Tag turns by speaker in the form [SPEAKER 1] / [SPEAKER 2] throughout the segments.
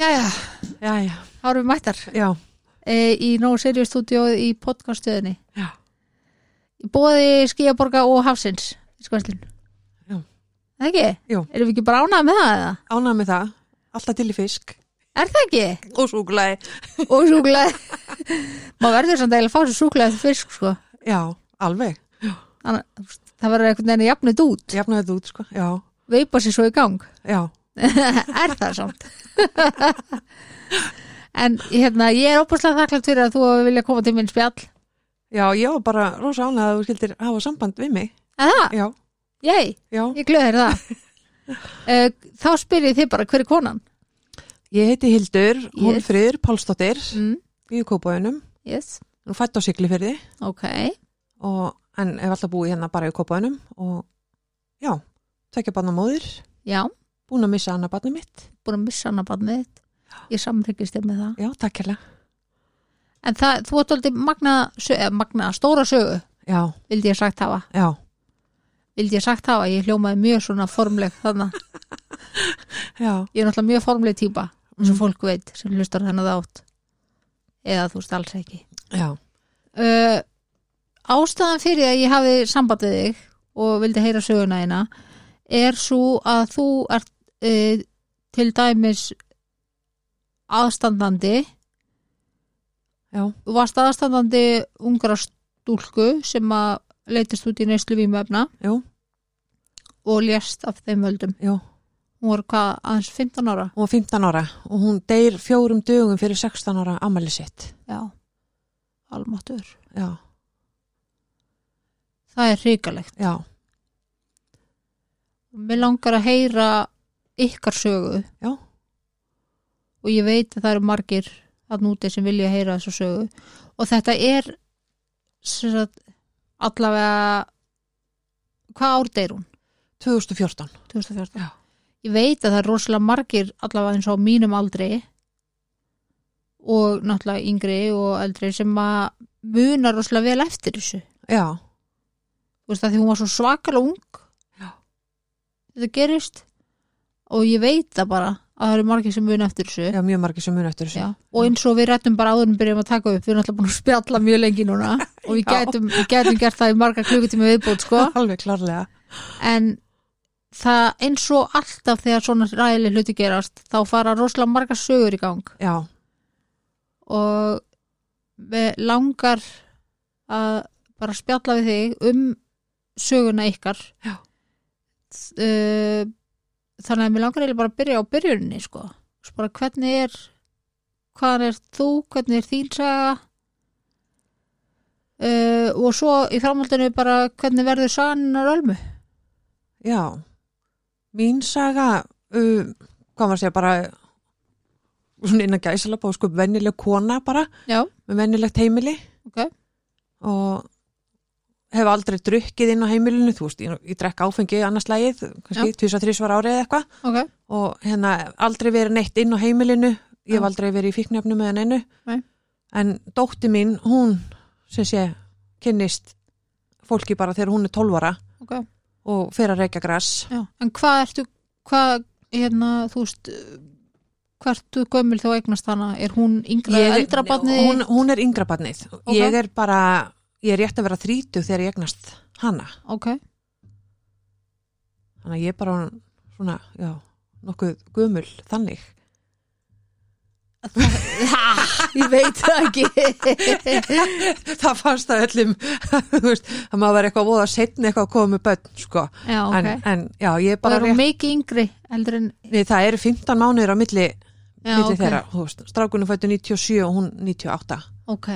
[SPEAKER 1] Jæja,
[SPEAKER 2] já, já,
[SPEAKER 1] þá erum við mættar
[SPEAKER 2] já,
[SPEAKER 1] e, í Nóa Sirius stúdíó í podcaststöðinni
[SPEAKER 2] já.
[SPEAKER 1] Bóði Skíaborga og Hafsins í skoðslun
[SPEAKER 2] Já.
[SPEAKER 1] Það ekki?
[SPEAKER 2] Jú.
[SPEAKER 1] Erum við ekki bara ánað með það eða?
[SPEAKER 2] Ánægð með það, alltaf til í fisk
[SPEAKER 1] Er það ekki?
[SPEAKER 2] og súklaði.
[SPEAKER 1] Og súklaði Má verður samt eiginlega að fá svo súklaði fisk sko
[SPEAKER 2] Já, alveg,
[SPEAKER 1] Anna, þú veist, Það verður einhvern veginn jafnit út
[SPEAKER 2] jafnaði þetta út, sko, já,
[SPEAKER 1] Veipa sér svo í gang
[SPEAKER 2] já,
[SPEAKER 1] Er það samt? en hérna, ég er opaslega þakklátt fyrir að þú vilja koma til minn spjall
[SPEAKER 2] já, ég var bara rosa ánægð að þú skildir hafa samband við mig,
[SPEAKER 1] Eða,
[SPEAKER 2] já,
[SPEAKER 1] jæj
[SPEAKER 2] já.
[SPEAKER 1] Ég glöður það. Eh, Þá spyr ég þið bara hver er konan?
[SPEAKER 2] Ég heiti Hildur, Hólfríður, Pálsdóttir,
[SPEAKER 1] Mm.
[SPEAKER 2] í Kópaunum,
[SPEAKER 1] Yes.
[SPEAKER 2] nú fætt á Siglifyrði
[SPEAKER 1] Ok.
[SPEAKER 2] og, en hef alltaf búið hérna bara í Kópaunum og, já, tekja barna móðir,
[SPEAKER 1] Já,
[SPEAKER 2] búin að missa annað barni mitt,
[SPEAKER 1] búin að missa hana barnið þitt. Ég samryggist þér með það.
[SPEAKER 2] já, takk hérlega,
[SPEAKER 1] En það, þú ert aldrei magna, sö- eh, magna, stóra sögu,
[SPEAKER 2] já,
[SPEAKER 1] vildi ég sagt hafa.
[SPEAKER 2] já,
[SPEAKER 1] Vildi ég sagt hafa, ég hljómaði mjög svona formleg þannig.
[SPEAKER 2] já,
[SPEAKER 1] Ég er náttúrulega mjög formleg típa, eins og fólk veit sem hlustar þennan þátt. Eða þú veist alls ekki.
[SPEAKER 2] já,
[SPEAKER 1] Uh, ástæðan fyrir að ég hafi sambandið þig og vildi heyra söguna eina er svo að þú ert uh, til dæmis aðstandandi
[SPEAKER 2] já,
[SPEAKER 1] þú varst aðstandandi ungra stúlku sem að leitist út í neyslu vímöfna
[SPEAKER 2] jú,
[SPEAKER 1] og lést af þeim völdum
[SPEAKER 2] jú.
[SPEAKER 1] hún var hvað aðeins 15 ára
[SPEAKER 2] Hún var 15 ára og hún deyr fjórum dögum fyrir 16 ára ammæli sitt.
[SPEAKER 1] já, almatur
[SPEAKER 2] Já,
[SPEAKER 1] það er hrikalegt
[SPEAKER 2] já,
[SPEAKER 1] mér langar að heyra ykkar sögu
[SPEAKER 2] já,
[SPEAKER 1] og ég veit að það eru margir að núti sem vilja heyra þessu sögu og þetta er sem sagt, allavega hvað ár deyr hún?
[SPEAKER 2] 2014.
[SPEAKER 1] 2014
[SPEAKER 2] Já.
[SPEAKER 1] ég veit að það er rosalega margir allavega eins og á mínum aldri og náttúrulega yngri og eldri sem að munar rosalega vel eftir þessu
[SPEAKER 2] Já,
[SPEAKER 1] þú veist að því hún var svo svakalega ung
[SPEAKER 2] Já.
[SPEAKER 1] þetta gerist og ég veit það bara að það eru margir sem muna eftir þessu
[SPEAKER 2] já, mjög margir sem muni eftir þessu.
[SPEAKER 1] Já, og eins og við rættum bara áður en byrjum að taka upp, við erum alltaf búin að spjalla mjög lengi núna og við
[SPEAKER 2] Já.
[SPEAKER 1] gætum, við gætum gert það í marga klukkutími viðbútt sko
[SPEAKER 2] Alveg klarlega.
[SPEAKER 1] en það eins og alltaf þegar svona ræðileg hluti gerast þá fara rosalega margar sögur í gang
[SPEAKER 2] Já,
[SPEAKER 1] og við langar að bara spjalla við þig um söguna ykkar
[SPEAKER 2] Já.
[SPEAKER 1] Eh, þannig að mér langar eiginlega bara að byrja á byrjuninni sko Svo bara hvernig er hvaðan er þú, hvernig er þín saga uh, og svo í framhaldinu bara hvernig verður sagan rölmu
[SPEAKER 2] já. Mín saga, uh, hvað maður segja, bara svona innan gæsalapa og sko vennileg kona bara,
[SPEAKER 1] já,
[SPEAKER 2] með vennilegt heimili
[SPEAKER 1] ok,
[SPEAKER 2] og hef aldrei drukkið inn á heimilinu, þú veist, ég, ég drekk áfengi annars lagið, kannski tvisvar, þrísvar árið eða eitthvað.
[SPEAKER 1] ok
[SPEAKER 2] og hérna aldrei verið neitt inn á heimilinu ég hef
[SPEAKER 1] Já.
[SPEAKER 2] aldrei verið í fíknefnum eða neinu
[SPEAKER 1] Nei.
[SPEAKER 2] en dótti mín, hún sem sé, kynnist fólki bara þegar hún er 12 ára
[SPEAKER 1] ok,
[SPEAKER 2] og fer að reykja grass
[SPEAKER 1] já, en hvað ertu hvað, hérna, þú veist eh, hvað ertu gömul þá eignast hana er hún yngra,
[SPEAKER 2] Ég-
[SPEAKER 1] eldra barnið
[SPEAKER 2] hún, hún er yngra barnið
[SPEAKER 1] Ok.
[SPEAKER 2] ég er bara, ég er rétt að vera 30 þegar ég egnast hana
[SPEAKER 1] ok,
[SPEAKER 2] þannig að ég er bara svona, já, nokkuð gömul þannig
[SPEAKER 1] ég veit það ekki
[SPEAKER 2] það fannst það öllum þú veist, að maður var eitthvað voða setni eitthvað að koma með börn sko.
[SPEAKER 1] já, ok
[SPEAKER 2] en, en já, ég er
[SPEAKER 1] og
[SPEAKER 2] bara
[SPEAKER 1] er hún mikið yngri eldur en
[SPEAKER 2] Nei, það eru 15 mánuðir á milli,
[SPEAKER 1] já,
[SPEAKER 2] milli
[SPEAKER 1] ok,
[SPEAKER 2] þeirra, þú veist, strákunum fættu 97 og hún 98,
[SPEAKER 1] ok,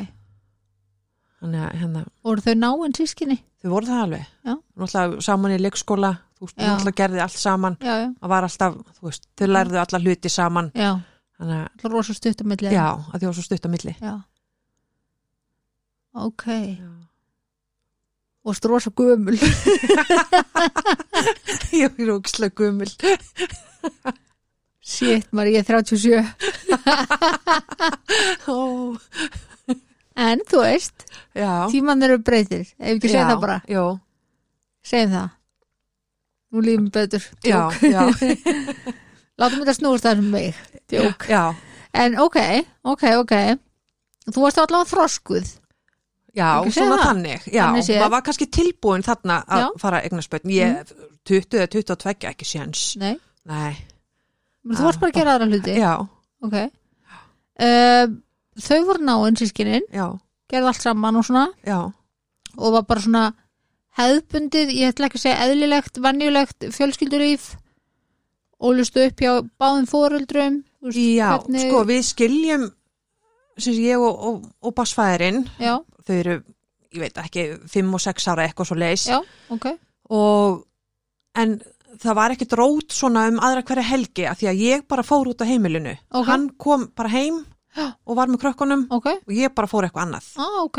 [SPEAKER 2] þannig að hérna,
[SPEAKER 1] og eru þau náinn sískinni
[SPEAKER 2] þau voru það alveg,
[SPEAKER 1] Já.
[SPEAKER 2] náttúrulega saman í leikskóla, þú veist,
[SPEAKER 1] Já.
[SPEAKER 2] náttúrulega gerði allt saman,
[SPEAKER 1] já, já,
[SPEAKER 2] það var alltaf, þú veist, þau lærðu alla hluti saman,
[SPEAKER 1] já,
[SPEAKER 2] þannig að,
[SPEAKER 1] það er rosa stuttamilli
[SPEAKER 2] já, að þau var svo stutt á milli.
[SPEAKER 1] já ok, og stu rosa gömul
[SPEAKER 2] Ég er ógislega gummul.
[SPEAKER 1] shit, maður ég er 37
[SPEAKER 2] Ó,
[SPEAKER 1] en þú veist,
[SPEAKER 2] já.
[SPEAKER 1] tíman eru breytir ef ekki segja það bara,
[SPEAKER 2] Jó,
[SPEAKER 1] segjum það nú lífum betur
[SPEAKER 2] já, já.
[SPEAKER 1] Látum þetta snúast það um mig. Djók.
[SPEAKER 2] já,
[SPEAKER 1] En ok, ok, ok. Þú varst allavega þroskuð.
[SPEAKER 2] já
[SPEAKER 1] Ekki segja
[SPEAKER 2] svona
[SPEAKER 1] það.
[SPEAKER 2] þannig já,
[SPEAKER 1] Þannig séð.
[SPEAKER 2] maður var kannski tilbúin þarna að
[SPEAKER 1] Já. Mm.
[SPEAKER 2] fara að eignast börn ég, 20 eða 22 ekki séns
[SPEAKER 1] Nei,
[SPEAKER 2] nei,
[SPEAKER 1] menn þú varst bara að gera aðra hluti.
[SPEAKER 2] já,
[SPEAKER 1] Ok. Uh, þau voru náinn sískinin,
[SPEAKER 2] já,
[SPEAKER 1] gerði allt saman og svona
[SPEAKER 2] já
[SPEAKER 1] og var bara svona hefðbundið, ég ætla ekki að segja eðlilegt, vannjulegt, fjölskyldurlíf ólustu upp hjá báðum fóreldrum. þú veist,
[SPEAKER 2] já,
[SPEAKER 1] hvernig-
[SPEAKER 2] sko við skiljum sem sé, ég og, og, og basfæðirinn
[SPEAKER 1] Já,
[SPEAKER 2] þau eru, ég veit ekki 5 og 6 ára eitthvað svo leis
[SPEAKER 1] já, ok.
[SPEAKER 2] og en það var ekkit rót svona um aðra hverja helgi að því að ég bara fór út á heimilinu
[SPEAKER 1] Ok.
[SPEAKER 2] hann kom bara heim
[SPEAKER 1] Já.
[SPEAKER 2] og var með krökkunum
[SPEAKER 1] Ok,
[SPEAKER 2] og ég bara fór eitthvað annað
[SPEAKER 1] á, ah, ok.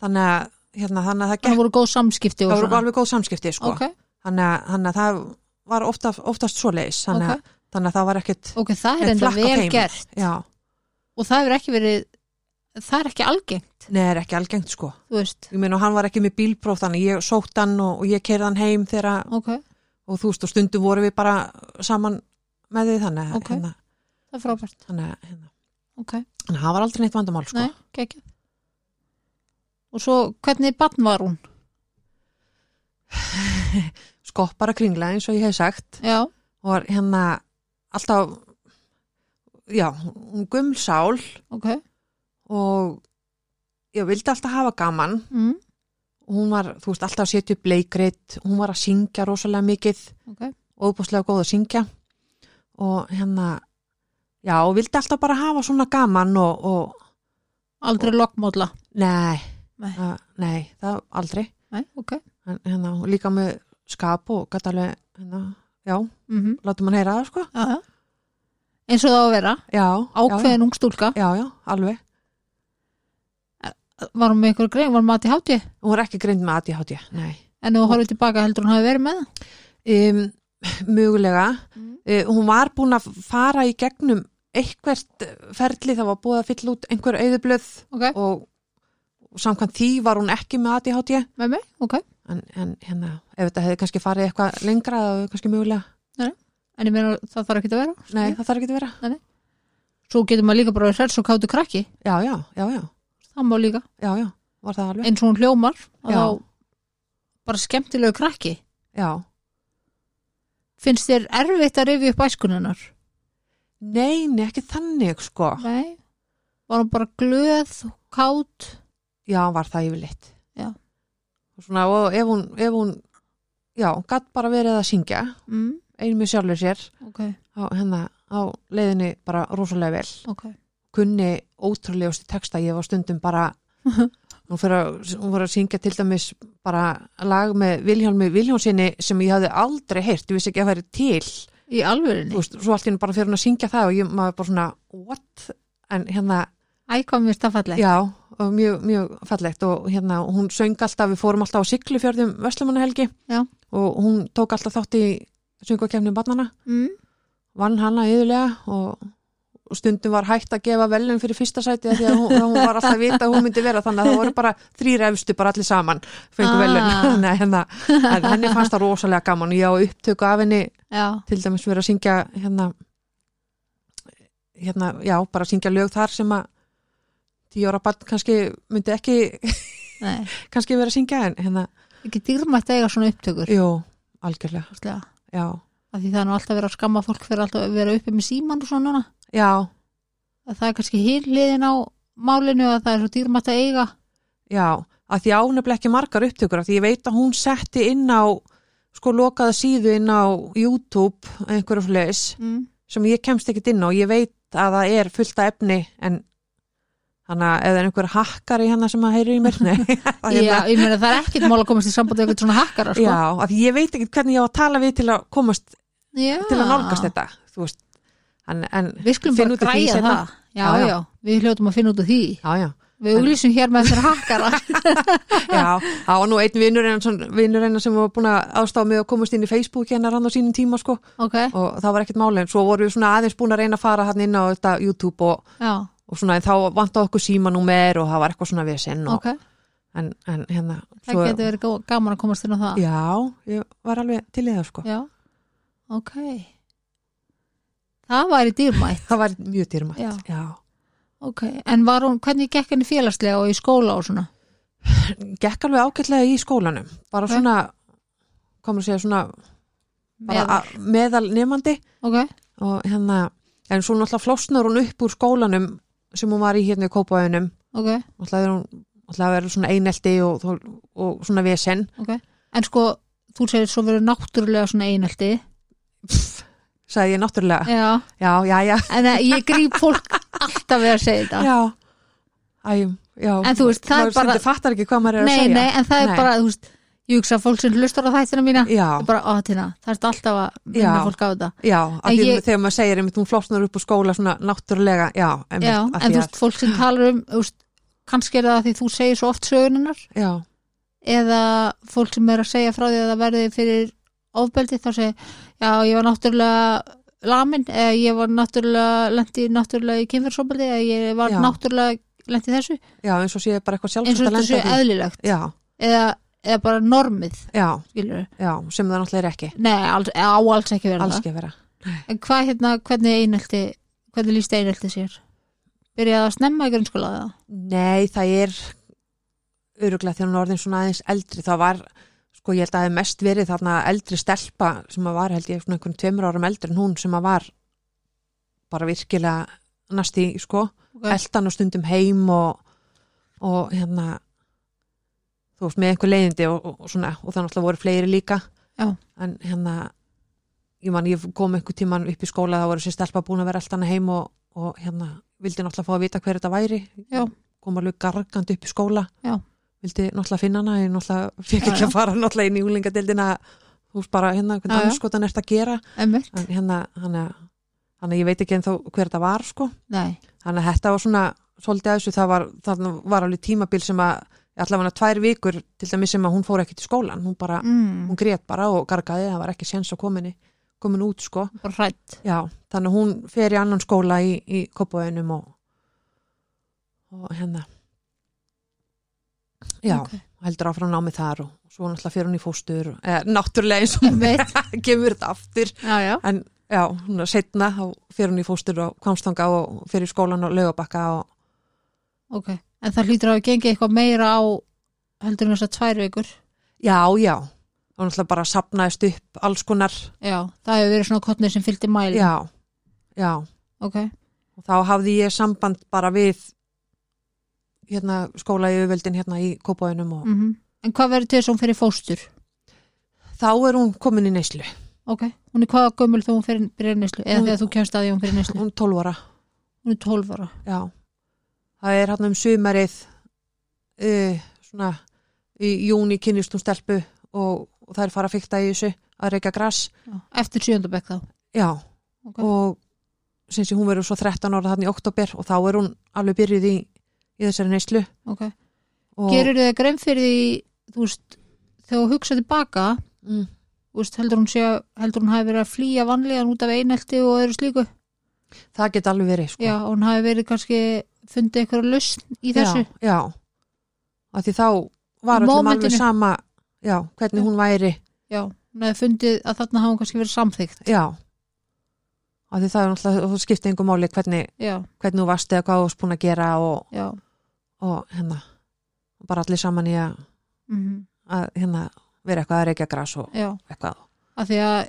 [SPEAKER 2] þannig að, hérna, þannig að það
[SPEAKER 1] Það
[SPEAKER 2] gekk
[SPEAKER 1] voru góð samskipti og
[SPEAKER 2] það
[SPEAKER 1] svona.
[SPEAKER 2] voru alveg góð samskipti sko.
[SPEAKER 1] Ok,
[SPEAKER 2] þannig, að, þannig að það var ofta, oftast svo leis þannig, að- þannig að það var ekkit
[SPEAKER 1] ok, það er
[SPEAKER 2] Neitt
[SPEAKER 1] enda
[SPEAKER 2] flakk á
[SPEAKER 1] vel
[SPEAKER 2] þeim.
[SPEAKER 1] gert
[SPEAKER 2] já,
[SPEAKER 1] og það hefur ekki verið, það er ekki algengt,
[SPEAKER 2] neða er ekki algengt sko
[SPEAKER 1] þú veist.
[SPEAKER 2] ég meina og hann var ekki með bílpróf þannig að ég sótt hann og, og ég kerði hann heim þegar
[SPEAKER 1] Ok,
[SPEAKER 2] og þú veist og stundum vorum við bara saman með því þannig að
[SPEAKER 1] Ok.
[SPEAKER 2] hérna,
[SPEAKER 1] það er frábært.
[SPEAKER 2] þannig að hérna.
[SPEAKER 1] Ok,
[SPEAKER 2] En það var aldrei neitt vandamál sko.
[SPEAKER 1] nei, ekki. Og svo, hvernig barn var hún?
[SPEAKER 2] Skoppara kringla eins og ég hef sagt
[SPEAKER 1] Já,
[SPEAKER 2] og var hérna alltaf já, hún gumsál
[SPEAKER 1] ok.
[SPEAKER 2] og ég vildi alltaf hafa gaman
[SPEAKER 1] Mm,
[SPEAKER 2] og hún var, þú veist, alltaf að setja upp leikrit hún var að syngja rosalega mikið
[SPEAKER 1] ok,
[SPEAKER 2] og óbúslega góð að syngja og hérna já, og vildi alltaf bara hafa svona gaman og, og
[SPEAKER 1] aldrei lokkmódla.
[SPEAKER 2] nei,
[SPEAKER 1] Nei.
[SPEAKER 2] það, nei, það aldrei
[SPEAKER 1] Nei, ok.
[SPEAKER 2] en, hérna, og líka með skap og gæti alveg, hérna, já,
[SPEAKER 1] Mm -hmm.
[SPEAKER 2] látum hann heyra það sko
[SPEAKER 1] Já, já. Eins og það á að vera,
[SPEAKER 2] já,
[SPEAKER 1] ákveðin ung stúlka.
[SPEAKER 2] já, já, já, alveg
[SPEAKER 1] Var hún með ykkur grein, var hún mati hátti?
[SPEAKER 2] hún var ekki greind með ADHD, nei
[SPEAKER 1] En ef þú horfið tilbaka heldur hún hafi verið með það?
[SPEAKER 2] um, mögulega
[SPEAKER 1] Mm.
[SPEAKER 2] uh, hún var búin að fara í gegnum eitthvert ferli það var búið að fylla út einhver auðublöð
[SPEAKER 1] Ok,
[SPEAKER 2] og, og samkvæmt því var hún ekki með ADHD
[SPEAKER 1] með mig, ok.
[SPEAKER 2] en, en hérna, ef þetta hefði kannski farið eitthvað lengra það hefði kannski mögulega
[SPEAKER 1] En ég meina það þarf ekki að vera.
[SPEAKER 2] nei, það þarf ekki að vera
[SPEAKER 1] Svo getur maður líka bara að hrels og kátu krakki.
[SPEAKER 2] já, já, já, já,
[SPEAKER 1] Það má líka.
[SPEAKER 2] já, já, var það alveg
[SPEAKER 1] eins og hún hljómar og
[SPEAKER 2] Já.
[SPEAKER 1] þá bara skemmtilegu krakki
[SPEAKER 2] já,
[SPEAKER 1] finnst þér erfitt að rifja upp æskunennar
[SPEAKER 2] nei, nei, ekki þannig sko,
[SPEAKER 1] nei, var hún bara glöð og kát
[SPEAKER 2] já, var það yfirleitt
[SPEAKER 1] Já.
[SPEAKER 2] Og svona, og ef hún, ef hún já, gatt bara verið að syngja
[SPEAKER 1] mm,
[SPEAKER 2] einu með sjálfur sér
[SPEAKER 1] ok,
[SPEAKER 2] á, hérna, á leiðinni bara rosalega vel
[SPEAKER 1] ok
[SPEAKER 2] kunni ótrúlegusti texta ég var stundum bara hún fyrir að, hún fyrir að syngja til dæmis bara lag með Vilhjálmi Vilhjálmsinni sem ég hafði aldrei heyrt, ég vissi ekki að væri til
[SPEAKER 1] í
[SPEAKER 2] Þú
[SPEAKER 1] alvörinni,
[SPEAKER 2] veist, svo allt í henni bara fyrir hún að syngja það og ég maður bara svona, what? en hérna,
[SPEAKER 1] ækvað mér staðfalleg
[SPEAKER 2] já, og mjög, mjög fallegt og hérna, hún söng alltaf, við fórum alltaf á Siglufjörðum Vestlumannahelgi
[SPEAKER 1] Já.
[SPEAKER 2] og hún tók alltaf þátt í söngvakefnum barnana
[SPEAKER 1] mm,
[SPEAKER 2] vann hana yðurlega og, og stundum var hægt að gefa velun fyrir fyrsta sæti af því að hún, að hún var alltaf að vita að hún myndi vera þannig að það voru bara þrýr efstu bara allir saman fengu
[SPEAKER 1] Ah.
[SPEAKER 2] ah. velun Nei, hérna, en henni fannst það rosalega gaman og ég á upptöku af henni
[SPEAKER 1] já,
[SPEAKER 2] til dæmis verið að syngja hérna, hérna já, bara syngja lög þar sem að tíu ára bann kannski myndi ekki
[SPEAKER 1] nei,
[SPEAKER 2] kannski vera að syngja en hérna,
[SPEAKER 1] ekki dýrmætt að eiga svona upptökur
[SPEAKER 2] jú, algjörlega
[SPEAKER 1] Ætla,
[SPEAKER 2] já,
[SPEAKER 1] af því það er nú alltaf verið að skamma fólk fyrir alltaf að vera uppi með síman og svona núna.
[SPEAKER 2] já,
[SPEAKER 1] að það er kannski hýrliðin á málinu að það er svo dýrmætt að eiga
[SPEAKER 2] já að því ánefnilega ekki margar upptökur af því ég veit að hún setti inn á sko lokaða síðu inn á YouTube einhverju fleis
[SPEAKER 1] mm.
[SPEAKER 2] sem ég kemst ekkit inn á ég veit að það er fullt af efni en þannig að ef það er einhver hakkari hérna sem að heyri í mér nei, það
[SPEAKER 1] já, ég meina það er ekkert mál að komast í sambandi við eitthvað svona hakkara sko.
[SPEAKER 2] Já, af því ég veit ekkert hvernig ég á að tala við til að komast,
[SPEAKER 1] Já.
[SPEAKER 2] til að nálgast þetta, þú veist, en, en
[SPEAKER 1] Við skulum
[SPEAKER 2] Finn
[SPEAKER 1] bara
[SPEAKER 2] út úr því
[SPEAKER 1] græja
[SPEAKER 2] seinna.
[SPEAKER 1] það. Já,
[SPEAKER 2] Já,
[SPEAKER 1] já,
[SPEAKER 2] já.
[SPEAKER 1] við hljótum að finna út úr því.
[SPEAKER 2] já, já,
[SPEAKER 1] Við auglýsum hér með þessar hakkara.
[SPEAKER 2] já, það var nú einn vinnur hennar, vinnur hennar sem var búin að aðstáða mig að komast inn í Facebook hennar hann á sínum tíma, sko,
[SPEAKER 1] ok,
[SPEAKER 2] og það var ekkert máli, en svo voru við svona aðeins búin að reyna að fara hann inn á þetta YouTube og,
[SPEAKER 1] já,
[SPEAKER 2] og svona, en þá vantaði okkur símanúmer og það var eitthvað svona vesinn, og,
[SPEAKER 1] ok.
[SPEAKER 2] en, en hérna,
[SPEAKER 1] Það getur verið gó- gaman að komast inn á það.
[SPEAKER 2] já, ég var alveg til í það, sko,
[SPEAKER 1] Já, ok. það væri dýrmætt
[SPEAKER 2] það var mjög dýrmætt
[SPEAKER 1] Já.
[SPEAKER 2] Já.
[SPEAKER 1] ok, en var hún, hvernig gekk henni félagslega og í skóla og svona
[SPEAKER 2] gekk alveg ágætlega í skólanum bara
[SPEAKER 1] Ok.
[SPEAKER 2] svona komur að segja svona bara
[SPEAKER 1] Meðal.
[SPEAKER 2] a- meðal nefandi
[SPEAKER 1] ok,
[SPEAKER 2] og hérna, en svo náttúrulega flosnar hún upp úr skólanum sem hún var í hérna í kópaðunum
[SPEAKER 1] ok,
[SPEAKER 2] náttúrulega er hún náttúrulega verður svona einelti og, og, og svona vesen
[SPEAKER 1] ok en sko, þú segir svo verið náttúrulega svona einelti
[SPEAKER 2] sagði ég náttúrulega,
[SPEAKER 1] já,
[SPEAKER 2] já, já, já
[SPEAKER 1] en eh, ég grýp fólk alltaf við að segja þetta
[SPEAKER 2] já, Æ, já
[SPEAKER 1] En þú veist, það er
[SPEAKER 2] maður
[SPEAKER 1] bara-
[SPEAKER 2] stundum fattar ekki hvað maður er að
[SPEAKER 1] nei,
[SPEAKER 2] segja
[SPEAKER 1] nei, en það er
[SPEAKER 2] Nei.
[SPEAKER 1] bara, þú veist ég hugsa að fólk sem hlustar á þættina mína
[SPEAKER 2] já,
[SPEAKER 1] er bara, á þetta, það er alltaf að minna
[SPEAKER 2] Já.
[SPEAKER 1] fólk á þetta
[SPEAKER 2] já, af
[SPEAKER 1] En
[SPEAKER 2] því
[SPEAKER 1] ég-
[SPEAKER 2] þegar maður segir einmitt hún flosnar upp úr skóla svona náttúrulega, já, einmitt,
[SPEAKER 1] já,
[SPEAKER 2] af
[SPEAKER 1] en þú
[SPEAKER 2] því að-
[SPEAKER 1] veist, fólk sem talar um þú veist, kannski er það að því þú segir svo oft söguninnar
[SPEAKER 2] já,
[SPEAKER 1] eða fólk sem er að segja frá því að það verði fyrir ofbeldi þá segir, já, ég var náttúrulega lamin, eða ég var náttúrulega lendi náttúrulega í kynferðsofbeldi eða ég var
[SPEAKER 2] Já.
[SPEAKER 1] náttúrulega lendi þessu
[SPEAKER 2] já, eins og sé bara eitthvað
[SPEAKER 1] eins og
[SPEAKER 2] sjálfsagt að
[SPEAKER 1] þetta sé
[SPEAKER 2] lenda því
[SPEAKER 1] eðlilegt
[SPEAKER 2] já,
[SPEAKER 1] eða, eða bara normið,
[SPEAKER 2] já,
[SPEAKER 1] skilur
[SPEAKER 2] já, sem það náttúrulega er ekki
[SPEAKER 1] nei, alls, á alls ekki verða
[SPEAKER 2] alls ekki vera
[SPEAKER 1] en hvað hérna, hvernig einelti hvernig líst einelti sér byrjaði að snemma í grunnskóla eða
[SPEAKER 2] Nei, það er öruglega þegar hún er orðin svona aðeins eldri þá var, sko ég held að það hef mest verið þarna eldri stelpa sem að var held ég svona einhvern tveimur árum eldri en hún sem að var bara virkilega næsti, sko,
[SPEAKER 1] Ok.
[SPEAKER 2] eldan og stundum heim og, og hérna þú veist, með einhver leiðindi og, og, og svona, og það náttúrulega voru fleiri líka
[SPEAKER 1] Já.
[SPEAKER 2] en hérna ég man, ég kom einhver tíman upp í skóla það voru sér stelpa búin að vera eldana heim og, og hérna, vildi náttúrulega fá að vita hver þetta væri
[SPEAKER 1] Já.
[SPEAKER 2] kom alveg gargandi upp í skóla
[SPEAKER 1] Já.
[SPEAKER 2] vildi náttúrulega finna hana ég náttúrulega fikk
[SPEAKER 1] Já,
[SPEAKER 2] ekki að fara náttúrulega inn í úlingadeildina þú veist bara hérna,
[SPEAKER 1] Já, já.
[SPEAKER 2] hvernig anskotan ert að gera
[SPEAKER 1] emmitt,
[SPEAKER 2] en hérna, hann að hann að ég veit ekki en hver þetta var sko
[SPEAKER 1] nei,
[SPEAKER 2] þannig að þetta var svona svolítið að þessu, það var, þarna var alveg tímabil sem að allavega tvær vikur til dæmis sem að hún fór ekki til skólan hún bara,
[SPEAKER 1] mm,
[SPEAKER 2] hún grét bara og gargaði það var ekki séns á kominni, komin út sko
[SPEAKER 1] bara hrætt
[SPEAKER 2] já, þannig að hún fer í annan skóla í, í Kópavæðinum og og hérna já,
[SPEAKER 1] Ok.
[SPEAKER 2] heldur áfram námið þar og svo náttúrulega fer hún í fóstur eh, náttúrulega eins og
[SPEAKER 1] emmitt,
[SPEAKER 2] kemur þetta aftur
[SPEAKER 1] já, já
[SPEAKER 2] en já, hún er setna þá fer hún í fóstur og komstanga og fer í skólan og laugabakka og
[SPEAKER 1] Ok, en það hlýtur að hafa gengið eitthvað meira á heldur en þess að tvær vikur
[SPEAKER 2] Já, já, og náttúrulega bara sapnaðist upp alls konar,
[SPEAKER 1] Já, það hefur verið svona kottnir sem fylgdi mæli
[SPEAKER 2] já, já,
[SPEAKER 1] Ok,
[SPEAKER 2] og þá hafði ég samband bara við hérna skóla yfirvöldin hérna í kópaðunum og
[SPEAKER 1] mm en hvað verður til þess að hún fyrir fóstur?
[SPEAKER 2] þá er hún komin í neyslu,
[SPEAKER 1] Ok, hún er hvaða gömul þegar hún fyrir byrjar neyslu eða
[SPEAKER 2] Hún-
[SPEAKER 1] þegar þú kemst að því að hún fyrir neyslu
[SPEAKER 2] hún er 12 ára,
[SPEAKER 1] Hún er 12 ára
[SPEAKER 2] já, það er hann um sumarið, uh, svona í júni kynnist hún stelpu og, og það er fara að fykta í þessu að reyka gras,
[SPEAKER 1] Já. Eftir sjöndabæk þá
[SPEAKER 2] já,
[SPEAKER 1] Ok,
[SPEAKER 2] og sem sé hún verður svo 13 ára þarna í oktober og þá er hún alveg byrjuð í, í þessari neyslu
[SPEAKER 1] ok
[SPEAKER 2] og,
[SPEAKER 1] Gerir þið grein fyrir því, þú veist þegar þú hugsa tilbaka,
[SPEAKER 2] mm,
[SPEAKER 1] þú veist, heldur hún sé að- heldur hún hafi verið að flýja vanlíðan út af einelti og öðru slíku?
[SPEAKER 2] Það geti alveg verið, sko.
[SPEAKER 1] Já, hún hafi verið kannski fundið eitthvað lausn í þessu
[SPEAKER 2] Já, já. Af því þá var
[SPEAKER 1] Í
[SPEAKER 2] öllum alveg
[SPEAKER 1] momentinu.
[SPEAKER 2] sama, já, hvernig hún væri,
[SPEAKER 1] Já, hún hefði fundið að þarna hafa hún kannski verið samþygt.
[SPEAKER 2] já. Af því það er náttúrulega, þú skipti einhver máli hvernig,
[SPEAKER 1] Já,
[SPEAKER 2] hvernig þú varst eða hvað þú varst búin að gera og,
[SPEAKER 1] já.
[SPEAKER 2] og hérna, bara allir saman í að,
[SPEAKER 1] Mm
[SPEAKER 2] að hérna, vera eitthvað að reykja gras og
[SPEAKER 1] Já,
[SPEAKER 2] eitthvað.
[SPEAKER 1] af því að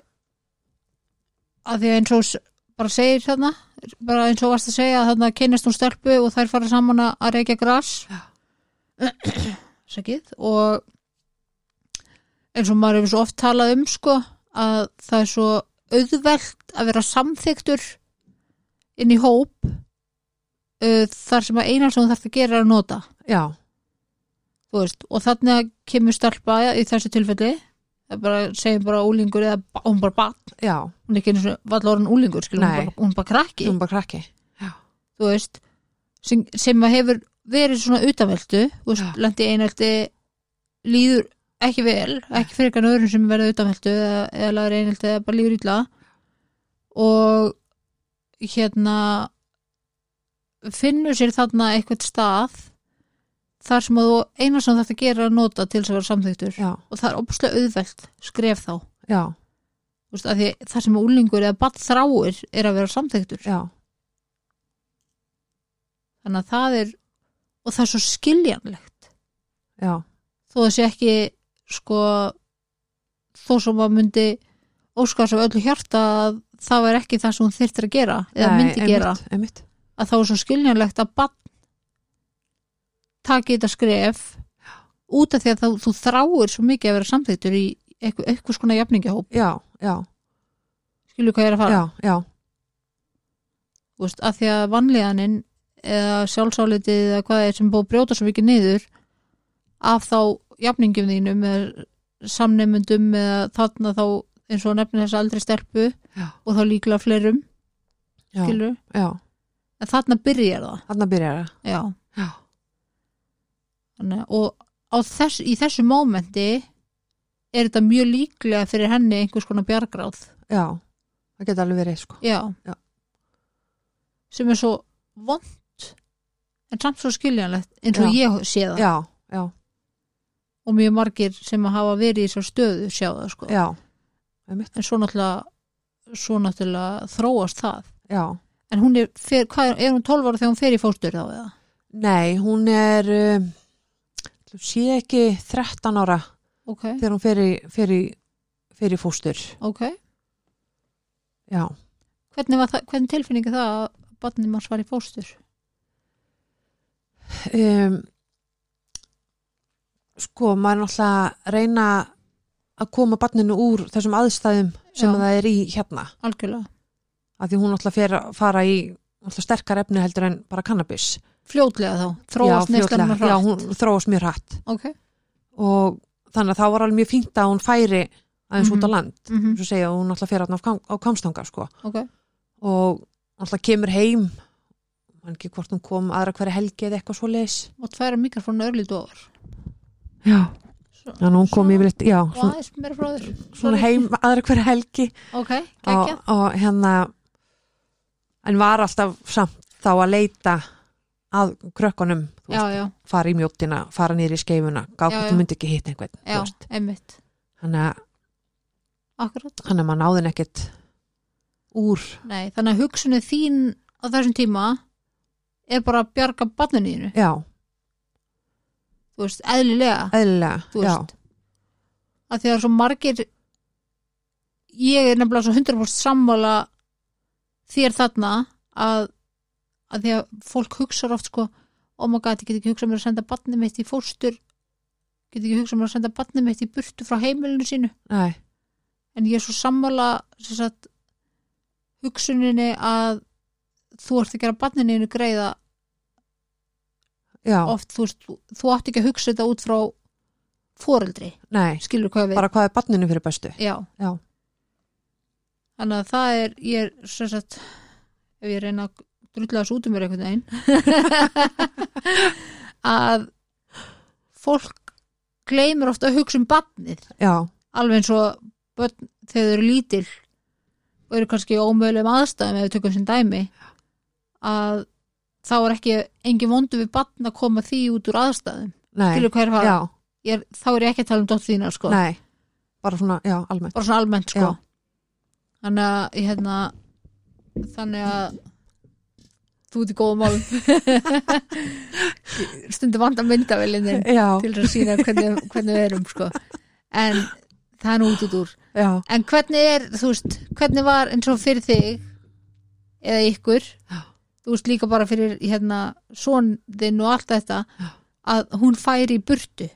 [SPEAKER 1] af því að eins og s- bara segir þarna, bara eins og varst að segja að þarna kynnist hún stelpu og þær fara saman að- að reykja gras
[SPEAKER 2] Já.
[SPEAKER 1] Sækið og eins og maður hefur svo oft talað um sko að það er svo auðvelt að vera samþyktur inn í hóp uh, þar sem að eina sem þú þarf að gera er að nota
[SPEAKER 2] Já,
[SPEAKER 1] þú veist, og þarna kemur stelpa í þessu tilfelli það er bara, segjum bara úlingur eða ba- hún bara barn,
[SPEAKER 2] já,
[SPEAKER 1] hún er ekki einu svona vallorinn úlingur, skilur, hún
[SPEAKER 2] Nei.
[SPEAKER 1] bara, hún bara krakki
[SPEAKER 2] þú er bara krakki. Já,
[SPEAKER 1] þú veist, sem, sem að hefur verið svona utanveldu þú veist,
[SPEAKER 2] Já.
[SPEAKER 1] lendi einelti líður ekki vel, ekki fyrir eitthvað öðrum sem verður utanveldu eða, eða laður einelti eða bara líður illa og hérna finnur sér þarna eitthvað stað þar sem að þú eina sem þetta gera er að nota til þess að vera samþyktur
[SPEAKER 2] já,
[SPEAKER 1] og það er opslega auðvelt skref þá
[SPEAKER 2] já,
[SPEAKER 1] Þú veist, af því það sem úlingur eða batt þráir er að vera samþektur
[SPEAKER 2] já,
[SPEAKER 1] þannig að það er og það er svo skiljanlegt
[SPEAKER 2] já,
[SPEAKER 1] þó að sé ekki sko þó sem að myndi óskars af öllu hjarta að það var ekki það sem hún þyrftir að gera eða
[SPEAKER 2] Nei,
[SPEAKER 1] myndi gera
[SPEAKER 2] einmitt, einmitt.
[SPEAKER 1] að þá er svo skiljanlegt að bann taki þetta skref út af því að þá, þú þráir svo mikið að vera samþyktur í eitthvað, eitthvað skona jafningahóp
[SPEAKER 2] já, já,
[SPEAKER 1] skilur hvað ég er að fara
[SPEAKER 2] já, já,
[SPEAKER 1] Þú veist, að því að vanlíðaninn eða sjálfsálitið eða hvað er sem er búið að brjóta svo mikið niður af þá jafningjum þínum eða samneymundum eða þarna þá eins og nefnir þess aldrei stelpu
[SPEAKER 2] Já.
[SPEAKER 1] og þá líklega fleirum
[SPEAKER 2] já,
[SPEAKER 1] skilur,
[SPEAKER 2] já.
[SPEAKER 1] en þarna byrjar það
[SPEAKER 2] þarna byrjar það
[SPEAKER 1] já
[SPEAKER 2] já,
[SPEAKER 1] Þannig, að- og á þess, í þessu mómenti er þetta mjög líklega fyrir henni einhvers konar bjargráð
[SPEAKER 2] já, það geta alveg verið sko
[SPEAKER 1] já.
[SPEAKER 2] Já.
[SPEAKER 1] sem er svo vond en samt svo skiljanlegt eins og
[SPEAKER 2] Já.
[SPEAKER 1] ég sé það
[SPEAKER 2] já, já,
[SPEAKER 1] og mjög margir sem að hafa verið í svo stöðu sjá það sko
[SPEAKER 2] já, einmitt,
[SPEAKER 1] en svo náttúrulega svo náttúrulega þróast það
[SPEAKER 2] já
[SPEAKER 1] en hún er, fer, hvað, er er hún 12 ára þegar hún fer í fóstur þá eða?
[SPEAKER 2] nei, hún er um, ætli hún sé ekki 13 ára
[SPEAKER 1] ok,
[SPEAKER 2] þegar hún fer í, fer í, fer í fóstur
[SPEAKER 1] ok
[SPEAKER 2] já,
[SPEAKER 1] hvernig, var það, hvernig tilfinningi það að barnið manns var í fóstur?
[SPEAKER 2] um, sko, maður er náttúrulega að reyna að koma barninu úr þessum aðstæðum sem
[SPEAKER 1] Já.
[SPEAKER 2] það er í hérna
[SPEAKER 1] algjörlega,
[SPEAKER 2] af því hún náttúrulega fer að fara í náttúrulega sterkar efni heldur en bara kannabis
[SPEAKER 1] fljótlega þá þróast
[SPEAKER 2] Já,
[SPEAKER 1] neyslan
[SPEAKER 2] fljótlega.
[SPEAKER 1] hratt.
[SPEAKER 2] Já, hún þróast mjög hrætt
[SPEAKER 1] ok,
[SPEAKER 2] og þannig að það var alveg mjög fínt að hún færi aðeins út á
[SPEAKER 1] Mhm.
[SPEAKER 2] land
[SPEAKER 1] mm
[SPEAKER 2] eins og segja, hún náttúrulega fer hérna á, Kam- á kamstanga sko.
[SPEAKER 1] ok,
[SPEAKER 2] og náttúrulega kemur heim mann ekki hvort hún kom aðra hverja helgi eða eitthvað svo leis
[SPEAKER 1] og tværa mikrofónu örlítið ofar
[SPEAKER 2] Já,
[SPEAKER 1] Svo-
[SPEAKER 2] þannig að hún kom
[SPEAKER 1] Svona-
[SPEAKER 2] yfirleitt já,
[SPEAKER 1] og
[SPEAKER 2] svona,
[SPEAKER 1] aðeins meira frá þér
[SPEAKER 2] svona heim aðra hverja helgi
[SPEAKER 1] ok,
[SPEAKER 2] og,
[SPEAKER 1] geggja,
[SPEAKER 2] og hérna en var alltaf samt þá að leita að krökkunum þú
[SPEAKER 1] já, já,
[SPEAKER 2] fara í mjóttina, fara niður í skeifuna
[SPEAKER 1] Já,
[SPEAKER 2] gaf hvort
[SPEAKER 1] já.
[SPEAKER 2] hún myndi ekki hitta einhvern þú
[SPEAKER 1] já,
[SPEAKER 2] veist.
[SPEAKER 1] einmitt
[SPEAKER 2] þannig að,
[SPEAKER 1] akkurat,
[SPEAKER 2] þannig að maður náðin ekkert úr
[SPEAKER 1] nei, þannig að hugsunni þín á þessum tíma er bara að bjarga barninu þínu
[SPEAKER 2] já,
[SPEAKER 1] þú veist, eðlilega þú
[SPEAKER 2] eðlilega já,
[SPEAKER 1] veist að því að svo margir ég er nefnilega svo 100% sammála þér þarna að, að því að fólk hugsar oft sko, oh my god, ég get ekki hugsað mér að senda barnið mitt í fóstur get ekki hugsað mér að senda barnið mitt í burtu frá heimilinu sínu
[SPEAKER 2] nei,
[SPEAKER 1] en ég er svo sammála sem sagt, hugsuninni að þú ert að gera barninu einu greiða
[SPEAKER 2] já,
[SPEAKER 1] oft, þú, veist, þú, þú átt ekki að hugsa þetta út frá foreldri,
[SPEAKER 2] nei
[SPEAKER 1] skilur hvað ég við
[SPEAKER 2] bara hvað er barninu fyrir bestu
[SPEAKER 1] já,
[SPEAKER 2] já,
[SPEAKER 1] þannig að það er ég er sem sagt ef ég reyna að drulla þessu út um mér einhvern veginn að fólk gleymir ofta að hugsa um batnið
[SPEAKER 2] já,
[SPEAKER 1] alveg eins og börn þegar þau eru lítil og eru kannski í ómögulegum aðstæðum ef við tökum sem dæmi að þá er ekki engin vondu við batn að koma því út úr aðstæðum
[SPEAKER 2] nei
[SPEAKER 1] Skilur hvað er að fara?
[SPEAKER 2] já,
[SPEAKER 1] Ég er, þá er ég ekki að tala um dóttur þína sko.
[SPEAKER 2] nei, bara svona, já, almennt
[SPEAKER 1] bara svona almennt sko.
[SPEAKER 2] Já.
[SPEAKER 1] þannig að ég, hérna, þannig að þú ert í góðum mál stundu vanda myndavelinni
[SPEAKER 2] já,
[SPEAKER 1] til þess að sína hvernig, hvernig við erum sko. en það er nú út út úr
[SPEAKER 2] já,
[SPEAKER 1] En hvernig er, þú veist, hvernig var eins og fyrir þig eða ykkur
[SPEAKER 2] Já.
[SPEAKER 1] þú veist líka bara fyrir hérna son þinn og allt þetta
[SPEAKER 2] Já.
[SPEAKER 1] að hún færi í burtu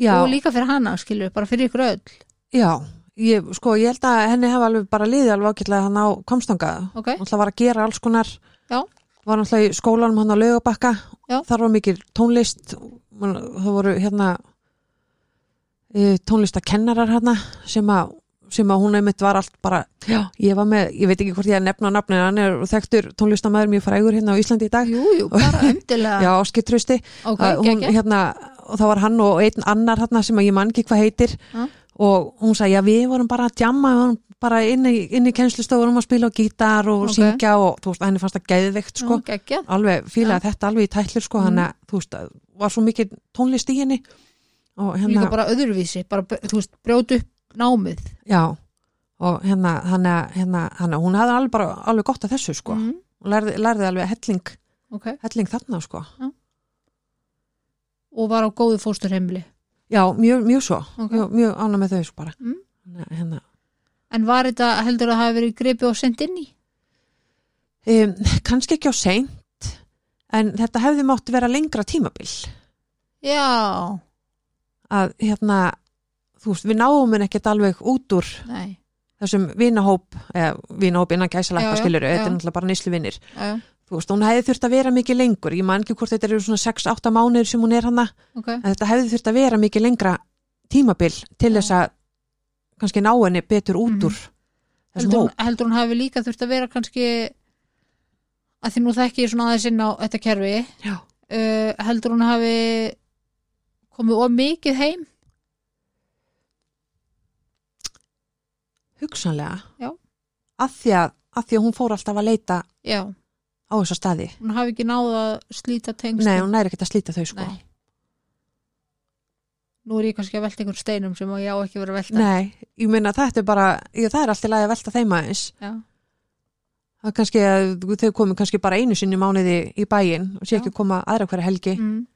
[SPEAKER 2] já,
[SPEAKER 1] og líka fyrir hana, skilur, bara fyrir ykkur öll
[SPEAKER 2] já ég, sko, ég held að henni hafa alveg bara liðið alveg ágætlega hann á kamstanga
[SPEAKER 1] ok,
[SPEAKER 2] hann var að gera alls konar
[SPEAKER 1] Já.
[SPEAKER 2] var náttúrulega í skólanum hann á laugabakka
[SPEAKER 1] Já.
[SPEAKER 2] þar var mikil tónlist Man- það voru hérna e, tónlistakennarar hérna sem að sem að hún einmitt var allt bara já, ég var með, ég veit ekki hvort ég er að nefna nafnið hann er þekktur tónlistamæður mjög frægur hérna á Íslandi í dag
[SPEAKER 1] jú, jú, bara
[SPEAKER 2] já,
[SPEAKER 1] endilega
[SPEAKER 2] Áskir Trausti
[SPEAKER 1] ok,
[SPEAKER 2] að hún
[SPEAKER 1] geggja,
[SPEAKER 2] hérna og það var hann og einn annar hérna sem að ég mann ekki hvað heitir
[SPEAKER 1] Já.
[SPEAKER 2] og hún sagði já við vorum bara að jamma við vorum bara inn í, inn í kennslustofunum að spila og gítar og
[SPEAKER 1] Ok.
[SPEAKER 2] syngja og þú veist henni fannst það geðveikt sko
[SPEAKER 1] sko. geggja
[SPEAKER 2] alveg fílaði þetta alveg í tællur sko hann
[SPEAKER 1] Mm.
[SPEAKER 2] að þú veist að var svo mikið tónlist í henni og
[SPEAKER 1] líka
[SPEAKER 2] hérna
[SPEAKER 1] bara öðruvísi, bara, þú veist, brjótu upp námið
[SPEAKER 2] já og hérna, hérna, hérna, hérna hún hafði alveg bara alveg gott af þessu sko
[SPEAKER 1] mm,
[SPEAKER 2] hún lærði, lærði alveg helling,
[SPEAKER 1] ok.
[SPEAKER 2] helling þarna sko
[SPEAKER 1] og var á góðu fósturheimli
[SPEAKER 2] já, mjög, mjög svo
[SPEAKER 1] Ok.
[SPEAKER 2] mjög, mjög ánæg með þau sko bara
[SPEAKER 1] Mm.
[SPEAKER 2] hérna, hérna.
[SPEAKER 1] en var þetta heldur að hafa verið gripið og sendt inn í
[SPEAKER 2] Um, kannski ekki á seint en þetta hefði mátt vera lengra tímabil
[SPEAKER 1] já,
[SPEAKER 2] að hérna þú veist, við náum henni ekkert alveg út úr
[SPEAKER 1] nei
[SPEAKER 2] þessum vinahóp eða vinahóp innan
[SPEAKER 1] Já,
[SPEAKER 2] gæsalækka
[SPEAKER 1] já,
[SPEAKER 2] skilur, þetta
[SPEAKER 1] já.
[SPEAKER 2] er náttúrulega bara nýsluvinnir
[SPEAKER 1] já, já,
[SPEAKER 2] þú veist, hún hefði þurft að vera mikið lengur ég man ekki hvort þetta eru svona 6-8 mánuður sem hún er hana,
[SPEAKER 1] ok,
[SPEAKER 2] en þetta hefði þurft að vera mikið lengra tímabil til
[SPEAKER 1] Já.
[SPEAKER 2] þess að kannski ná henni betur út
[SPEAKER 1] Mhm.
[SPEAKER 2] úr þessum
[SPEAKER 1] heldur hún,
[SPEAKER 2] hóp
[SPEAKER 1] heldur hún hafi líka þurft að vera kannski að því nú þekki ég svona aðeins inn á þetta kerfi
[SPEAKER 2] já,
[SPEAKER 1] uh, heldur hún hafi komið of mikið heim
[SPEAKER 2] hugsanlega
[SPEAKER 1] Já.
[SPEAKER 2] að því að, að því að hún fór alltaf að leita
[SPEAKER 1] já,
[SPEAKER 2] á þessa staði
[SPEAKER 1] hún hafi ekki náð að slíta tengst
[SPEAKER 2] nei, hún næri ekkert að slíta þau sko
[SPEAKER 1] Um Nei. nú er ég kannski að velta einhvern steinum sem ég á ekki verið að velta
[SPEAKER 2] Nei, ég meina þetta er bara ég, það er alltaf að velta þeim aðeins
[SPEAKER 1] já,
[SPEAKER 2] það er kannski að þau komu kannski bara einu sinni í mánuði í bæinn og sé
[SPEAKER 1] Já.
[SPEAKER 2] ekki að koma aðra hverja helgi
[SPEAKER 1] mm,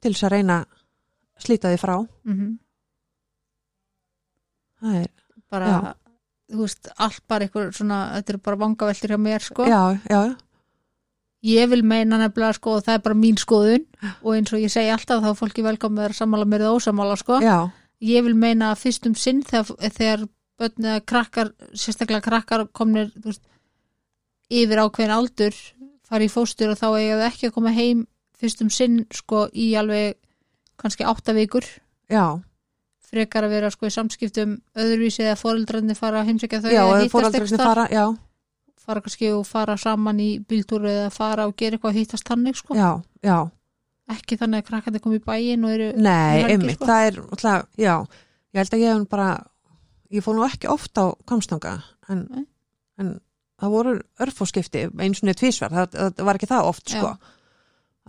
[SPEAKER 2] til þess að reyna að slíta þið frá
[SPEAKER 1] mm
[SPEAKER 2] það er,
[SPEAKER 1] bara
[SPEAKER 2] Já.
[SPEAKER 1] þú veist, allt bara einhver svona þetta eru bara vangaveltir hjá mér sko
[SPEAKER 2] já, já,
[SPEAKER 1] ég vil meina nefnilega sko og það er bara mín skoðun og eins og ég segi alltaf þá er fólki velkomið að sammála mér eða ósammála sko
[SPEAKER 2] já,
[SPEAKER 1] ég vil meina að fyrst um sinn þegar, þegar börn eða krakkar sérstaklega krakkar komnir þú veist, yfir ákveðin aldur fari í fóstur og þá eiga þau ekki að koma heim fyrst um sinn sko í alveg kannski átta vikur
[SPEAKER 2] já,
[SPEAKER 1] frekar að vera sko í samskiptum öðruvísi eða foreldrarnir fara að heimsækja þau
[SPEAKER 2] já
[SPEAKER 1] eða
[SPEAKER 2] og
[SPEAKER 1] hittast einhvers
[SPEAKER 2] fóraldrarnir
[SPEAKER 1] staðar.
[SPEAKER 2] fara já,
[SPEAKER 1] fara kannski og fara saman í bíltúru eða fara og gera eitthvað að hittast þannig sko.
[SPEAKER 2] já, já
[SPEAKER 1] ekki þannig að krakkandi kom í bæin og eru
[SPEAKER 2] nei,
[SPEAKER 1] helgi,
[SPEAKER 2] einmitt,
[SPEAKER 1] sko.
[SPEAKER 2] það er alltaf, já, ég held að ég hef bara ég fór nú ekki oft á komstanga en,
[SPEAKER 1] Nei.
[SPEAKER 2] en það voru örfóskipti eins og niður tvísvar, það, það var ekki það oft
[SPEAKER 1] Já.
[SPEAKER 2] sko,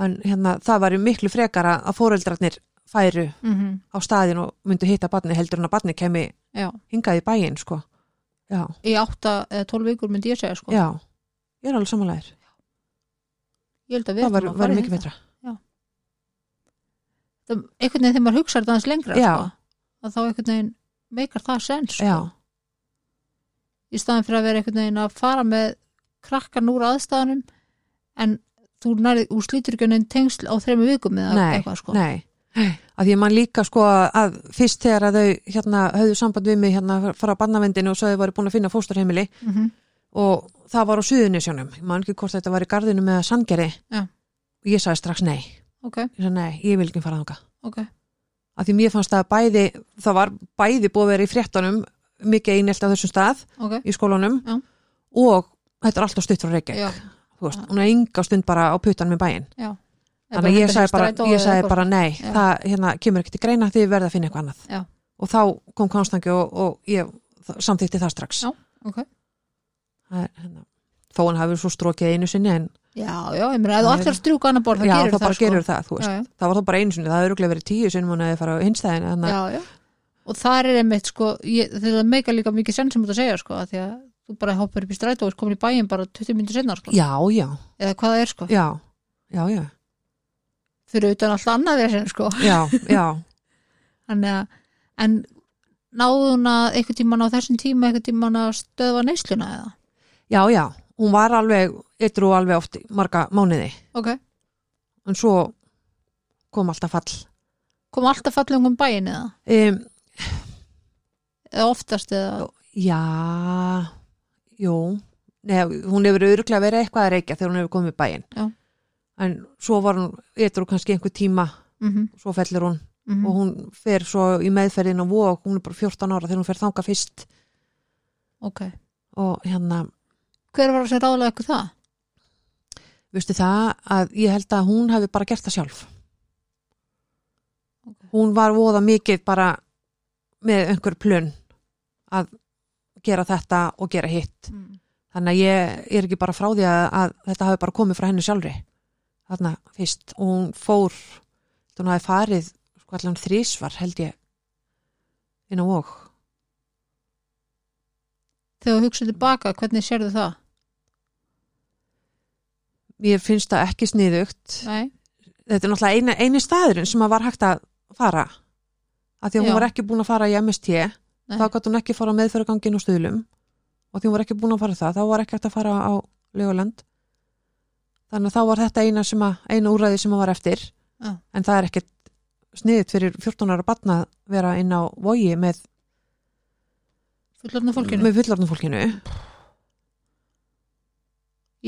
[SPEAKER 2] en hérna það var miklu frekar að- að fóreldrarnir færu
[SPEAKER 1] mm
[SPEAKER 2] á staðin og myndu hitta barni heldur en að barni kemi
[SPEAKER 1] já,
[SPEAKER 2] hingað í bæinn sko. Já,
[SPEAKER 1] í átta eða tólf vikur myndi ég segja sko.
[SPEAKER 2] já, ég er alveg samanlegaður.
[SPEAKER 1] ég held að við
[SPEAKER 2] Það var,
[SPEAKER 1] ættum að
[SPEAKER 2] var
[SPEAKER 1] fara í
[SPEAKER 2] mikið
[SPEAKER 1] þetta.
[SPEAKER 2] betra.
[SPEAKER 1] Það- einhvern veginn þegar maður hugsaði aðeins lengra
[SPEAKER 2] Já.
[SPEAKER 1] sko, að þá einhvern veginn meikar það sens sko.
[SPEAKER 2] Já,
[SPEAKER 1] í staðan fyrir að vera einhvern veginn að fara með krakkan úr aðstæðanum en þú nærið úr slíturgjönin tengsl á þremu vikum eða
[SPEAKER 2] nei,
[SPEAKER 1] eitthvað sko
[SPEAKER 2] nei. Að því að mann líka sko að fyrst þegar að þau hérna höfðu samband við mig hérna fara á barnavendinu og svo þau voru búin að finna fósturheimili
[SPEAKER 1] mm
[SPEAKER 2] og það var á suðunisjónum. Ég man ekki hvort þetta var í gardinu með sangeri.
[SPEAKER 1] Já.
[SPEAKER 2] Og ég sagði strax nei.
[SPEAKER 1] ok,
[SPEAKER 2] Ég sagði nei, ég vil ekki fara þangað.
[SPEAKER 1] ok,
[SPEAKER 2] Að því mér fannst að bæði, það var bæði búið að vera í fréttunum mikið einelt á þessum stað
[SPEAKER 1] ok
[SPEAKER 2] í skólanum
[SPEAKER 1] Já.
[SPEAKER 2] og þetta er alltaf stutt frá Reykjavík
[SPEAKER 1] já,
[SPEAKER 2] þú veist,
[SPEAKER 1] Já.
[SPEAKER 2] hún er enga stund bara á putan með bæinn
[SPEAKER 1] já
[SPEAKER 2] þannig að ég sagði bara, ég sagði bara nei
[SPEAKER 1] Já.
[SPEAKER 2] það hérna, kemur ekkert í greina því verða að finna eitthvað annað
[SPEAKER 1] Já.
[SPEAKER 2] og þá kom Konstangi og, og ég þ- samþykti það strax
[SPEAKER 1] Já. sko. ok
[SPEAKER 2] það er, hérna, þó hann hafi svo strokið einu sinni en
[SPEAKER 1] Já, já, ég meina, ef þú
[SPEAKER 2] Það er-
[SPEAKER 1] allir að strjúka annar borð, þá
[SPEAKER 2] já,
[SPEAKER 1] gerur
[SPEAKER 2] þá bara
[SPEAKER 1] það, sko.
[SPEAKER 2] gerur það þú veist.
[SPEAKER 1] Já, já.
[SPEAKER 2] það var þá bara einu sinni, það hefur örugglega verið tíu sinni hún hefði farið á hinstæðin en
[SPEAKER 1] Já, já. Og þar er einmitt, sko, ég, þetta er meika líka mikið senn sem þú ert að segja, sko, að því að þú bara hoppar upp í strætó og er komin í bæin bara 20 minnir sennar, sko.
[SPEAKER 2] já, já,
[SPEAKER 1] Eða hvað það er, sko.
[SPEAKER 2] já já, já,
[SPEAKER 1] Fyrir utan allt annað þessum, sko.
[SPEAKER 2] já, já.
[SPEAKER 1] Þannig að, en náðun að einhvern tíman á þessum tíma, einhvern tíman að stöðva neysluna eða?
[SPEAKER 2] já, já hún var alveg, eitru alveg oft í marga mánuði
[SPEAKER 1] Ok.
[SPEAKER 2] en svo kom alltaf fall
[SPEAKER 1] Kom alltaf fallið um bæin eða?
[SPEAKER 2] um,
[SPEAKER 1] Eða oftast eða?
[SPEAKER 2] já jú Nei, hún hefur öruglega verið eitthvað að reykja þegar hún hefur komið í bæinn
[SPEAKER 1] Já.
[SPEAKER 2] en svo var hún, eitthvað kannski einhver tíma
[SPEAKER 1] Mm -hmm,
[SPEAKER 2] svo fellur hún
[SPEAKER 1] mm
[SPEAKER 2] og hún fer svo í meðferðin á vók, hún er bara 14 ára þegar hún fer þanga fyrst
[SPEAKER 1] Ok.
[SPEAKER 2] og hérna,
[SPEAKER 1] Hver var það sem ráðlega ykkur það?
[SPEAKER 2] veistu það að ég held að hún hefði bara gert það sjálf
[SPEAKER 1] Ok.
[SPEAKER 2] hún var voða mikið bara með einhver plun að gera þetta og gera hitt
[SPEAKER 1] Mm.
[SPEAKER 2] þannig að ég er ekki bara frá því að, að þetta hafi bara komið frá henni sjálfri þarna fyrst og hún fór hún hafi farið sko allan þrísvar held ég inn á og
[SPEAKER 1] þegar þú hugsaðu tilbaka, hvernig sérðu það?
[SPEAKER 2] mér finnst það ekki sniðugt
[SPEAKER 1] Nei,
[SPEAKER 2] þetta er náttúrulega eini, eini staðurinn sem að var hægt að fara að því að
[SPEAKER 1] Já.
[SPEAKER 2] hún var ekki búin að fara í MST
[SPEAKER 1] Nei.
[SPEAKER 2] þá gott hún ekki fara meðföragangin og stuðlum og því hún var ekki búin að fara það þá var ekki hægt að fara á Legoland þannig að þá var þetta eina, sem að, eina úræði sem að var eftir
[SPEAKER 1] Já.
[SPEAKER 2] en það er ekkert sniðut fyrir 14 ára batna að vera inn á vogi með,
[SPEAKER 1] fullorðna fólkinu
[SPEAKER 2] með fullorðnum fólkinu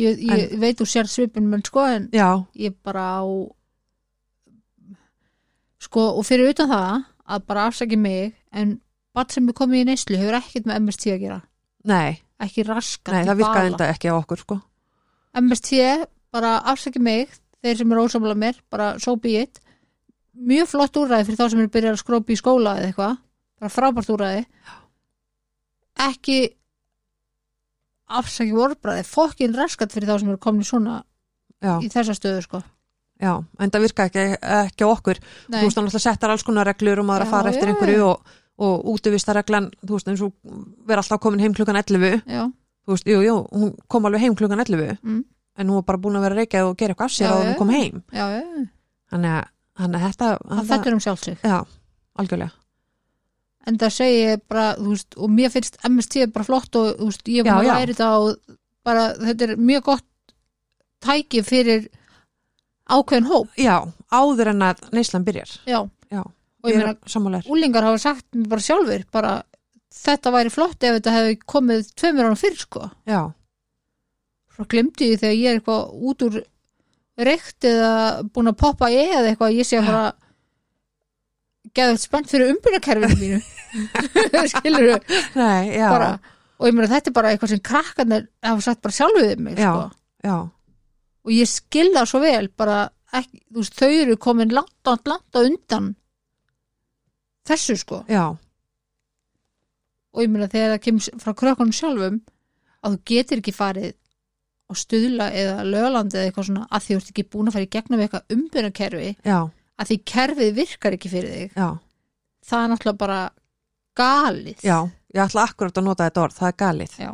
[SPEAKER 1] Ég, ég veit þú sér svipin menn sko en
[SPEAKER 2] já,
[SPEAKER 1] ég bara á sko og fyrir utan það að bara afsaki mig en bat sem er komið í neyslu hefur ekkert með MST að gera
[SPEAKER 2] nei,
[SPEAKER 1] ekki raskat
[SPEAKER 2] nei
[SPEAKER 1] í
[SPEAKER 2] það
[SPEAKER 1] bala.
[SPEAKER 2] virkaði enda ekki á okkur sko
[SPEAKER 1] MST, bara afsaki mig þeir sem eru ósamlega mér, bara so be it mjög flott úræði fyrir þá sem eru byrjað að skrópi í skóla eða eitthvað bara frábært úræði ekki afsaki vorbræði, fokkin raskat fyrir þá sem eru komin svona
[SPEAKER 2] já,
[SPEAKER 1] í þessa stöðu sko
[SPEAKER 2] já, enda virkaði ekki, ekki á okkur
[SPEAKER 1] Nei,
[SPEAKER 2] þú veist, hann alltaf settar alls konar reglur og maður
[SPEAKER 1] Já,
[SPEAKER 2] að fara eftir
[SPEAKER 1] já,
[SPEAKER 2] einhverju og, og útivistarreglan, þú veist, eins og vera alltaf komin heim klukkan 11
[SPEAKER 1] já,
[SPEAKER 2] þú veist, jú, jú, hún kom alveg heim klukkan 11
[SPEAKER 1] Mm.
[SPEAKER 2] en hún var bara búin að vera reykjað og gera eitthvað af sér
[SPEAKER 1] Já,
[SPEAKER 2] að hún
[SPEAKER 1] já.
[SPEAKER 2] kom heim
[SPEAKER 1] já, já, já.
[SPEAKER 2] þannig að, þannig að þetta,
[SPEAKER 1] hann
[SPEAKER 2] þetta
[SPEAKER 1] fellur um sjálf sig
[SPEAKER 2] já, algjörlega
[SPEAKER 1] en það segi ég bara, þú veist, og mér finnst MST bara flott og þú veist, ég er
[SPEAKER 2] Já,
[SPEAKER 1] búin að
[SPEAKER 2] já.
[SPEAKER 1] læra þetta og bara þetta er mjög gott tæki fyrir ákveðin hóp,
[SPEAKER 2] já, áður en að neyslan byrjar
[SPEAKER 1] já
[SPEAKER 2] Já.
[SPEAKER 1] og ég meina,
[SPEAKER 2] sammálar,
[SPEAKER 1] úlingar hafa sagt mér bara sjálfur, bara þetta væri flott ef þetta hefði komið tveimur ára fyrr sko,
[SPEAKER 2] já,
[SPEAKER 1] svo glemdi ég þegar ég er eitthvað út úr reykt eða búin að poppa e eða eitthvað, ég sé bara geðvægt spennt fyrir umbyrnakerfinu mínu skilur þau
[SPEAKER 2] nei, já
[SPEAKER 1] bara, og ég meina þetta er bara eitthvað sem krakkarnir hafa sagt bara sjálfuðið mig
[SPEAKER 2] Já.
[SPEAKER 1] sko.
[SPEAKER 2] já,
[SPEAKER 1] og ég skil það svo vel bara ekki, þú veist, þau eru komin langt, langt, langt á undan þessu sko
[SPEAKER 2] já,
[SPEAKER 1] og ég meina þegar það kemur frá krökkunum sjálfum að þú getur ekki farið á stuðla eða lögalandi eða eitthvað svona að því þú ert ekki búin að fara í gegnum eitthvað umbyrnakerfi
[SPEAKER 2] já,
[SPEAKER 1] að því kerfið virkar ekki fyrir þig
[SPEAKER 2] já
[SPEAKER 1] það er náttúrulega bara galið
[SPEAKER 2] já, ég ætla akkurat að nota þetta orð, það er galið
[SPEAKER 1] Já.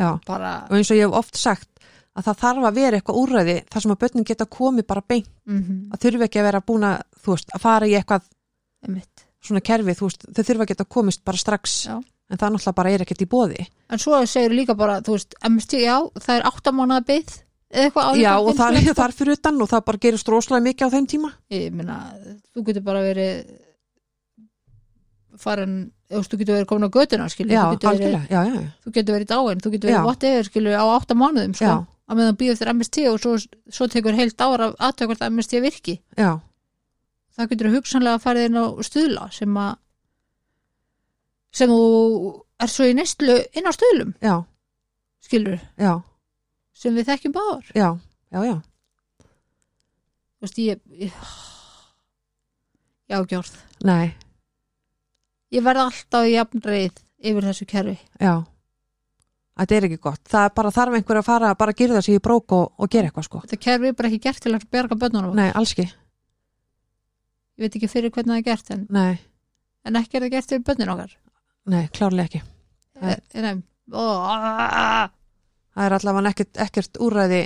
[SPEAKER 2] já.
[SPEAKER 1] bara,
[SPEAKER 2] og eins og ég hef oft sagt að það þarf að vera eitthvað úrræði þar sem að börnin geta komið bara beint
[SPEAKER 1] mm
[SPEAKER 2] að þurfi ekki að vera búin að, þú veist, að fara í eitthvað
[SPEAKER 1] einmitt
[SPEAKER 2] svona kerfi, þú veist, þau þurfi að geta komist bara strax
[SPEAKER 1] Já.
[SPEAKER 2] en það náttúrulega bara er ekkert í bóði
[SPEAKER 1] En svo segir líka bara, þú veist, MST, já, það er áttamánaða byggð eða eitthvað áður
[SPEAKER 2] Já,
[SPEAKER 1] en
[SPEAKER 2] og það
[SPEAKER 1] finnst
[SPEAKER 2] er þar fyrir utan og það bara gerist róslega mikið á þeim tíma
[SPEAKER 1] þér. sko. Ég meina, þú getur bara verið farin, þú veist, þú getur verið komin á götuna, skilur,
[SPEAKER 2] Já,
[SPEAKER 1] þú getur verið,
[SPEAKER 2] algjörlega, já, já, já,
[SPEAKER 1] þú getur verið dáin, þú getur
[SPEAKER 2] Já.
[SPEAKER 1] verið whatever, skilur, á áttamánaðum, sko,
[SPEAKER 2] Já.
[SPEAKER 1] að meðan býða eftir MST og svo, svo tekur heilt ára aðtökvart að MST virki.
[SPEAKER 2] já,
[SPEAKER 1] Það getur hugsanlega að fara inn á stuðla sem að, sem þú er svo í nestlu inn á stuðlum,
[SPEAKER 2] já,
[SPEAKER 1] skilur,
[SPEAKER 2] já,
[SPEAKER 1] sem við þekkjum báðar.
[SPEAKER 2] já, já, já.
[SPEAKER 1] Þú veist, ég, ég já, gjörð
[SPEAKER 2] Nei,
[SPEAKER 1] ég verð alltaf jafnreið yfir þessu kerfi
[SPEAKER 2] já Þetta er ekki gott, það er bara þarf einhver að fara að bara gyrða sig í brók og, og gera eitthvað sko
[SPEAKER 1] þetta kerfi er bara ekki gert til að berga bönnunum
[SPEAKER 2] Nei, alls ekki,
[SPEAKER 1] ég veit ekki fyrir hvernig það er gert en,
[SPEAKER 2] nei,
[SPEAKER 1] en ekki er það gert fyrir bönnin okkar
[SPEAKER 2] nei, klárlega ekki Nei.
[SPEAKER 1] e, nei, ó, á,
[SPEAKER 2] það er allavega ekkert, ekkert úræði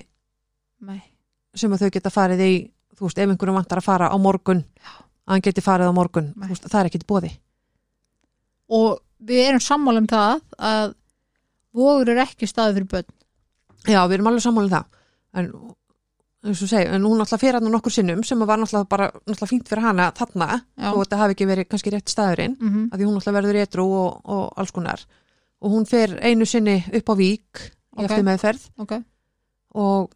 [SPEAKER 1] nei,
[SPEAKER 2] sem að þau geta farið í þú veist, ef einhverjum vantar að fara á morgun að hann geti farið á morgun
[SPEAKER 1] Nei.
[SPEAKER 2] þú veist, það er ekkit bóði
[SPEAKER 1] og við erum sammála um það að vogur er ekki staði fyrir bönn
[SPEAKER 2] já, við erum alveg sammálið það en, eins og segi, en hún alltaf fyrir hann nokkur sinnum sem að var náttúrulega bara náttúrulega fínt fyrir hana þarna
[SPEAKER 1] Já.
[SPEAKER 2] og þetta hafi ekki verið kannski rétt staðurinn
[SPEAKER 1] mm -hmm.
[SPEAKER 2] af því hún alltaf verður etru og, og alls konar og hún fer einu sinni upp á vík
[SPEAKER 1] Ok.
[SPEAKER 2] í eftir meðferð
[SPEAKER 1] ok,
[SPEAKER 2] og,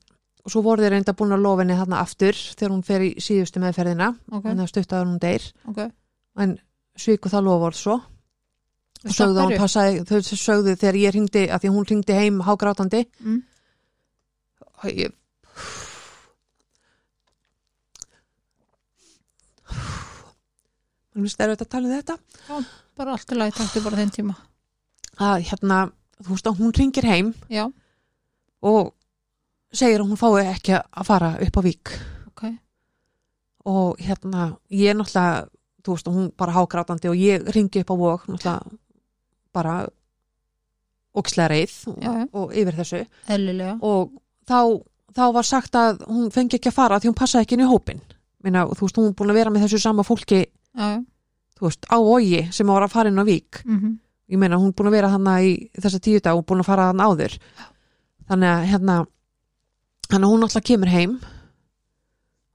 [SPEAKER 2] og svo voru þeir reynda búin að lofa henni þarna aftur þegar hún fer í síðustu meðferðina
[SPEAKER 1] ok,
[SPEAKER 2] en það stuttaður hún deyr
[SPEAKER 1] ok
[SPEAKER 2] en sviku það loforð svo og sögðu að hún passaði, þau sögðu þegar ég ringdi að því að hún ringdi heim hágrátandi
[SPEAKER 1] Mm.
[SPEAKER 2] og ég Mér finnst erfitt að tala um þetta
[SPEAKER 1] bara allt í lagi, taktu bara þinn tíma
[SPEAKER 2] að hérna, þú veist að hún ringir heim
[SPEAKER 1] já,
[SPEAKER 2] og segir að hún fái ekki að fara upp á vík
[SPEAKER 1] ok,
[SPEAKER 2] og hérna, ég náttúrulega þú þú veist, og hún bara hágrátandi og ég ringi upp á vok, náttúrulega bara ókslega reið og,
[SPEAKER 1] Já, já.
[SPEAKER 2] og yfir þessu
[SPEAKER 1] eðlilega
[SPEAKER 2] og þá, þá var sagt að hún fengi ekki að fara því hún passaði ekki inn í hópin Meina, þú veist, hún er búin að vera með þessu sama fólki
[SPEAKER 1] já, já.
[SPEAKER 2] þú veist, á ógi sem var að fara inn á vík
[SPEAKER 1] Mm
[SPEAKER 2] ég meina hún er búin að vera hann í þessa tíu dag og búin að fara hann áður þannig að hérna hann hún alltaf kemur heim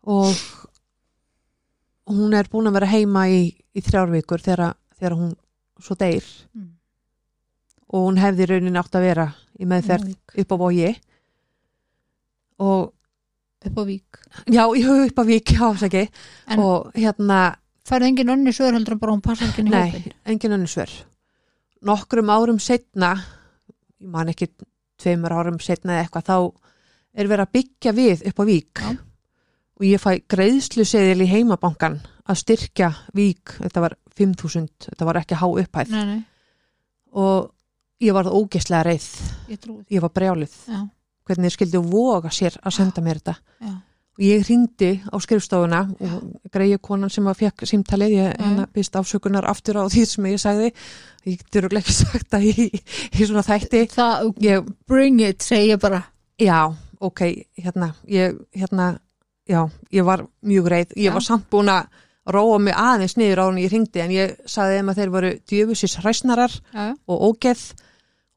[SPEAKER 2] og hún er búin að vera heima í, í þrjár vikur þegar, þegar hún svo deyr
[SPEAKER 1] Mm.
[SPEAKER 2] og hún hefði raunin átt að vera í meðferð
[SPEAKER 1] Vík.
[SPEAKER 2] upp á vogi og
[SPEAKER 1] upp á vík
[SPEAKER 2] já, ég höf upp á vík já, sæki,
[SPEAKER 1] En-
[SPEAKER 2] og hérna
[SPEAKER 1] færðu engin önni svör heldur en bara hún passa ekki inn í
[SPEAKER 2] Nei,
[SPEAKER 1] hópin
[SPEAKER 2] engin önnur svör. Nokkrum árum setna, ég man ekki tveimur árum setna eða eitthvað, þá er verið að byggja við upp á Vík
[SPEAKER 1] Já.
[SPEAKER 2] og ég fæ greiðsluseðil í heimabankan að styrkja Vík, þetta var 5.000, þetta var ekki há upphæð
[SPEAKER 1] nei, nei,
[SPEAKER 2] og ég varð ógeslega reið,
[SPEAKER 1] ég trúi því
[SPEAKER 2] ég var brjálið,
[SPEAKER 1] já,
[SPEAKER 2] hvernig þeir skildu voga sér að senda mér þetta.
[SPEAKER 1] já,
[SPEAKER 2] Og ég hringdi á skrifstofuna og greiði konan sem að fekk símtalið, ég
[SPEAKER 1] Já.
[SPEAKER 2] hérna býst afsökunar aftur á því sem ég sagði ég getur örugglega ekki sagt það í, í svona þætti
[SPEAKER 1] það,
[SPEAKER 2] ég,
[SPEAKER 1] bring it, segi ég bara
[SPEAKER 2] já, ok, hérna ég, hérna, já, ég var mjög reið, ég
[SPEAKER 1] Já.
[SPEAKER 2] var samt búin að róa mig aðeins niður á hann ég hringdi en ég sagði þeim að þeir voru djöfusis hræsnarar
[SPEAKER 1] já, já,
[SPEAKER 2] og ógeð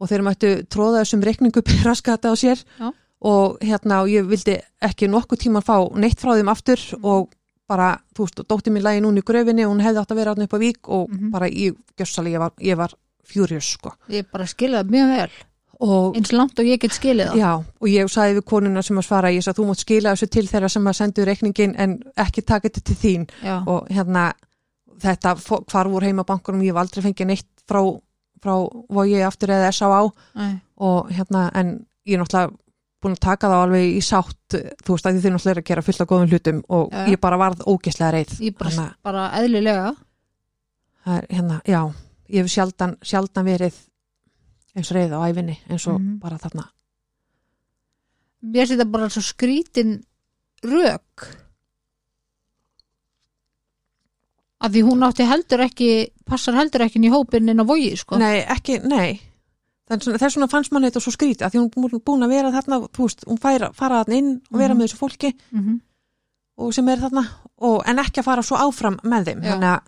[SPEAKER 2] og þeir mættu tróða þessum reikningu raskata á sér
[SPEAKER 1] Já.
[SPEAKER 2] og hérna og ég vildi ekki nokkuð tíma fá neitt frá þeim aftur og bara, þú veist, dótti mín lægi núna í gröfinni og hún hefði átt að vera átna upp á vík og
[SPEAKER 1] Mhm.
[SPEAKER 2] bara ég, gjössali, ég var, ég var fjúrius, sko.
[SPEAKER 1] ég bara skilja það mjög vel
[SPEAKER 2] Og,
[SPEAKER 1] eins langt og ég get skilið það
[SPEAKER 2] já, og ég sagði við konuna sem að svara, ég sagði, þú mátt skila þessu til þeirra sem að sendu reikningin en ekki taka þetta til þín
[SPEAKER 1] já,
[SPEAKER 2] og hérna þetta fó- hvarf úr heimabankunum, ég hef aldrei fengið neitt frá, frá vogi aftur eða S.A.A.
[SPEAKER 1] nei,
[SPEAKER 2] og hérna en ég er náttúrulega búin að taka það alveg í sátt þú veist að þið náttúrulega er að gera fullt af góðum hlutum og
[SPEAKER 1] Já, já.
[SPEAKER 2] ég bara varð ógislega reið
[SPEAKER 1] ég bara,
[SPEAKER 2] Þannig að
[SPEAKER 1] bara eðlilega
[SPEAKER 2] það er, hérna, já, ég hef sjaldan, sjaldan verið eins reið á æfinni eins og
[SPEAKER 1] Mhm.
[SPEAKER 2] bara þarna
[SPEAKER 1] mér sé þetta bara svo skrítin rök að því hún átti heldur ekki passar heldur ekki inn í hópinn inn á vogi sko.
[SPEAKER 2] Nei, ekki, nei þess vegna- þess vegna fannst manni þetta svo skrítið að því hún er búin að vera þarna, þú veist, hún færa, fara þarna inn og vera
[SPEAKER 1] Mhm.
[SPEAKER 2] með þessu fólki
[SPEAKER 1] mm -hmm.
[SPEAKER 2] og sem er þarna og, en ekki að fara svo áfram með þeim
[SPEAKER 1] Já.
[SPEAKER 2] þannig að,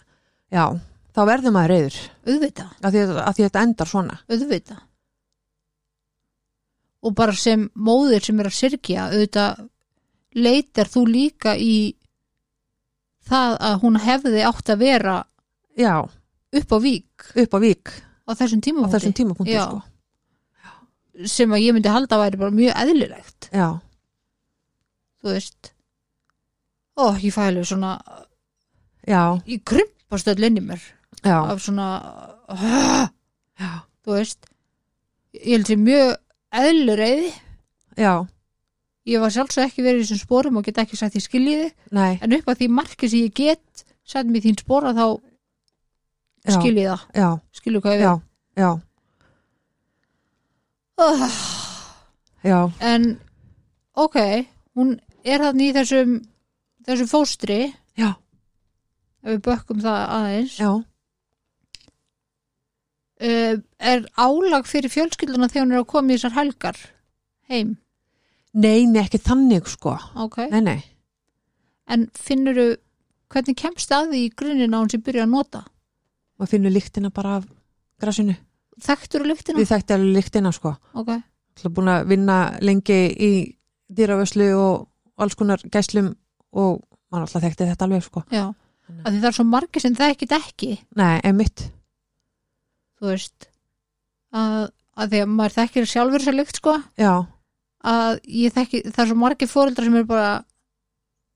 [SPEAKER 2] já, þá verður maður reyður
[SPEAKER 1] auðvita,
[SPEAKER 2] að því, að því þetta endar svona
[SPEAKER 1] auðvita og bara sem móðir sem er að syrkja auðvita leitar þú líka í það að hún hefði átt að vera
[SPEAKER 2] já,
[SPEAKER 1] upp á vík
[SPEAKER 2] upp á vík
[SPEAKER 1] á þessum
[SPEAKER 2] á
[SPEAKER 1] tímapunkti
[SPEAKER 2] þessum tímapunkti
[SPEAKER 1] Já.
[SPEAKER 2] sko.
[SPEAKER 1] sem að ég myndi halda að væri bara mjög eðlilegt
[SPEAKER 2] já,
[SPEAKER 1] þú veist ó, ég fælu svona
[SPEAKER 2] já,
[SPEAKER 1] ég krympast öll inn í mér
[SPEAKER 2] já,
[SPEAKER 1] af svona uh,
[SPEAKER 2] já,
[SPEAKER 1] þú veist ég held sér mjög eðlureið
[SPEAKER 2] já
[SPEAKER 1] ég var sjálfsög ekki verið í þessum spórum og get ekki sagt því skiljiði
[SPEAKER 2] nei,
[SPEAKER 1] en upp að því marki sem ég get sett mér þín spóra þá
[SPEAKER 2] já,
[SPEAKER 1] skiljiði það,
[SPEAKER 2] já,
[SPEAKER 1] skiljiði hvað ég
[SPEAKER 2] já, já,
[SPEAKER 1] við uh,
[SPEAKER 2] já,
[SPEAKER 1] en ok hún er þannig í þessum þessum fóstri
[SPEAKER 2] já,
[SPEAKER 1] ef við bökkum það aðeins
[SPEAKER 2] já
[SPEAKER 1] uh, er álag fyrir fjölskylduna þegar hún er að koma í þessar helgar heim,
[SPEAKER 2] nei, nei, ekki þannig sko
[SPEAKER 1] ok
[SPEAKER 2] nei, nei,
[SPEAKER 1] en finnuru hvernig kemst að því í grunin á hún sem byrja að nota
[SPEAKER 2] maður finnur lyktina bara af grasinu,
[SPEAKER 1] þekktur og lyktina
[SPEAKER 2] við þekkti alveg lyktina sko
[SPEAKER 1] ok,
[SPEAKER 2] Það er búin að vinna lengi í dýravöslu og alls konar gæslum og maður alltaf þekkti þetta alveg sko.
[SPEAKER 1] já
[SPEAKER 2] Þannig.
[SPEAKER 1] að því það er svo margir sem það ekkit ekki
[SPEAKER 2] Nei, einmitt.
[SPEAKER 1] þú veist að, að því að maður þekkir sjálfur sér lykt sko
[SPEAKER 2] Já,
[SPEAKER 1] að ég þekki, það er svo margir fóreldrar sem eru bara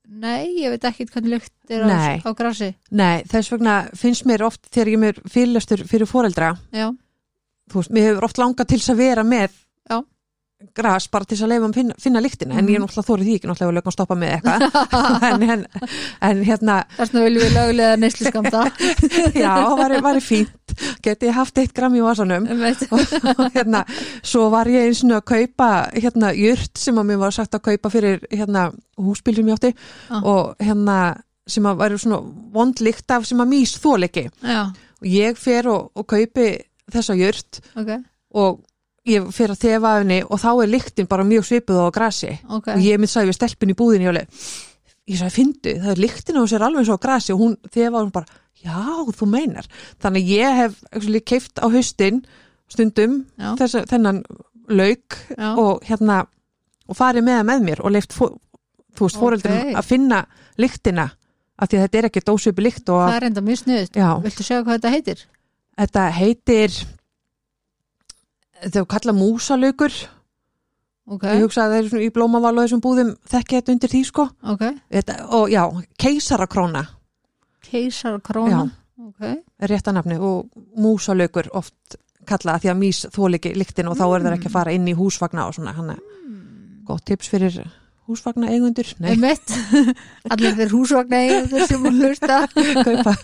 [SPEAKER 1] nei, ég veit ekkit hvernig lykt er á,
[SPEAKER 2] Nei.
[SPEAKER 1] á grasi
[SPEAKER 2] nei, þess vegna finnst mér oft þegar ég er mér fyrirlestur fyrir foreldra,
[SPEAKER 1] já,
[SPEAKER 2] þú veist, mér hefur oft langað til þess að vera með
[SPEAKER 1] Já. Mhm.
[SPEAKER 2] gras bara til þess að leifa um finna, finna lyktina en ég er náttúrulega þórið því ekki náttúrulega að lögum að stoppa með eitthvað en, en, en hérna,
[SPEAKER 1] þarna viljum við lögulega neysliskamta
[SPEAKER 2] já, var, var fínt geti ég haft eitt gram í vasanum
[SPEAKER 1] Einmitt.
[SPEAKER 2] og hérna, svo var ég eins og að kaupa hérna jurt sem að mér var sagt að kaupa fyrir hérna húsbíl sem ég átti
[SPEAKER 1] Ah.
[SPEAKER 2] og hérna sem að væri svona vondlíkt af sem að mís þóliki
[SPEAKER 1] já,
[SPEAKER 2] og ég fer og, og kaupi þessa jört
[SPEAKER 1] ok,
[SPEAKER 2] og ég fer að þefa af henni og þá er líktin bara mjög svipuð á grasi
[SPEAKER 1] ok
[SPEAKER 2] og ég mitt sagði við stelpun í búðinni ég, alveg, ég sagði, fyndu, það er líktin á sér alveg svo á grasi og hún þefa og hún bara já, þú meinar, þannig að ég hef actually, keift á haustin stundum
[SPEAKER 1] Já.
[SPEAKER 2] þessa, þennan lauk
[SPEAKER 1] já,
[SPEAKER 2] og hérna og farið með það með mér og leift fó, þú veist,
[SPEAKER 1] Ókei.
[SPEAKER 2] fóreldrum að finna lyktina af því að þetta er ekki dósupi lykt og
[SPEAKER 1] það
[SPEAKER 2] að,
[SPEAKER 1] er enda mjög snuðt
[SPEAKER 2] já,
[SPEAKER 1] viltu sjá hvað þetta heitir?
[SPEAKER 2] þetta heitir þau kalla músalaukur
[SPEAKER 1] ok,
[SPEAKER 2] ég hugsa að þeir svona í blómaval og þessum búðum þekki þetta undir því sko
[SPEAKER 1] ok,
[SPEAKER 2] þetta, og já, keisarakróna
[SPEAKER 1] keisar
[SPEAKER 2] já,
[SPEAKER 1] króna ok,
[SPEAKER 2] er rétta nafni og músalaukur oft kalla af því að mís þóliki lyktin og þá er það ekki að fara inn í húsvagna og svona, hann er gott tips fyrir húsvagna eigundur, nei,
[SPEAKER 1] einmitt allir þeir húsvagna eigindir sem hún hlusta
[SPEAKER 2] kaupa,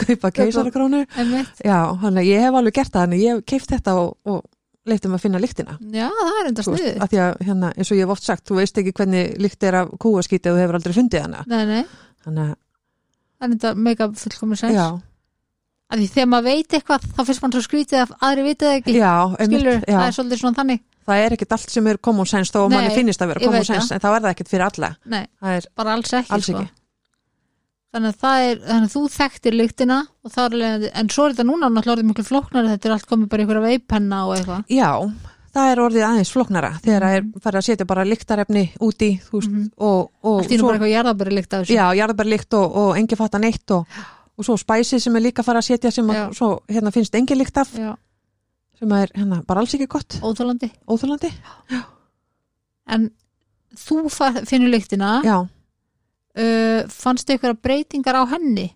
[SPEAKER 2] kaupa keisarakrónu
[SPEAKER 1] einmitt,
[SPEAKER 2] Já, hann að ég hef alveg gert það þannig ég hef keift þetta og, og leiftum að finna lyktina
[SPEAKER 1] já, það er enda
[SPEAKER 2] Þú veist,
[SPEAKER 1] snuðt
[SPEAKER 2] af því að hérna, eins og ég hef oft sagt, þú veist ekki hvernig lykt er af kúaskítið og þú hefur aldrei fundið hana
[SPEAKER 1] nei, nei,
[SPEAKER 2] þannig að,
[SPEAKER 1] það er enda mega fullkomis
[SPEAKER 2] já,
[SPEAKER 1] sens af því þegar maður veit eitthvað þá finnst mann svo skrítið að aðri veit það ekki
[SPEAKER 2] já,
[SPEAKER 1] skilur,
[SPEAKER 2] einmitt, já
[SPEAKER 1] það er svolítið svona þannig
[SPEAKER 2] það er ekkit allt sem er common sense þó að
[SPEAKER 1] Nei,
[SPEAKER 2] manni finnist að vera
[SPEAKER 1] ég
[SPEAKER 2] common
[SPEAKER 1] veit
[SPEAKER 2] sense en þá er það ekkit fyrir alla
[SPEAKER 1] nei,
[SPEAKER 2] það er
[SPEAKER 1] bara alls ekki,
[SPEAKER 2] alls
[SPEAKER 1] sko.
[SPEAKER 2] ekki,
[SPEAKER 1] þannig að, það er, þannig að þú þekktir lyktina og það er alveg, en svo er þetta núna náttúrulega orðið miklu flóknar þetta er allt komið bara í einhverja veipenna og eitthvað
[SPEAKER 2] já það er orðið aðeins flóknara þegar það
[SPEAKER 1] Mhm.
[SPEAKER 2] er farið að setja bara lyktarefni úti þú veist, og, og
[SPEAKER 1] allt í nú
[SPEAKER 2] svo-
[SPEAKER 1] bara eitthvað jarðabæri lykt af þessu
[SPEAKER 2] Já, jarðbærlykt og, og engi fattar neitt og, og svo spæsi sem er líka farið að setja sem að,
[SPEAKER 1] Já.
[SPEAKER 2] svo hérna finnst engi lykt af
[SPEAKER 1] Já,
[SPEAKER 2] sem er hérna bara alls ekki gott,
[SPEAKER 1] óþólandi
[SPEAKER 2] óþólandi.
[SPEAKER 1] en þú fa- finnur lyktina
[SPEAKER 2] Já,
[SPEAKER 1] uh, fannstu eitthvað breytingar á henni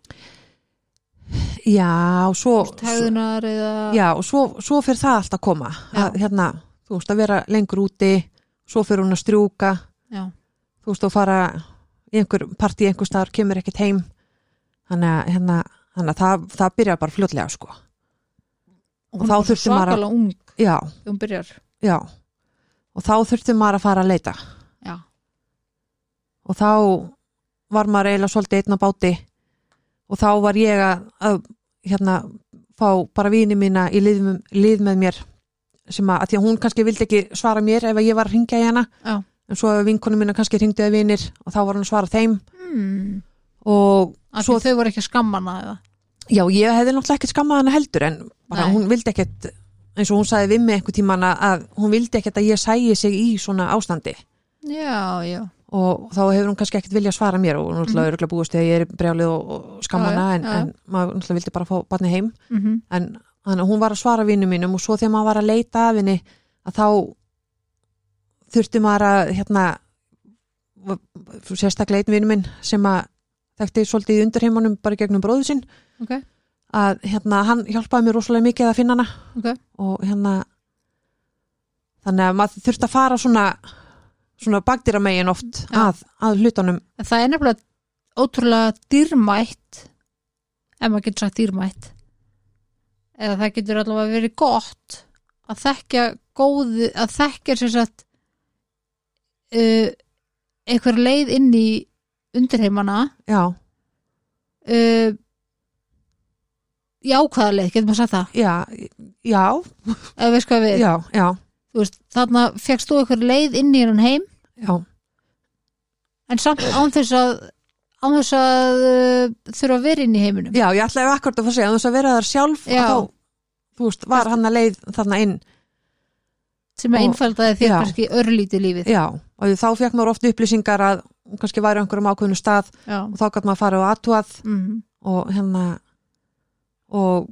[SPEAKER 2] já, og svo, svo
[SPEAKER 1] tegðunar eða
[SPEAKER 2] já, og svo, svo fyrir það allt að koma að, hérna, þú veist, að vera lengur úti svo fyrir hún að strjúka
[SPEAKER 1] Já.
[SPEAKER 2] þú veist, og fara í einhver partí einhver staðar, kemur ekkert heim þannig að, hérna, þannig að það, það byrjar bara fljótlega, sko
[SPEAKER 1] hún
[SPEAKER 2] þá
[SPEAKER 1] er bara svo
[SPEAKER 2] þurfti maður að-
[SPEAKER 1] svakalega ung
[SPEAKER 2] Já,
[SPEAKER 1] þegar hún byrjar
[SPEAKER 2] já og þá þurfti maður að fara að leita
[SPEAKER 1] Já.
[SPEAKER 2] og þá var maður eiginlega svolítið einn á báti og þá var ég að, að hérna, fá bara vini mína í lið, lið með mér sem að, að því að hún kannski vildi ekki svara mér ef að ég var að ringja í hana
[SPEAKER 1] Já.
[SPEAKER 2] en svo ef vinkonu mína kannski ringdi að vinir og þá var hann að svara þeim
[SPEAKER 1] hmm.
[SPEAKER 2] og
[SPEAKER 1] að
[SPEAKER 2] Svo-
[SPEAKER 1] þau voru ekki að skamma hana eða
[SPEAKER 2] já, ég hefði náttúrulega ekkert skammað hana heldur en bara
[SPEAKER 1] Nei.
[SPEAKER 2] hún vildi ekkert eins og hún sagði við mig einhver tíman að, að hún vildi ekkert að ég sæi sig í svona ástandi
[SPEAKER 1] já, já,
[SPEAKER 2] og þá hefur hún kannski ekkert vilja svara mér og hún náttúrulega mm. örgulega búist þegar ég er brjálið og, og
[SPEAKER 1] Mhm. Já,
[SPEAKER 2] skammana
[SPEAKER 1] já,
[SPEAKER 2] en,
[SPEAKER 1] já.
[SPEAKER 2] en maður náttúrulega vildi bara fá barni heim
[SPEAKER 1] mm
[SPEAKER 2] en þannig að hún var að svara vinnu mínum og svo þegar maður var að leita af henni að þá þurfti maður að hérna sérstaklega einn vinnu minn sem að þekkti svolítið í undirheimunum bara í gegnum bróðu sinn
[SPEAKER 1] ok,
[SPEAKER 2] að hérna hann hjálpaði mér rosalega mikið að finna hana
[SPEAKER 1] ok
[SPEAKER 2] og hérna þannig að maður þurfti að fara svona svona bakdýramegin oft
[SPEAKER 1] Já.
[SPEAKER 2] að, að hlutunum
[SPEAKER 1] En það er nefnilega ótrúlega dýrmætt ef maður getur sagt dýrmætt eða það getur allavega verið gott að þekkja góði að þekkja sem sagt uh, einhver leið inn í undirheimana
[SPEAKER 2] já,
[SPEAKER 1] uh, jákvæða leið, getur maður sagt það
[SPEAKER 2] já, já,
[SPEAKER 1] eða veist hvað við,
[SPEAKER 2] já, já,
[SPEAKER 1] þú veist, þarna fegst þú einhver leið inn í hennan heim
[SPEAKER 2] já,
[SPEAKER 1] en samt án þess að án þess að uh, þurfa að vera inn í heiminum
[SPEAKER 2] já, ég ætlaði akkurat að fara að segja, án þess að vera þar sjálf
[SPEAKER 1] Já.
[SPEAKER 2] og þá, þú veist, var hann að leið þarna inn,
[SPEAKER 1] sem að
[SPEAKER 2] Og-
[SPEAKER 1] innfaldaði þér
[SPEAKER 2] já.
[SPEAKER 1] kannski örlítið lífið
[SPEAKER 2] já, og þá fekk maður oft upplýsingar að hún kannski væri á einhverjum ákveðinu stað
[SPEAKER 1] já,
[SPEAKER 2] og þá gætt maður að fara og aðtúað
[SPEAKER 1] mhm,
[SPEAKER 2] og hérna, og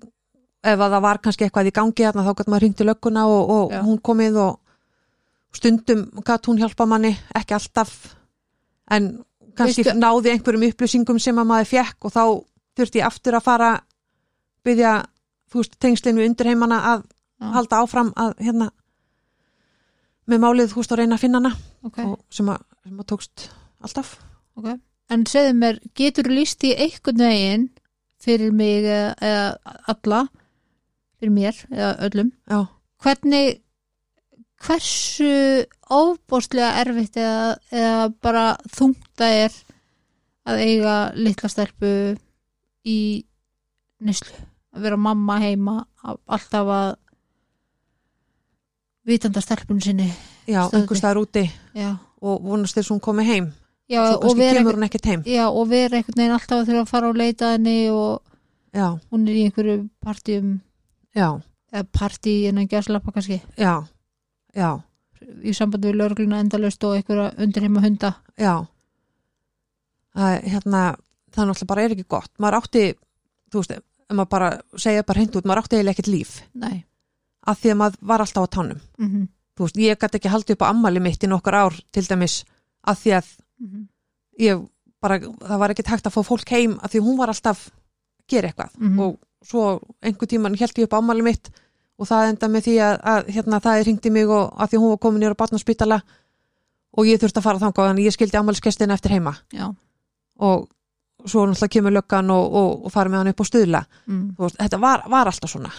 [SPEAKER 2] ef að það var kannski eitthvað í gangi þarna þá gætt maður hringt í lögguna og, og
[SPEAKER 1] Já.
[SPEAKER 2] hún komið og stundum gætt hún hjálpa manni, ekki alltaf, en kannski
[SPEAKER 1] Veistu-
[SPEAKER 2] náði einhverjum upplýsingum sem að maður fekk og þá þurfti ég aftur að fara byggja þú veist, tengslinn við undirheimana að
[SPEAKER 1] Já.
[SPEAKER 2] halda áfram að hérna með málið þú veist að reyna að finna hana
[SPEAKER 1] ok,
[SPEAKER 2] og sem að, sem að tókst alltaf
[SPEAKER 1] ok en segðu mér, getur líst því einhvern veginn fyrir mig eða, eða alla fyrir mér eða öllum
[SPEAKER 2] já,
[SPEAKER 1] hvernig hversu óbóstlega erfitt eða, eða bara þungta er að eiga litla stelpu í nýslu að vera mamma heima að- alltaf að vitanda stelpun sinni
[SPEAKER 2] já,
[SPEAKER 1] Stöðvi.
[SPEAKER 2] einhvers staðar úti
[SPEAKER 1] já,
[SPEAKER 2] og vonast þess að hún komi heim
[SPEAKER 1] já
[SPEAKER 2] svo
[SPEAKER 1] og
[SPEAKER 2] kannski
[SPEAKER 1] vera
[SPEAKER 2] kemur
[SPEAKER 1] einhvern-
[SPEAKER 2] hún ekkert heim
[SPEAKER 1] já, og vera einhvern veginn alltaf að þurfa að fara og leita að henni og
[SPEAKER 2] já,
[SPEAKER 1] hún er í einhverju partíum
[SPEAKER 2] já,
[SPEAKER 1] eða partí innan gæslappa kannski
[SPEAKER 2] já, já
[SPEAKER 1] í sambandi við lögregluna endalaust og einhverja undirheima hunda
[SPEAKER 2] Já að, hérna, það náttúrulega bara er ekki gott maður átti, þú veist ef maður bara segja bara hreint út, maður átti eiginlega ekkert líf
[SPEAKER 1] nei,
[SPEAKER 2] af því að maður var alltaf á tánum
[SPEAKER 1] mm -hmm.
[SPEAKER 2] þú veist, ég gæti ekki haldið upp á ammali mitt í nokkur ár til dæmis, af því að
[SPEAKER 1] mhm,
[SPEAKER 2] ég bara, það var ekkert hægt að fá fólk heim af því að hún var alltaf að gera eitthvað
[SPEAKER 1] Mhm.
[SPEAKER 2] og svo einhver tíman held ég upp á ammali mitt og það enda með því að, að hérna, það hringdi mig og af því að hún var komin nýra á barnaspítala og ég þurfti að fara þangað þannig að ég skildi ammaliskestina eftir heima
[SPEAKER 1] já
[SPEAKER 2] og svo náttúrulega kemur löggan og, og, og farið með hann upp á stuðla
[SPEAKER 1] mm.
[SPEAKER 2] Þú veist, þetta var, var alltaf svona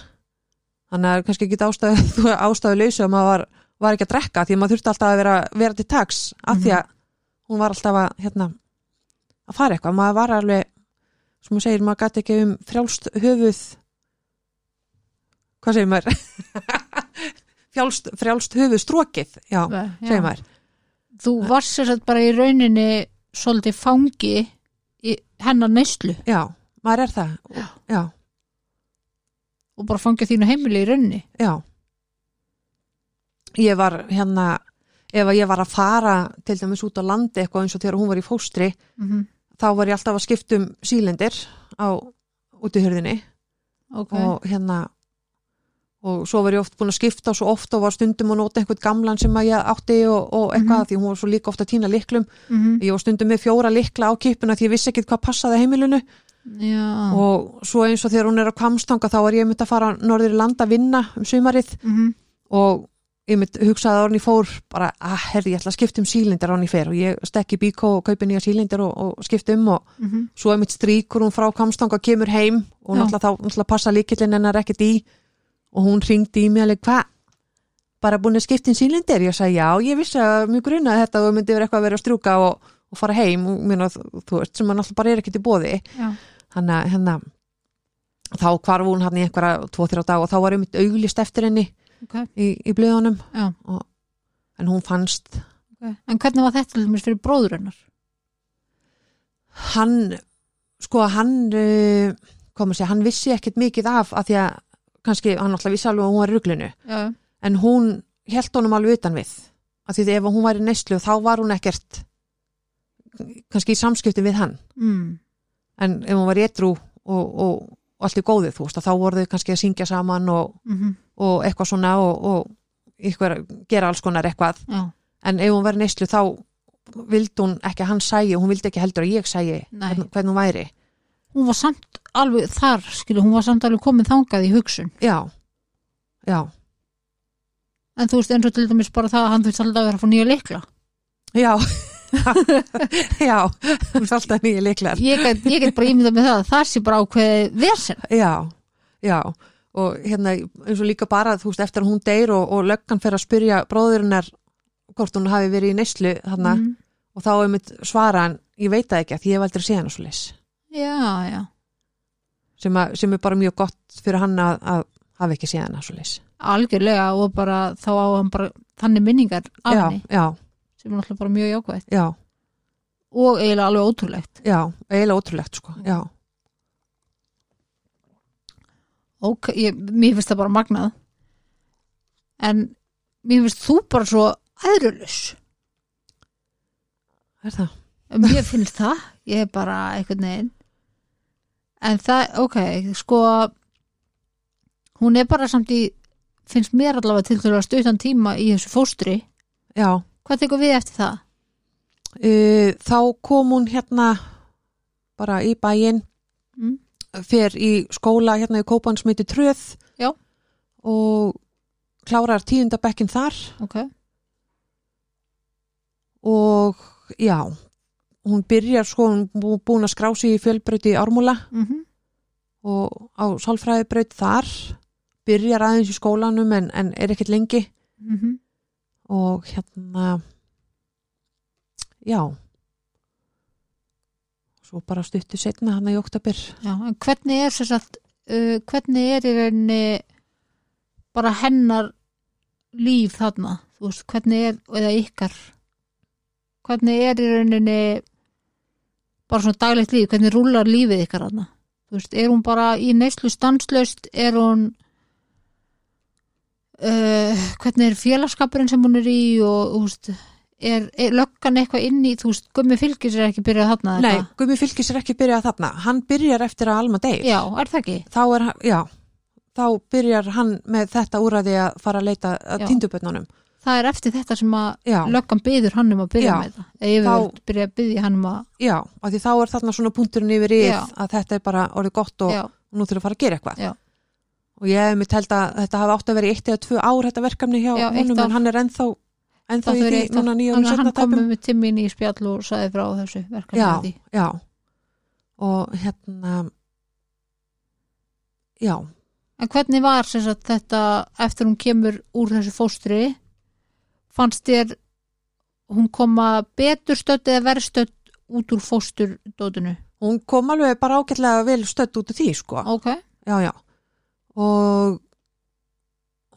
[SPEAKER 2] þannig að kannski ekki ástæðu, ástæðu lausu að maður var, var ekki að drekka því að maður þurfti alltaf að vera, vera til taks af því að hún var alltaf að hérna, að fara eitthvað, maður var alveg sem maður segir, maður gæti ekki um frjálst höfuð hvað segir maður frjálst, frjálst höfuð strókið, já,
[SPEAKER 1] Já.
[SPEAKER 2] segir maður
[SPEAKER 1] þú varst sér að bara í rauninni svolítið fangi í hennar neyslu
[SPEAKER 2] já, maður er það já, já,
[SPEAKER 1] og bara fangið þínu heimili í rauninni
[SPEAKER 2] Já. Ég var hérna, ef að ég var að fara til dæmis út á landi eitthvað eins og þegar hún var í fóstri,
[SPEAKER 1] mm -hmm.
[SPEAKER 2] þá var ég alltaf að skipta um sílendir á útihörðinni
[SPEAKER 1] ok,
[SPEAKER 2] og hérna og svo var ég oft búin að skipta svo oft og var stundum að nota einhvern gamlan sem að ég átti og, og eitthvað
[SPEAKER 1] Mhm.
[SPEAKER 2] því hún var svo líka ofta að týna liklum
[SPEAKER 1] Mhm.
[SPEAKER 2] ég var stundum með fjóra likla á kipuna því ég vissi ekkit hvað passaði heimilinu
[SPEAKER 1] já
[SPEAKER 2] og svo eins og þegar hún er á kvamstanga þá var ég mynd að fara norður í land að vinna um sumarið
[SPEAKER 1] Mhm.
[SPEAKER 2] og ég mynd hugsaði að orðin ég fór bara, að herði, ég ætla að skipta um sílindir orðin ég fer og ég stekki í bíkó og kaupi nýja sílindir og, og skipta um og
[SPEAKER 1] Mhm.
[SPEAKER 2] svo er mitt stríkur hún frá kamstanga og kemur heim og
[SPEAKER 1] Já.
[SPEAKER 2] náttúrulega þá náttúrulega passa líkillin hennar ekkert í og hún ringdi í mig alveg, hvað? Bara búin að skipta um sílindir? Ég sagði, já, ég vissi að mjög grunnaði þetta og myndi vera eitthvað að vera að strjúka og, og fara heim og minna, þú veist, sem að náttúrulega bara er ekkert í bóði
[SPEAKER 1] já
[SPEAKER 2] hann að hérna þá hvarf hún hann í einhverja tvo-þrjá dag og þá var einmitt auglist eftir henni
[SPEAKER 1] ok,
[SPEAKER 2] í, í blöðunum
[SPEAKER 1] já
[SPEAKER 2] og, en hún fannst
[SPEAKER 1] ok en hvernig var þetta til dæmis fyrir bróður hennar
[SPEAKER 2] hann sko hann uh, kom að segja, hann vissi ekkert mikið af að því að kannski hann alltaf vissi alveg að hún var í ruglinu
[SPEAKER 1] já,
[SPEAKER 2] en hún held honum alveg utan við að því að ef hún var í neyslu þá var hún ekkert kannski í samskipti við hann
[SPEAKER 1] mm.
[SPEAKER 2] en ef hún var í etru og, og, og allt í góðu þú veist að þá voru þau kannski að syngja saman og,
[SPEAKER 1] Mm
[SPEAKER 2] og eitthvað svona og, og eitthvað, gera alls konar eitthvað
[SPEAKER 1] já,
[SPEAKER 2] en ef hún var í neyslu þá vildi hún ekki að hann sægi og hún vildi ekki heldur að ég sægi
[SPEAKER 1] Nei.
[SPEAKER 2] hvern, hvern hún væri
[SPEAKER 1] hún var samt alveg þar skilu, hún var samt alveg komin þangað í hugsun
[SPEAKER 2] já, já,
[SPEAKER 1] en þú veist eins og til dæmis bara það að hann þurfti alltaf að vera að fá nýja leikla
[SPEAKER 2] já já, þú veist alltaf nýja leiklar
[SPEAKER 1] ég get, ég get bara ímyndað með það að það sé bara ákveðið versen
[SPEAKER 2] já, já og hérna eins og líka bara þú veist eftir að hún deyr og, og löggan fer að spyrja bróðurinnar hvort hún hafi verið í neyslu þarna
[SPEAKER 1] Mhm.
[SPEAKER 2] og þá er mitt svara hann, ég veit það ekki að því ég hef aldrei séð hann og svo leys
[SPEAKER 1] já, já
[SPEAKER 2] sem, að- sem er bara mjög gott fyrir hann að, að hafa ekki séð hann og svo leys
[SPEAKER 1] algjörlega og bara þá á hann bara þannig minningar af
[SPEAKER 2] já,
[SPEAKER 1] henni
[SPEAKER 2] já,
[SPEAKER 1] sem er náttúrulega bara mjög jákvæð
[SPEAKER 2] já
[SPEAKER 1] og eiginlega alveg ótrúlegt
[SPEAKER 2] Já, eiginlega ótrúlegt sko, já,
[SPEAKER 1] og ég, mér finnst það bara magnað en mér finnst þú bara svo aðrulus
[SPEAKER 2] er það?
[SPEAKER 1] mér finnst það, ég er bara einhvern veginn en það, ok, sko hún er bara samt í finnst mér allavega til þurfa stuttan tíma í þessu fóstri
[SPEAKER 2] Já,
[SPEAKER 1] hvað tekur við eftir það?
[SPEAKER 2] uh, þá kom hún hérna bara í bæinn,
[SPEAKER 1] Mm.
[SPEAKER 2] fer í skóla hérna í Kópan sem heitir Tröð
[SPEAKER 1] Já.
[SPEAKER 2] og klárar tíundabekkin þar
[SPEAKER 1] ok,
[SPEAKER 2] og já, hún byrjar sko, hún bú- búin að skrá sig í fjölbröti í Ármúla
[SPEAKER 1] mm
[SPEAKER 2] og á sálfræðibraut þar, byrjar aðeins í skólanum en, en er ekkert lengi
[SPEAKER 1] mhm.
[SPEAKER 2] og hérna já svo bara stuttu setna hann í oktober
[SPEAKER 1] Já, en hvernig er þess að uh, hvernig er í rauninni bara hennar líf þarna, þú veist, hvernig er eða ykkar hvernig er í rauninni bara svona daglegt líf, hvernig rúlar lífið ykkar þarna, þú veist, er hún bara í neyslu stanslaust, er hún uh, hvernig er félagskapurinn sem hún er í og, þú veist er, er löggan eitthvað inn í, þú veist, gummi fylgis er ekki byrjað þarna eða
[SPEAKER 2] Nei,
[SPEAKER 1] hvað?
[SPEAKER 2] Gumi Fylkis er ekki byrjað þarna hann byrjar eftir að Alma deyr
[SPEAKER 1] Já, er það ekki?
[SPEAKER 2] þá er hann, já þá byrjar hann með þetta úræði að fara að leita að
[SPEAKER 1] Já.
[SPEAKER 2] tindubötnunum
[SPEAKER 1] það er eftir þetta sem að
[SPEAKER 2] Já,
[SPEAKER 1] löggan byður hann um að byrja
[SPEAKER 2] Já.
[SPEAKER 1] með það eða yfirvöld byrja að byðja hann um að
[SPEAKER 2] já, af því þá er þarna svona punkturinn yfir í
[SPEAKER 1] Já.
[SPEAKER 2] að þetta er bara orðið gott og
[SPEAKER 1] já,
[SPEAKER 2] nú þurfum að fara að gera eitthvað
[SPEAKER 1] Já.
[SPEAKER 2] og ég hef mér telt að þetta hafa átt að vera í eitt eða tvö ár þetta verkefni hjá
[SPEAKER 1] Já, eitt
[SPEAKER 2] honum
[SPEAKER 1] ár.
[SPEAKER 2] en hann er ennþá ennþá í
[SPEAKER 1] fer
[SPEAKER 2] því
[SPEAKER 1] eitt
[SPEAKER 2] núna
[SPEAKER 1] af-
[SPEAKER 2] nýjum
[SPEAKER 1] þannig að
[SPEAKER 2] setna
[SPEAKER 1] hann
[SPEAKER 2] tæpum
[SPEAKER 1] komið með timmin í spjall og sagði frá þessu verkefni
[SPEAKER 2] já,
[SPEAKER 1] að því.
[SPEAKER 2] já og hérna já,
[SPEAKER 1] en hvernig var sem sagt, þetta eftir hún kemur úr þessu fóstri fannst þér hún koma betur stödd eða verðstödd út úr fósturdótinu
[SPEAKER 2] hún kom alveg bara ágætlega vel stödd út af því sko
[SPEAKER 1] ok,
[SPEAKER 2] já, já og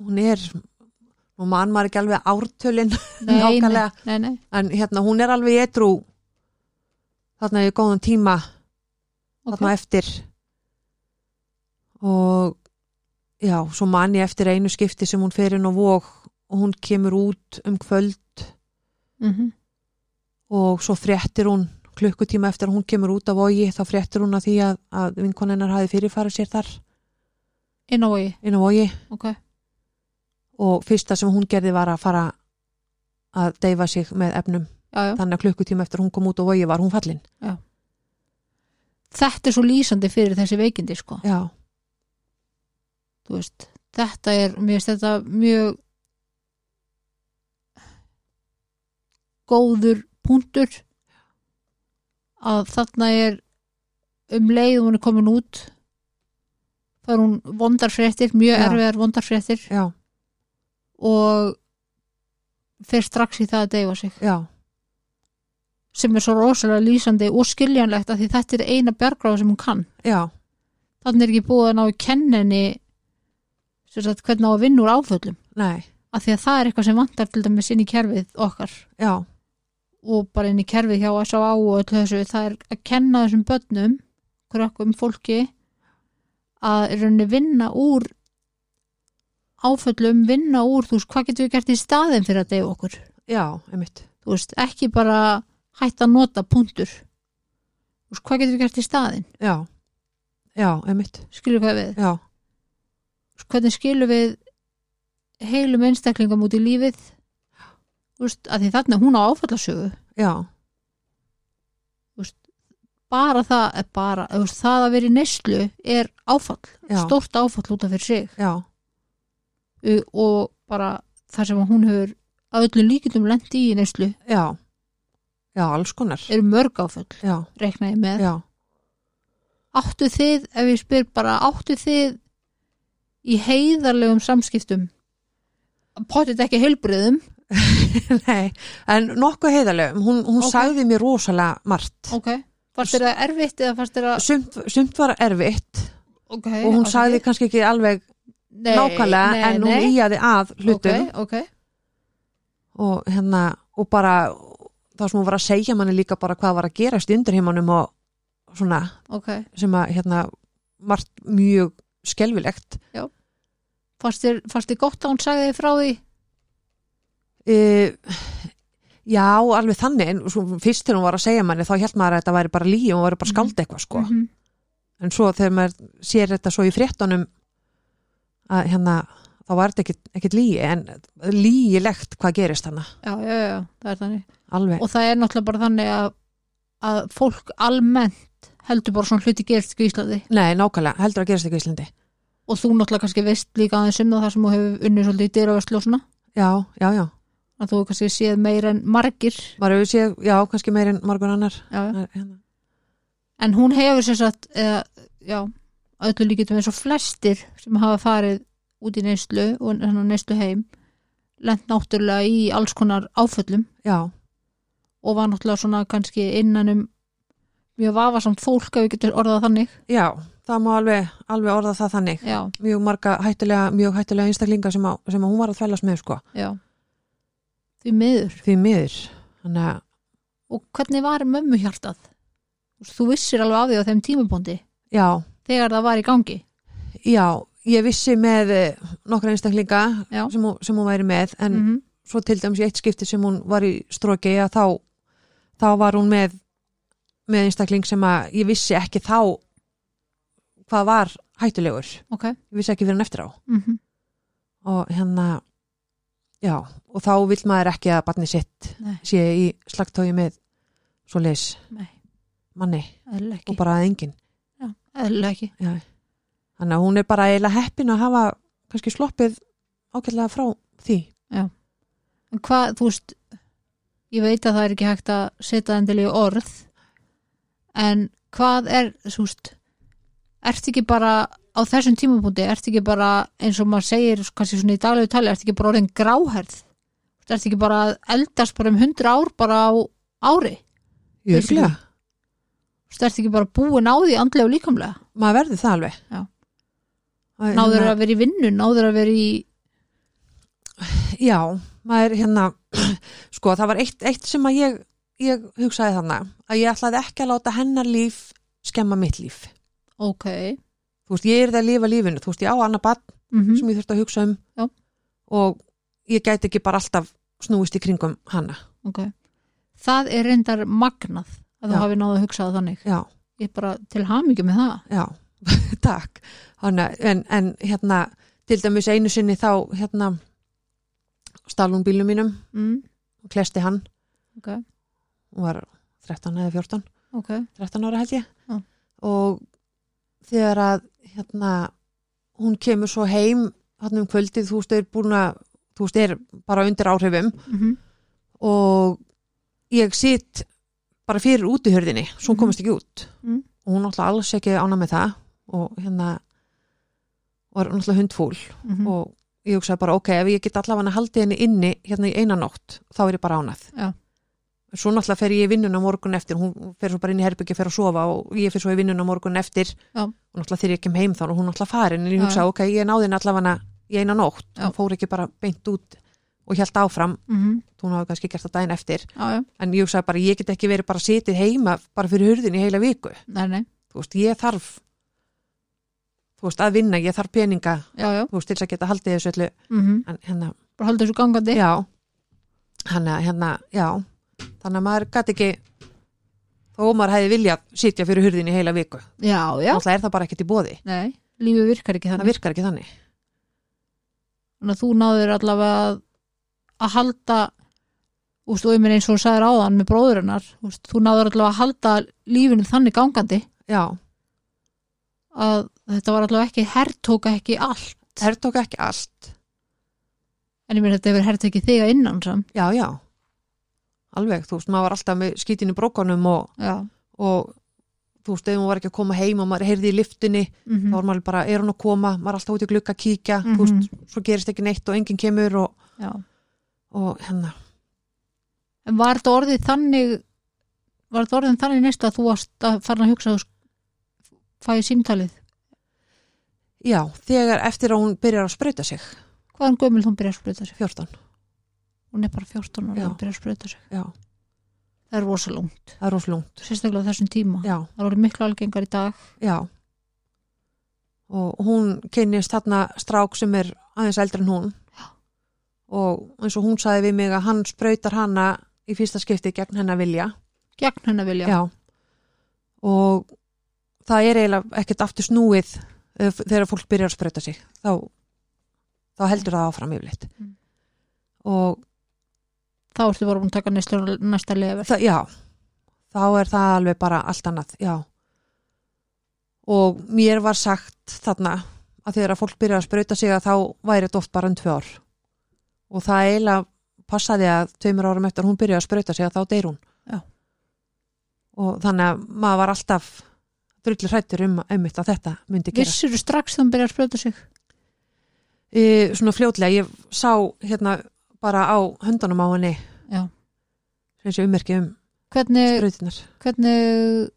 [SPEAKER 2] hún er nú mann maður ekki alveg ártölin
[SPEAKER 1] nei, nei,
[SPEAKER 2] nákvæmlega
[SPEAKER 1] nei, nei.
[SPEAKER 2] en hérna hún er alveg edru þarna í góðan tíma
[SPEAKER 1] ok,
[SPEAKER 2] þarna eftir og já, svo man ég eftir einu skipti sem hún fer inn á vóg og hún kemur út um kvöld
[SPEAKER 1] mhm,
[SPEAKER 2] og svo fréttir hún klukkutíma eftir að hún kemur út af vogi þá fréttir hún að því að, að vinkoninnar hafi fyrirfarið sér þar
[SPEAKER 1] inn á vogi
[SPEAKER 2] inn á vogi
[SPEAKER 1] ok,
[SPEAKER 2] og fyrsta sem hún gerði var að fara að deyfa sig með efnum
[SPEAKER 1] já, já.
[SPEAKER 2] þannig að klukkutíma eftir að hún kom út á vogi var hún fallin
[SPEAKER 1] þetta er svo lýsandi fyrir þessi veikindi sko
[SPEAKER 2] já,
[SPEAKER 1] þú veist, þetta er mér finnst þetta mjög góður punktur að þarna er um leið og hún er komin út þá er hún vondarfréttir mjög
[SPEAKER 2] Já.
[SPEAKER 1] erfiðar vondarfréttir
[SPEAKER 2] já,
[SPEAKER 1] og fer strax í það að deyfa sig
[SPEAKER 2] já,
[SPEAKER 1] sem er svo rosalega lýsandi og skiljanlegt að því þetta er eina bjargráð sem hún kann
[SPEAKER 2] já
[SPEAKER 1] þannig er ekki búið að ná í kenninni sem sagt, hvernig á að vinna úr áföllum
[SPEAKER 2] nei,
[SPEAKER 1] að því að það er eitthvað sem vantar til dæmis inn í kerfið okkar
[SPEAKER 2] já,
[SPEAKER 1] og bara inn í kerfið hjá S.A.A. og öllu þessu það er að kenna þessum börnum krökkum fólki að í rauninni vinna úr áföllum vinna úr, þú veist, hvað getum við gert í staðin fyrir að deyja okkur,
[SPEAKER 2] já, einmitt
[SPEAKER 1] þú veist, ekki bara hætt að nota punktur þú veist, hvað getum við gert í staðin
[SPEAKER 2] já, já, einmitt
[SPEAKER 1] skilur hvað við,
[SPEAKER 2] já,
[SPEAKER 1] Þú veist, hvernig skilur við heilum einstaklingum út í lífið þú veist, að því þarna hún á áfallasögu
[SPEAKER 2] já,
[SPEAKER 1] bara það er bara, þú veist, það að vera í neyslu er áfall,
[SPEAKER 2] Já.
[SPEAKER 1] stórt áfall út af fyrir sig
[SPEAKER 2] já,
[SPEAKER 1] U- og bara það sem að hún hefur að öllu líkindum lendi í neyslu
[SPEAKER 2] já já, alls konar
[SPEAKER 1] eru mörg áfall,
[SPEAKER 2] já,
[SPEAKER 1] reikna ég með
[SPEAKER 2] já,
[SPEAKER 1] áttu þið, ef ég spyr bara áttu þið í heiðarlegum samskiptum potið ekki heilbriðum
[SPEAKER 2] nei en nokkuð heiðarlega, hún, hún
[SPEAKER 1] Ok.
[SPEAKER 2] sagði mér rosalega margt
[SPEAKER 1] ok, fannst þér það erfitt eða fannst þér að
[SPEAKER 2] sumt, sumt var erfitt
[SPEAKER 1] ok,
[SPEAKER 2] og hún sagði kannski ekki alveg nákvæmlega en hún nei. íjaði að hlutum
[SPEAKER 1] ok, ok,
[SPEAKER 2] og hérna, og bara það sem hún var að segja manni líka bara hvað var að gerast í undirheimanum og svona,
[SPEAKER 1] ok
[SPEAKER 2] sem að hérna margt mjög skelfilegt
[SPEAKER 1] fannst þér, fannst þér gott að hún sagði þér frá því
[SPEAKER 2] Uh, já, alveg þannig en svo, fyrst þegar hún var að segja manni þá held maður að þetta væri bara líi og hún væri bara skald eitthvað sko.
[SPEAKER 1] Mhm.
[SPEAKER 2] en svo þegar maður sér þetta svo í fréttunum að hérna þá var þetta ekkit, ekkit líi en líilegt hvað gerist hana
[SPEAKER 1] já, já, já, það er þannig
[SPEAKER 2] alveg,
[SPEAKER 1] og það er náttúrulega bara þannig að, að fólk almennt heldur bara svona hluti gerist í Íslandi
[SPEAKER 2] nei nákvæmlega heldur að gerist ekki í Íslandi
[SPEAKER 1] og þú náttúrulega kannski veist líka aðeins um það þar sem þú hefur unnið svolítið í dyraveslu og svona
[SPEAKER 2] já, já, já,
[SPEAKER 1] að þú hefur kannski séð meira en margir
[SPEAKER 2] maður hefur séð já, kannski meir en margur annar
[SPEAKER 1] já. já.
[SPEAKER 2] hérna.
[SPEAKER 1] en hún hefur sér satt eða, já, að öllu líkitum eins og flestir sem hafa farið út í neyslu og neyslu heim lent náttúrulega í alls konar áföllum
[SPEAKER 2] já,
[SPEAKER 1] og var náttúrulega svona kannski innan um mjög vafasamt fólk ef við getur orðað þannig
[SPEAKER 2] já, það má alveg, alveg orða það þannig
[SPEAKER 1] já,
[SPEAKER 2] mjög marga hættulega, mjög hættulega einstaklinga sem, á, sem að hún var að þvælast með sko
[SPEAKER 1] já því miður,
[SPEAKER 2] því miður þannig að,
[SPEAKER 1] og hvernig var mömmu hjartað þú vissir alveg af því á þeim tímubóndi
[SPEAKER 2] já,
[SPEAKER 1] þegar það var í gangi
[SPEAKER 2] já ég vissi með eh, nokkra einstaklinga
[SPEAKER 1] Já.
[SPEAKER 2] sem, hún- sem hún væri með en
[SPEAKER 1] mm
[SPEAKER 2] svo til dæmis í eitt skipti sem hún var í stróki að þá, þá var hún með með einstakling sem að ég vissi ekki þá hvað var hættulegur ég
[SPEAKER 1] ok
[SPEAKER 2] vissi ekki fyrir hann eftir á
[SPEAKER 1] mm
[SPEAKER 2] og hérna já, og þá vill maður ekki að barni sitt
[SPEAKER 1] Nei.
[SPEAKER 2] sé í slagtói með svo leis
[SPEAKER 1] nei,
[SPEAKER 2] manni
[SPEAKER 1] eðlilega
[SPEAKER 2] og
[SPEAKER 1] ekki,
[SPEAKER 2] bara að enginn
[SPEAKER 1] eðlilega ekki
[SPEAKER 2] já. þannig að hún er bara eiginlega heppin að hafa kannski sloppið ágætlega frá því
[SPEAKER 1] en hvað, þú veist ég veit að það er ekki hægt að setja endilega í orð en hvað er, þú veist ertu ekki bara á þessum tímapunkti, ertu ekki bara eins og maður segir, kannski svona í daglegu tali ertu ekki bara orðin gráherð ertu ekki bara að eldast bara um 100 ár bara á ári Basically.
[SPEAKER 2] Jöfnlega,
[SPEAKER 1] Þú veist, ertu ekki bara búin á því andlega og líkamlega
[SPEAKER 2] maður verður það alveg
[SPEAKER 1] Já.
[SPEAKER 2] Það er
[SPEAKER 1] náður
[SPEAKER 2] hérna-
[SPEAKER 1] að vera í vinnu, náður að vera í
[SPEAKER 2] Já, maður hérna sko það var eitt, eitt sem að ég, ég hugsaði þannig að ég ætlaði ekki að láta hennar líf skemma mitt líf.
[SPEAKER 1] ok,
[SPEAKER 2] Þú veist, ég er það að lifa lífinu, þú veist, ég á annað barn
[SPEAKER 1] mm
[SPEAKER 2] sem ég þurfti að hugsa um
[SPEAKER 1] Já.
[SPEAKER 2] og ég gæti ekki bara alltaf snúist í kringum hana.
[SPEAKER 1] ok það er reyndar magnað að þú
[SPEAKER 2] Já.
[SPEAKER 1] hafi náðu að hugsa það þannig
[SPEAKER 2] Já,
[SPEAKER 1] ég er bara til hamingju með það
[SPEAKER 2] já, takk. Hanna, en, en hérna, til dæmis einu sinni þá hérna stal hún bílum mínum
[SPEAKER 1] mm,
[SPEAKER 2] og klesti hann
[SPEAKER 1] ok,
[SPEAKER 2] og var 13 eða 14.
[SPEAKER 1] ok
[SPEAKER 2] 13 ára held ég
[SPEAKER 1] Já.
[SPEAKER 2] og þegar að hérna, hún kemur svo heim hann um kvöldið, þú veist, er búin að þú veist, er bara undir áhrifum
[SPEAKER 1] mm
[SPEAKER 2] og ég sitt bara fyrir út í hörðinni, svo hún
[SPEAKER 1] Mhm.
[SPEAKER 2] komist ekki út
[SPEAKER 1] Mm.
[SPEAKER 2] og hún náttúrulega alls ekki ána með það og hérna var náttúrulega hundfúl
[SPEAKER 1] Mm. mhm,
[SPEAKER 2] og ég hugsaði bara, ok, ef ég get allavega haldið henni inni hérna í eina nótt, þá er ég bara ánað
[SPEAKER 1] Já.
[SPEAKER 2] svo náttúrulega fer ég í vinnuna morgun eftir hún fer svo bara inn í herbyggja, fer að sofa og ég fer svo í vinnuna morgun eftir
[SPEAKER 1] Já.
[SPEAKER 2] og náttúrulega þegar ég kem heim þá er hún náttúrulega farin en ég
[SPEAKER 1] Já.
[SPEAKER 2] hugsaði, ok, ég náði henni allavega í eina nótt,
[SPEAKER 1] Já.
[SPEAKER 2] hún fór ekki bara beint út og hjælt áfram,
[SPEAKER 1] Mhm.
[SPEAKER 2] hún hafi kannski gert það daginn eftir,
[SPEAKER 1] já, já,
[SPEAKER 2] en ég hugsaði bara, ég get ekki verið bara sitið heima, bara fyrir hurðin í heila viku,
[SPEAKER 1] nei, nei,
[SPEAKER 2] þú veist, ég þarf þú veist, að vinna, ég þarf peninga
[SPEAKER 1] já, já
[SPEAKER 2] þú veist, til þess að geta haldið þessu öllu
[SPEAKER 1] mm
[SPEAKER 2] en hérna,
[SPEAKER 1] bara halda þessu gangandi
[SPEAKER 2] já hann að hérna, já þannig að maður gæti ekki þó maður hefði viljað sitja fyrir hurðin í heila viku,
[SPEAKER 1] já, já.
[SPEAKER 2] náttúrulega er það bara ekkert í bóði
[SPEAKER 1] Nei, lífið virkar ekki
[SPEAKER 2] það
[SPEAKER 1] þannig
[SPEAKER 2] virkar ekki þannig
[SPEAKER 1] þannig að þú náður allavega að, að halda úst, og ég meina eins og hún sagði ráðan með bróðurinnar úst, þú náður allavega að halda lífinu þannig gangandi
[SPEAKER 2] já,
[SPEAKER 1] að þetta var allavega ekki herrtóka ekki allt
[SPEAKER 2] það tók ekki allt
[SPEAKER 1] en ég meina þetta hefur herrtóki þig að innan samt
[SPEAKER 2] já, já, alveg þú veist, maður var alltaf með skítinu brókanum og,
[SPEAKER 1] já,
[SPEAKER 2] og þú veist, ef maður var ekki að koma heim og maður heyrði í liftunni
[SPEAKER 1] mm
[SPEAKER 2] þá var maður bara, er hún að koma, maður er alltaf út í glugga að kíkja, þú
[SPEAKER 1] Mhm.
[SPEAKER 2] veist, svo gerist ekki neitt og enginn kemur og,
[SPEAKER 1] já.
[SPEAKER 2] og hérna
[SPEAKER 1] En var þetta orðið þannig var þetta orðið þannig næst að þú varst að fara að hugsa að fæði símtalið?
[SPEAKER 2] já, þegar eftir að hún byrjar að sprauta sig
[SPEAKER 1] Hvað er gömul hún byrjar að spruta sig?
[SPEAKER 2] 14,
[SPEAKER 1] Hún er bara 14 ára
[SPEAKER 2] Já.
[SPEAKER 1] og hún byrjar að spruta sig.
[SPEAKER 2] já,
[SPEAKER 1] Það er rosa langt.
[SPEAKER 2] það er rosalungt
[SPEAKER 1] Sérstaklega á þessum tíma.
[SPEAKER 2] já,
[SPEAKER 1] Það voru miklu algengar í dag.
[SPEAKER 2] já og hún kynnist þarna strák sem er aðeins eldri en hún
[SPEAKER 1] Já.
[SPEAKER 2] og eins og hún sagði við mig að hann sprautar hana í fyrsta skipti gegn hennar vilja
[SPEAKER 1] Gegn hennar vilja.
[SPEAKER 2] og það er eiginlega ekkert aftur snúið eh, f- þegar fólk byrjar að sprauta sig þá, þá heldur það áfram yfirleitt
[SPEAKER 1] Mm.
[SPEAKER 2] og
[SPEAKER 1] Þá ertu bara búin að taka næstu, næsta lefer.
[SPEAKER 2] það, já, þá er það alveg bara allt annað, já og mér var sagt þarna að þegar að fólk byrja að sprauta sig að þá væri þetta oft bara enn tvö ár og það eiginlega passaði að tveimur árum eftir að hún byrja að sprauta sig að þá deyr hún
[SPEAKER 1] Já.
[SPEAKER 2] og þannig að maður var alltaf drullu hrættur um einmitt að þetta myndi gera
[SPEAKER 1] Vissur strax þegar hún byrjar að spruta sig?
[SPEAKER 2] e, svona fljótlega, ég sá hérna bara á höndunum á henni
[SPEAKER 1] Já. E,
[SPEAKER 2] þessi ummerki um
[SPEAKER 1] Hvernig,
[SPEAKER 2] sprautinar
[SPEAKER 1] hvernig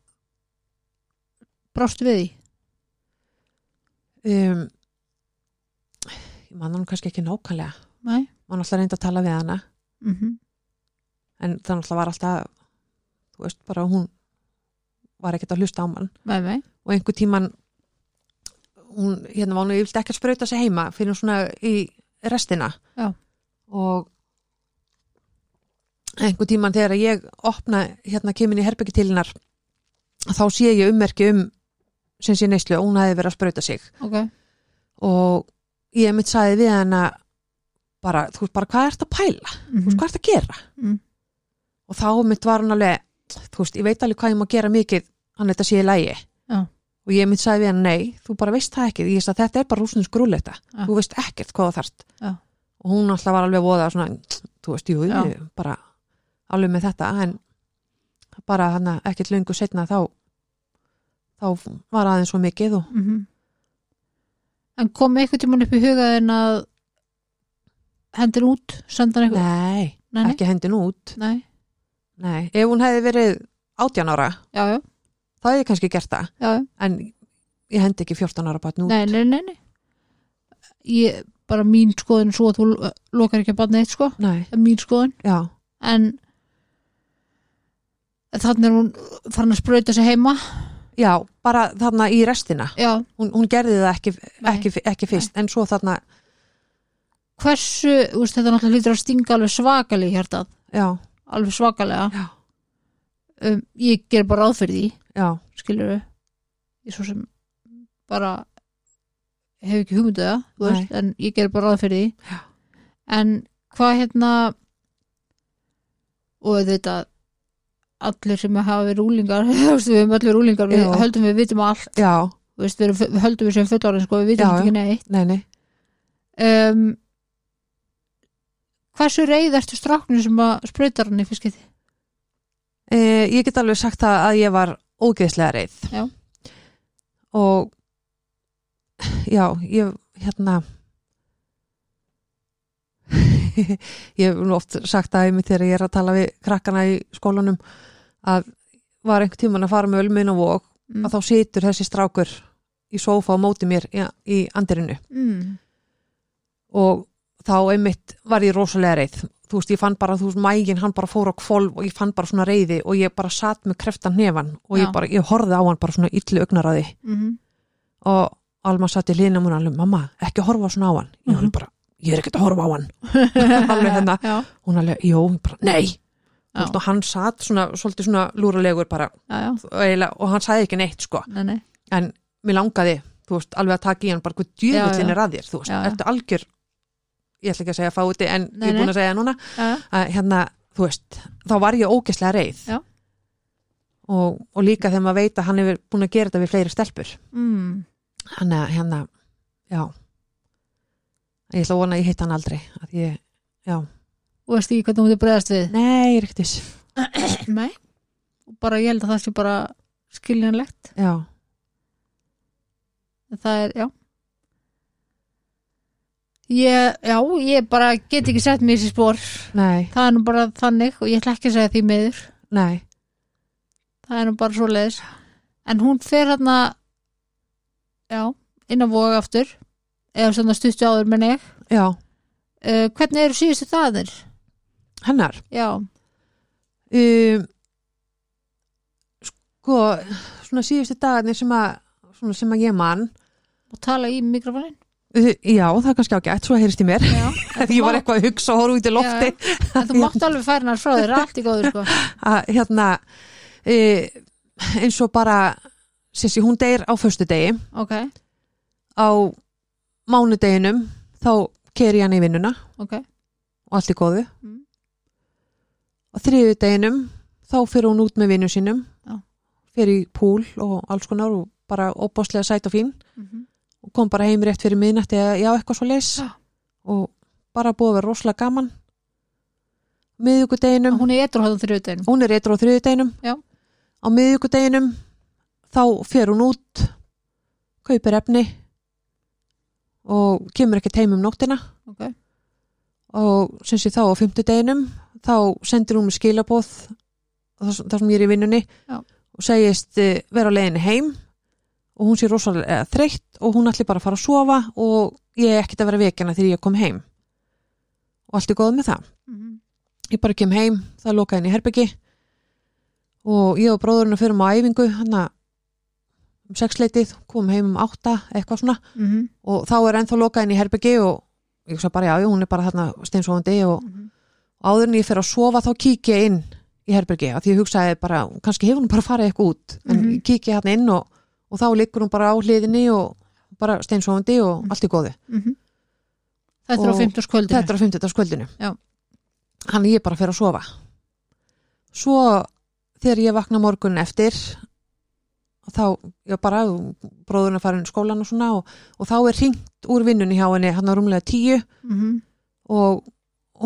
[SPEAKER 1] brást við því
[SPEAKER 2] um, ég manna nú kannski ekki nákvæmlega
[SPEAKER 1] Nei.
[SPEAKER 2] maður alltaf reyndi að tala við hana
[SPEAKER 1] Mm
[SPEAKER 2] en það alltaf var alltaf þú veist bara að hún var ekkert að hlusta á mann
[SPEAKER 1] Nei, nei.
[SPEAKER 2] og einhver tíman hún, hérna var hún yfirlega ekki að sprauta sig heima fyrir hún svona í restina
[SPEAKER 1] Já.
[SPEAKER 2] og einhver tíman þegar ég opna hérna kemin í herbyggi til hennar þá sé ég ummerki um sem sé neyslu og hún hafi verið að sprauta sig
[SPEAKER 1] Ok.
[SPEAKER 2] og ég mitt sagði við hana bara, þú veist bara hvað ert að pæla
[SPEAKER 1] Mm
[SPEAKER 2] þú veist hvað ert að gera
[SPEAKER 1] Mm.
[SPEAKER 2] og þá mitt var hún alveg þú veist, ég veit alveg hvað ég má gera mikið hann þetta sé í lægi
[SPEAKER 1] Já.
[SPEAKER 2] og ég mitt sagði við hann, nei, þú bara veist það ekki ég sagði, þetta er bara rúsnins grúleita
[SPEAKER 1] Já.
[SPEAKER 2] þú veist ekkert hvað það þarft
[SPEAKER 1] Já.
[SPEAKER 2] og hún alltaf var alveg voða svona, þú veist, jú,
[SPEAKER 1] Já.
[SPEAKER 2] ég bara alveg með þetta, en bara hann ekkert löngu setna þá þá var aðeins svo mikið og
[SPEAKER 1] Mhm. En kom eitthvað tímann upp í hugaðin að hendur út, senda hann eitthvað?
[SPEAKER 2] nei,
[SPEAKER 1] Nei, nei.
[SPEAKER 2] ekki hendin út
[SPEAKER 1] Nei.
[SPEAKER 2] nei, ef hún hefði verið 18 ára,
[SPEAKER 1] Já, já,
[SPEAKER 2] þá hefði ég kannski gert það
[SPEAKER 1] já. já.
[SPEAKER 2] en ég hendi ekki 14 ára bara nú
[SPEAKER 1] Nei, nei, nei, nei. Ég, bara mín skoðun svo að þú lo- lokar ekki að batna eitt sko.
[SPEAKER 2] nei,
[SPEAKER 1] Það er Mín skoðun.
[SPEAKER 2] já
[SPEAKER 1] En þannig er hún farin að sprauta sig heima.
[SPEAKER 2] Já, bara þarna í restina
[SPEAKER 1] Já.
[SPEAKER 2] hún, hún gerði það ekki,
[SPEAKER 1] Nei.
[SPEAKER 2] ekki, ekki fyrst en svo þarna,
[SPEAKER 1] Hversu, þú veist, þetta náttúrulega lítur að stinga alveg svakalega í hjartað.
[SPEAKER 2] já,
[SPEAKER 1] Alveg svakalega.
[SPEAKER 2] Já.
[SPEAKER 1] Um, ég ger bara ráð fyrir því.
[SPEAKER 2] já
[SPEAKER 1] skilur við ég svo sem bara hef ekki hugmyndu það þú
[SPEAKER 2] Nei.
[SPEAKER 1] veist, en ég ger bara ráð fyrir því
[SPEAKER 2] Já.
[SPEAKER 1] en hvað hérna og þetta allir sem hafa verið rúlingar þú veist, við höfum allir rúlingar, við
[SPEAKER 2] Já.
[SPEAKER 1] höldum við vitum allt,
[SPEAKER 2] já,
[SPEAKER 1] þú veist, við, erum, við höldum við sem fullorðin sko, við vitum
[SPEAKER 2] Já,
[SPEAKER 1] ekki neitt
[SPEAKER 2] nei, nei
[SPEAKER 1] um, hversu reið ertu stráknum sem að sprautar hann í fiskið
[SPEAKER 2] e, ég get alveg sagt það að ég var ógeðslega reið
[SPEAKER 1] Já.
[SPEAKER 2] og já, ég hérna ég hef nú oft sagt það einmitt þegar ég er að tala við krakkana í skólanum að var einhvern tímann að fara með ölminn og vók
[SPEAKER 1] mm.
[SPEAKER 2] að þá situr þessi strákur í sófa á móti mér í, í andirinu
[SPEAKER 1] mm.
[SPEAKER 2] og þá einmitt var ég rosalega reið þú veist, ég fann bara, þú veist, mægin hann bara fór á kvolf og ég fann bara svona reiði og ég bara satt með kreftan hnefann og
[SPEAKER 1] Já.
[SPEAKER 2] ég bara, ég horfði á hann bara svona illu augnaraði
[SPEAKER 1] Mm.
[SPEAKER 2] og Alma satt í liðnum hún alveg, mamma, ekki horfa svona á hann ég
[SPEAKER 1] Mhm.
[SPEAKER 2] alveg bara, ég er ekkert að horfa á hann alveg hérna,
[SPEAKER 1] já,
[SPEAKER 2] hún alveg, jó, ég bara, nei
[SPEAKER 1] Já.
[SPEAKER 2] Þú veist, og hann satt svona, svolítið svona lúralegur bara,
[SPEAKER 1] já, já,
[SPEAKER 2] og eiginlega- og hann sagði ekki neitt sko,
[SPEAKER 1] nei, nei
[SPEAKER 2] en mér langaði þú veist, alveg að taka í hann bara hvað djöfullin
[SPEAKER 1] Já, já.
[SPEAKER 2] er að þér, þú veist,
[SPEAKER 1] Já, já.
[SPEAKER 2] ertu algjör ég ætla ekki að segja fáti en
[SPEAKER 1] Nei,
[SPEAKER 2] ég er búin
[SPEAKER 1] nei.
[SPEAKER 2] að segja núna
[SPEAKER 1] já, já.
[SPEAKER 2] að hérna, þú veist, þá var ég ógeslega reið
[SPEAKER 1] Já.
[SPEAKER 2] og, og líka þegar maður veit að hann hefur búin að gera þetta við fleiri stelpur
[SPEAKER 1] Mm.
[SPEAKER 2] hann er hérna, já ég ætla að vona að ég hitt hann aldrei að ég, já,
[SPEAKER 1] og veist ekki hvernig hún er bregðast við
[SPEAKER 2] nei, ég er ekkert viss
[SPEAKER 1] Nei. og bara ég held að það sé bara skiljanlegt
[SPEAKER 2] já,
[SPEAKER 1] En það er, já ég, já, ég bara get ekki sett mér í þessi spór
[SPEAKER 2] nei,
[SPEAKER 1] það er nú bara þannig og ég ætla ekki að segja því meður
[SPEAKER 2] nei
[SPEAKER 1] það er nú bara svo leiðis en hún fer hérna já, inn á voga aftur eða svona stuttu áður menn ég
[SPEAKER 2] já,
[SPEAKER 1] uh, hvernig eru síðustu þaðir?
[SPEAKER 2] hennar
[SPEAKER 1] já,
[SPEAKER 2] um, sko svona síðustu dagarnir sem að svona sem að ég man
[SPEAKER 1] og tala í mikrofonin
[SPEAKER 2] uh, já það er kannski ágætt, svo heyrist í mér
[SPEAKER 1] já,
[SPEAKER 2] ef ég var eitthvað að hugsa og horfa út í lofti
[SPEAKER 1] en þú mátt alveg færa hennar frá þér allt í góður sko
[SPEAKER 2] að hérna uh, eins og bara sissi hún deyr á föstudegi
[SPEAKER 1] ok,
[SPEAKER 2] á mánudeginum þá keri ég hann í vinnuna
[SPEAKER 1] ok
[SPEAKER 2] og allt í góðu
[SPEAKER 1] Mm.
[SPEAKER 2] og þriðudeginum þá fyrir hún út með vinnu sínum
[SPEAKER 1] Já.
[SPEAKER 2] fyrir í púl og alls konar og bara óbáslega sæt og fín
[SPEAKER 1] mm
[SPEAKER 2] og kom bara heim rétt fyrir miðnætti eða já, eitthvað svo leys
[SPEAKER 1] Já.
[SPEAKER 2] og bara búið að vera rosalega gaman miðvíkudeginum hún,
[SPEAKER 1] hún er eitthvað hóðan þrjóðin
[SPEAKER 2] hún er eitthvað á þriðudeginum
[SPEAKER 1] Já.
[SPEAKER 2] á miðvíkudeginum þá fer hún út kaupir efni og kemur ekki heim um nóttina
[SPEAKER 1] okay.
[SPEAKER 2] og sem sé þá á fymtudeginum þá sendir hún mér skilabóð þar sem- þar sem ég er í vinnunni
[SPEAKER 1] Já.
[SPEAKER 2] og segist eh, vera á leiðinni heim og hún sé rosalega þreytt og hún ætli bara að fara að sofa og ég er ekkert að vera vekjana þegar ég kom heim og allt er góð með það
[SPEAKER 1] Mhm.
[SPEAKER 2] ég bara kem heim, það er lokað inn í herbyggi og ég og bróðurinn að fyrir á æfingu hann að um sexleitið, kom heim um átta eitthvað svona
[SPEAKER 1] Mhm.
[SPEAKER 2] og þá er ennþá lokað inn í herbyggi og ég svo bara já, já, hún er bara þarna steinsofandi og
[SPEAKER 1] Mhm.
[SPEAKER 2] áður en ég fyrir að sofa þá kík ég inn í herbyggi að því ég hugsaði bara, kannski hefur hún bara farið eitthvað út en
[SPEAKER 1] Mhm.
[SPEAKER 2] ég kík ég hann inn og, og þá liggur hún bara á hliðinni og bara steinsofandi og allt í góðu
[SPEAKER 1] Mhm. Þetta er á
[SPEAKER 2] Og
[SPEAKER 1] 50. kvöldinu
[SPEAKER 2] þetta er á 50. skvöldinu
[SPEAKER 1] Já.
[SPEAKER 2] hann ég bara fyrir að sofa svo þegar ég vakna morgun eftir þá ég bara bróðurinn að fara inn í skólan og svona og, og þá er hringt úr vinnunni hjá henni hann á rúmlega tíu
[SPEAKER 1] Mhm.
[SPEAKER 2] og, og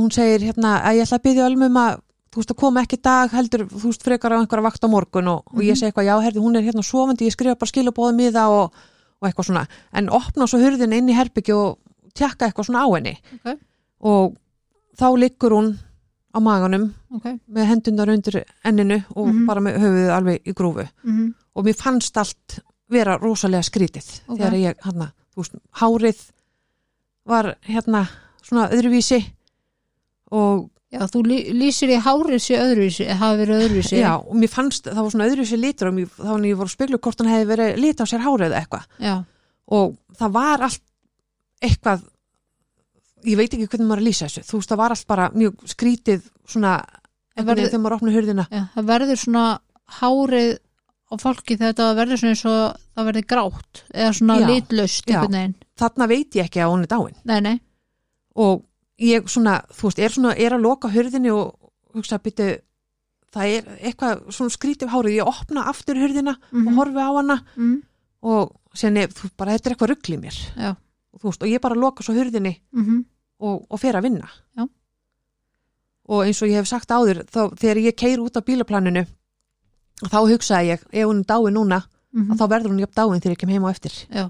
[SPEAKER 2] hún segir hérna að ég ætla að byggja um að þú veist að koma ekki í dag heldur þú veist frekar á einhverja vakt á morgun og, og ég
[SPEAKER 1] Mhm.
[SPEAKER 2] segi eitthvað já herði hún er hérna sofandi ég skrifa bara skilabóðum í það og, og eitthvað svona en opna svo hurðin inn í herbyggju og tjekka eitthvað svona á henni
[SPEAKER 1] Ok.
[SPEAKER 2] og þá liggur hún á maganum
[SPEAKER 1] Ok.
[SPEAKER 2] með hendunar undir enninu og
[SPEAKER 1] Mhm.
[SPEAKER 2] bara með höfuðið alveg í grúfu
[SPEAKER 1] Mhm.
[SPEAKER 2] og mér fannst allt vera rosalega skrítið
[SPEAKER 1] Ok.
[SPEAKER 2] þegar ég, hann þú veist, hárið var hérna svona öðruvísi og,
[SPEAKER 1] Já, þú lý- lýsir í hárið sér öðruvísi, eða hafi verið öðruvísi
[SPEAKER 2] já, og mér fannst það var svona öðruvísi litur og mér, þá en ég voru að speglu hvort hann hefði verið lit á sér hárið eða eitthvað
[SPEAKER 1] Já.
[SPEAKER 2] og það var allt eitthvað ég veit ekki hvernig maður er að lýsa þessu þú veist, það var allt bara mjög skrítið svona,
[SPEAKER 1] Það
[SPEAKER 2] einhvern
[SPEAKER 1] verður-
[SPEAKER 2] veginn þegar maður opna hurðina
[SPEAKER 1] Já, það verður svona hárið á fólki þegar þetta verður svona eins og það verður grátt eða svona
[SPEAKER 2] Já.
[SPEAKER 1] litlaust
[SPEAKER 2] Já.
[SPEAKER 1] einhvern veginn.
[SPEAKER 2] þarna veit ég ekki að hún er dáin
[SPEAKER 1] Nei, nei.
[SPEAKER 2] og ég svona, þú veist, er svona er að loka hurðinni og hugsa að byrja það er eitthvað svona skrítið hárið, ég opna aftur hurðina
[SPEAKER 1] Mm
[SPEAKER 2] og horfi á hana
[SPEAKER 1] mm
[SPEAKER 2] og sérni, þú veist, bara þetta er eitthvað ruggli mér
[SPEAKER 1] Já.
[SPEAKER 2] og þú veist, og ég bara loka svo hurðinni
[SPEAKER 1] -hmm.
[SPEAKER 2] og, og fer að vinna
[SPEAKER 1] Já.
[SPEAKER 2] og eins og ég hef sagt áður þá, þegar ég keir út af bílaplaninu þá hugsaði ég, ef hún er dáin núna
[SPEAKER 1] Mm
[SPEAKER 2] að þá verður hún jafn dáin þegar ég kem heim á eftir
[SPEAKER 1] Já.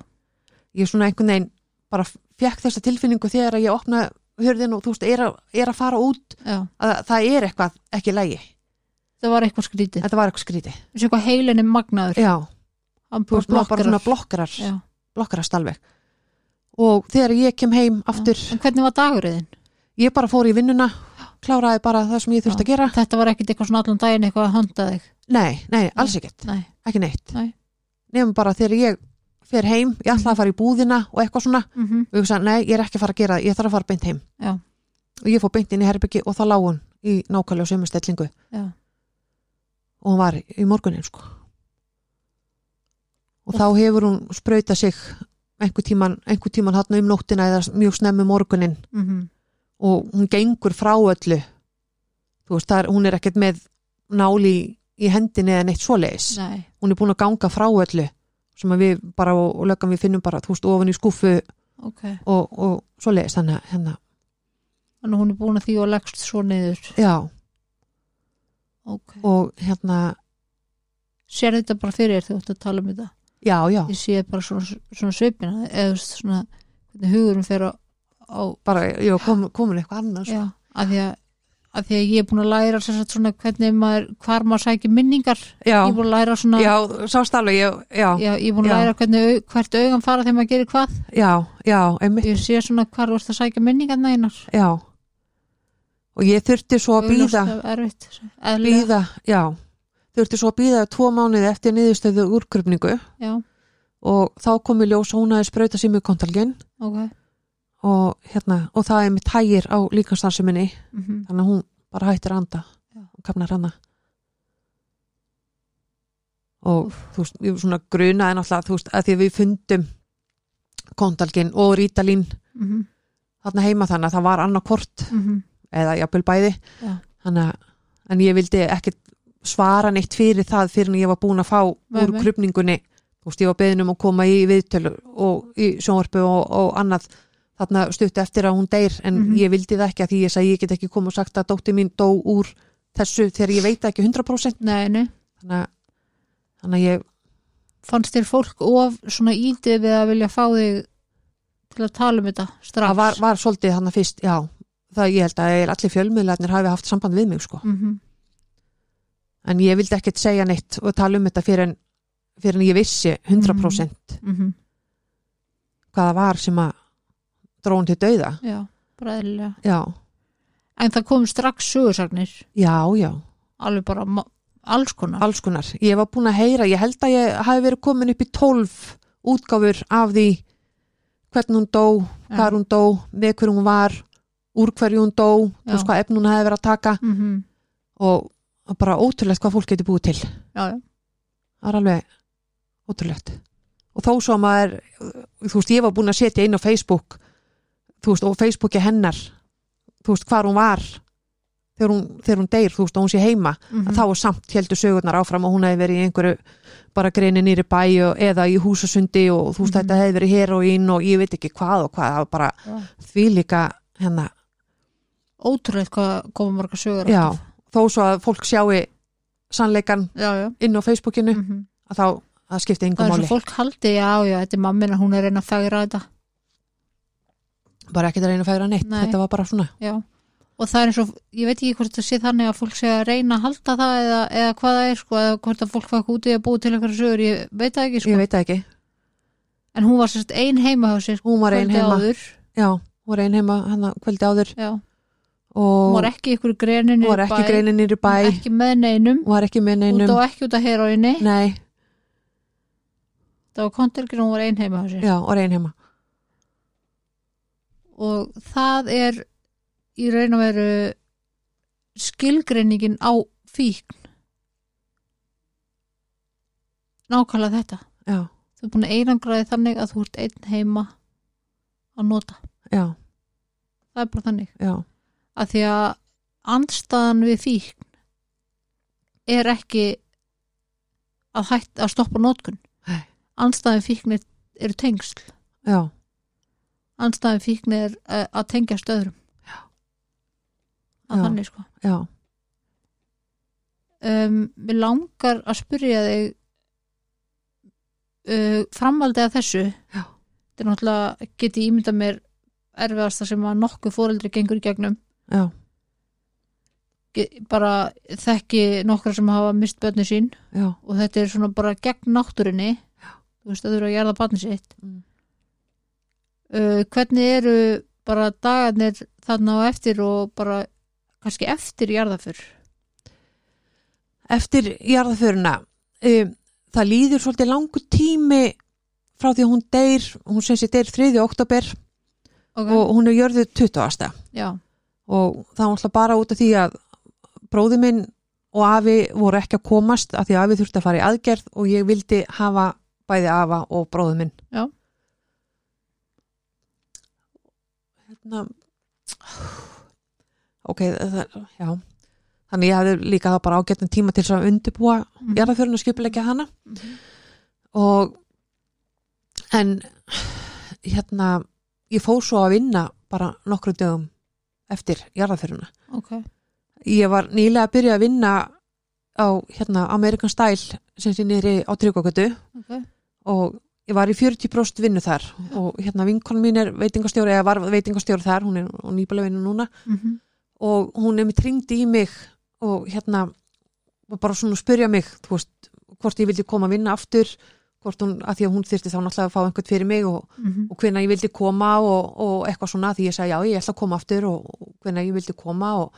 [SPEAKER 2] ég svona einhvern veginn bara fekk þessa tilfinningu þegar að ég opna hörðin og þú veist, er að, er að fara út
[SPEAKER 1] Já.
[SPEAKER 2] að það er eitthvað ekki lægi
[SPEAKER 1] Það var eitthvað skrítið.
[SPEAKER 2] þetta var eitthvað skrítið
[SPEAKER 1] Þessi eitthvað heilinni magnaður.
[SPEAKER 2] já,
[SPEAKER 1] Hann
[SPEAKER 2] þú
[SPEAKER 1] bara
[SPEAKER 2] veist, maður bara svona
[SPEAKER 1] blokkar.
[SPEAKER 2] blokkarar
[SPEAKER 1] Já.
[SPEAKER 2] blokkarast alveg og þegar ég kem heim aftur,
[SPEAKER 1] En hvernig var dagurinn?
[SPEAKER 2] ég bara fór í vinnuna kláraði bara það sem ég þurfti að gera
[SPEAKER 1] Þetta var ekkit eitthvað svona allan daginn eitthvað að handa þig.
[SPEAKER 2] nei, nei, alls ekkert,
[SPEAKER 1] Nei.
[SPEAKER 2] ekki neitt
[SPEAKER 1] Nei.
[SPEAKER 2] nefnum bara þegar ég fer heim ég ætlaði að fara í búðina og eitthvað svona
[SPEAKER 1] Mm
[SPEAKER 2] og ég hugsa, nei, ég er ekki að fara að gera það, ég þarf að fara beint heim
[SPEAKER 1] Já.
[SPEAKER 2] og ég fór beint inn í herbyggi og þá lág hún í nákvæmlega sömu stellingu
[SPEAKER 1] Já.
[SPEAKER 2] og hún var í morgunin sko og þá hefur hún sprauta sig einhver tíman, einhver tíman hann um nóttina eða mjög snemmi morgunin
[SPEAKER 1] Mm
[SPEAKER 2] og hún gengur frá öllu þú veist, það er, hún er ekkert með náli í, í hendinni eða neitt svoleiðis
[SPEAKER 1] Nei.
[SPEAKER 2] hún er búin að ganga frá öllu sem að við bara og, og lögum við finnum bara, þú veist, ofan í skúfu
[SPEAKER 1] Ok.
[SPEAKER 2] og, og svoleiðis þannig að hérna,
[SPEAKER 1] Þannig hún er búin að því og leggst svo niður.
[SPEAKER 2] já
[SPEAKER 1] Ok.
[SPEAKER 2] og hérna,
[SPEAKER 1] Sér þetta bara fyrir þér þegar þú ætti að tala um þetta.
[SPEAKER 2] já, já
[SPEAKER 1] Ég sé bara svona, svona svipina eða þú veist, svona hvernig hugurum fer á, á
[SPEAKER 2] bara, já, kom, komin eitthvað sko. annars
[SPEAKER 1] Já, af því að af því að ég er búin að læra sem sagt, svona hvernig maður, hvar maður sækir minningar
[SPEAKER 2] já,
[SPEAKER 1] ég er búin að læra svona
[SPEAKER 2] já sást alveg, já, já,
[SPEAKER 1] Já, ég er búin að
[SPEAKER 2] Já.
[SPEAKER 1] læra hvernig, au- hvert augan fara þegar maður gerir hvað
[SPEAKER 2] já, já, einmitt,
[SPEAKER 1] ég sé svona hvar þú ert að sækja minningarna einar
[SPEAKER 2] já og ég þurfti svo að býða
[SPEAKER 1] erfitt, eðlilega.
[SPEAKER 2] býða, já þurfti svo að býða tvo mánuði eftir niðurstöðu úrkrupningu
[SPEAKER 1] já,
[SPEAKER 2] og þá kom í ljós að hún aðeins brauta sér mjög kontalgin
[SPEAKER 1] ok
[SPEAKER 2] og hérna, og það er mitt hægir á líkanstarfseminni,
[SPEAKER 1] mm -hmm.
[SPEAKER 2] þannig að hún bara hættir að anda
[SPEAKER 1] Já.
[SPEAKER 2] og kafnar hana og þú veist, ég svona grunaði náttúrulega, þú veist, að því að við fundum kontalgin og rítalín
[SPEAKER 1] Mm -hmm.
[SPEAKER 2] þarna heima þannig að það var annarkort
[SPEAKER 1] Mm
[SPEAKER 2] eða jafnvel bæði
[SPEAKER 1] Já.
[SPEAKER 2] þannig að, en ég vildi ekkit svara neitt fyrir það fyrir en ég var búin að fá
[SPEAKER 1] Nei,
[SPEAKER 2] úr
[SPEAKER 1] nei.
[SPEAKER 2] krupningunni þú veist, ég var beðin um að koma í viðtölu og í sjónvarpu og, og annað þarna stutt eftir að hún deyr en
[SPEAKER 1] Mhm.
[SPEAKER 2] ég vildi það ekki að því ég sagði ég get ekki koma og sagt að dóttir mín dó úr þessu þegar ég veit það ekki 100%
[SPEAKER 1] Nei, nei,
[SPEAKER 2] þannig að, þannig að ég,
[SPEAKER 1] fannst þér fólk of svona índið við að vilja fá þig til að tala um þetta strax
[SPEAKER 2] það var, var svolítið þannig fyrst, já, það ég held að allir fjölmiðlarnir hafi haft samband við mig sko
[SPEAKER 1] Mhm,
[SPEAKER 2] en ég vildi ekkert segja neitt og tala um þetta fyrir en, fyrir en ég vissi 100%
[SPEAKER 1] mm -hmm.
[SPEAKER 2] hvað það var sem að drón til dauða
[SPEAKER 1] já, bara eðlilega
[SPEAKER 2] já,
[SPEAKER 1] en það kom strax sögursagnir
[SPEAKER 2] já, já,
[SPEAKER 1] alveg bara ma- alls konar
[SPEAKER 2] alls konar ég var búin að heyra, ég held að ég hafi verið komin upp í 12 útgáfur af því hvernig hún dó hvar hún dó, með hverju hún var úr hverju hún dó, þú
[SPEAKER 1] Já.
[SPEAKER 2] veist hvað efn hún hefði verið að taka
[SPEAKER 1] mm -hmm.
[SPEAKER 2] og og bara ótrúlegt hvað fólk getur búið til
[SPEAKER 1] já, já.
[SPEAKER 2] það er alveg ótrúlegt og þó svo að maður þú veist, ég var búin að setja inn á Facebook þú veist, og Facebooki hennar þú veist, hvar hún var þegar hún, þegar hún deyr, þú veist, og hún sé heima
[SPEAKER 1] Mm
[SPEAKER 2] að þá er samt heldur sögurnar áfram og hún hefði verið í einhverju bara greini nýri bæ og, eða í húsasundi og þú veist,
[SPEAKER 1] Mhm.
[SPEAKER 2] þetta hefði verið heroín og ég veit ekki hvað og hvað, það var bara því líka hérna, hennar
[SPEAKER 1] ótrúlega hvað koma marga sögur
[SPEAKER 2] já, þó svo að fólk sjáu sannleikan
[SPEAKER 1] já, já.
[SPEAKER 2] inn á Facebookinu
[SPEAKER 1] Mm -hmm.
[SPEAKER 2] að þá, það skipti
[SPEAKER 1] það
[SPEAKER 2] engum
[SPEAKER 1] er svo
[SPEAKER 2] máli
[SPEAKER 1] fólk haldi, já, já, þetta er mammina hún er að reyna að fegra þetta
[SPEAKER 2] bara ekkert að reyna að færa neitt,
[SPEAKER 1] Nei.
[SPEAKER 2] þetta var bara svona
[SPEAKER 1] já. og það er eins og, ég veit ekki hvort það sé þannig að fólk sé að reyna að halda það eða, eða hvað það er, sko, eða hvort að fólk fæk út í að búi til einhverja sögur, ég veit það ekki sko.
[SPEAKER 2] ég veit það ekki,
[SPEAKER 1] en hún var sérst ein heima hjá sér sko,
[SPEAKER 2] hún var ein
[SPEAKER 1] kvöldið
[SPEAKER 2] heima
[SPEAKER 1] áður
[SPEAKER 2] já, hún var ein heima hann kvöldi áður
[SPEAKER 1] já. hún
[SPEAKER 2] og
[SPEAKER 1] var ekki í einhverju greninu
[SPEAKER 2] hún var ekki greinin nýri bæ,
[SPEAKER 1] ekki með neinum,
[SPEAKER 2] hún var ekki með
[SPEAKER 1] út
[SPEAKER 2] neinum
[SPEAKER 1] og ekki út að heroinni
[SPEAKER 2] nei,
[SPEAKER 1] það var kontelgrin, hún var ein heima hjá sér
[SPEAKER 2] já, hún var ein heima
[SPEAKER 1] og það er í raun og veru skilgreiningin á fíkn nákvæmlega þetta
[SPEAKER 2] já,
[SPEAKER 1] þú er búin að einangraði þannig að þú ert einn heima að nota
[SPEAKER 2] já,
[SPEAKER 1] það er bara þannig
[SPEAKER 2] já,
[SPEAKER 1] að því að andstaðan við fíkn er ekki að, hætt, að stoppa notkun
[SPEAKER 2] Nei.
[SPEAKER 1] andstaðan við fíkn er, er tengsl
[SPEAKER 2] já
[SPEAKER 1] andstaðan við fíkn er eh, að tengja stöðrum að
[SPEAKER 2] Já.
[SPEAKER 1] þannig sko
[SPEAKER 2] já,
[SPEAKER 1] um, mér langar að spyrja þig uh, framaldið að þessu
[SPEAKER 2] Já.
[SPEAKER 1] þetta er náttúrulega geti ímynda mér erfiðasta sem að nokkuð fóreldri gengur í gegnum
[SPEAKER 2] já,
[SPEAKER 1] Ge- bara þekki nokkra sem hafa mist börni sín
[SPEAKER 2] já,
[SPEAKER 1] og þetta er svona bara gegn náttúrinni Já. þú veist að þú eru að gerða barni sitt
[SPEAKER 2] Mm.
[SPEAKER 1] uh, hvernig eru bara dagarnir þarna á eftir og bara kannski eftir jarðafur
[SPEAKER 2] eftir jarðaföruna um, það líður svolítið langur tími frá því að hún deyr hún sem sér deyr 3. oktober
[SPEAKER 1] okay.
[SPEAKER 2] og hún er jörðu 20.
[SPEAKER 1] Já.
[SPEAKER 2] og það var alltaf bara út af því að bróði minn og afi voru ekki að komast af því að afi þurfti að fara í aðgerð og ég vildi hafa bæði afa og bróði minn
[SPEAKER 1] Já.
[SPEAKER 2] hérna ok það, já þannig ég hafði líka það bara ágættan tíma til þess að undirbúa
[SPEAKER 1] Mhm.
[SPEAKER 2] jarðaförun og skipulegja hana og en hérna ég fór svo að vinna bara nokkru dögum eftir jarðaföruna
[SPEAKER 1] ok
[SPEAKER 2] ég var nýlega að byrja að vinna á hérna, Amerikan Style sem sé nýri á Tryggvakvötu
[SPEAKER 1] ok,
[SPEAKER 2] og ég var í 40% vinnu þar og hérna vinkon mín er veitingastjóri eða var veitingastjóri þar, hún er nýbælega vinnu núna
[SPEAKER 1] mm
[SPEAKER 2] og hún er mér tringdi í mig og hérna og bara svona spyrja mig þú veist, hvort ég vildi koma að vinna aftur hvort hún, að því að hún þyrfti þá náttúrulega að fá einhvern fyrir mig og,
[SPEAKER 1] mhm,
[SPEAKER 2] og hvenna ég vildi koma og, og eitthvað svona því ég sagði já ég ætla að koma aftur og, og hvenna ég vildi koma og,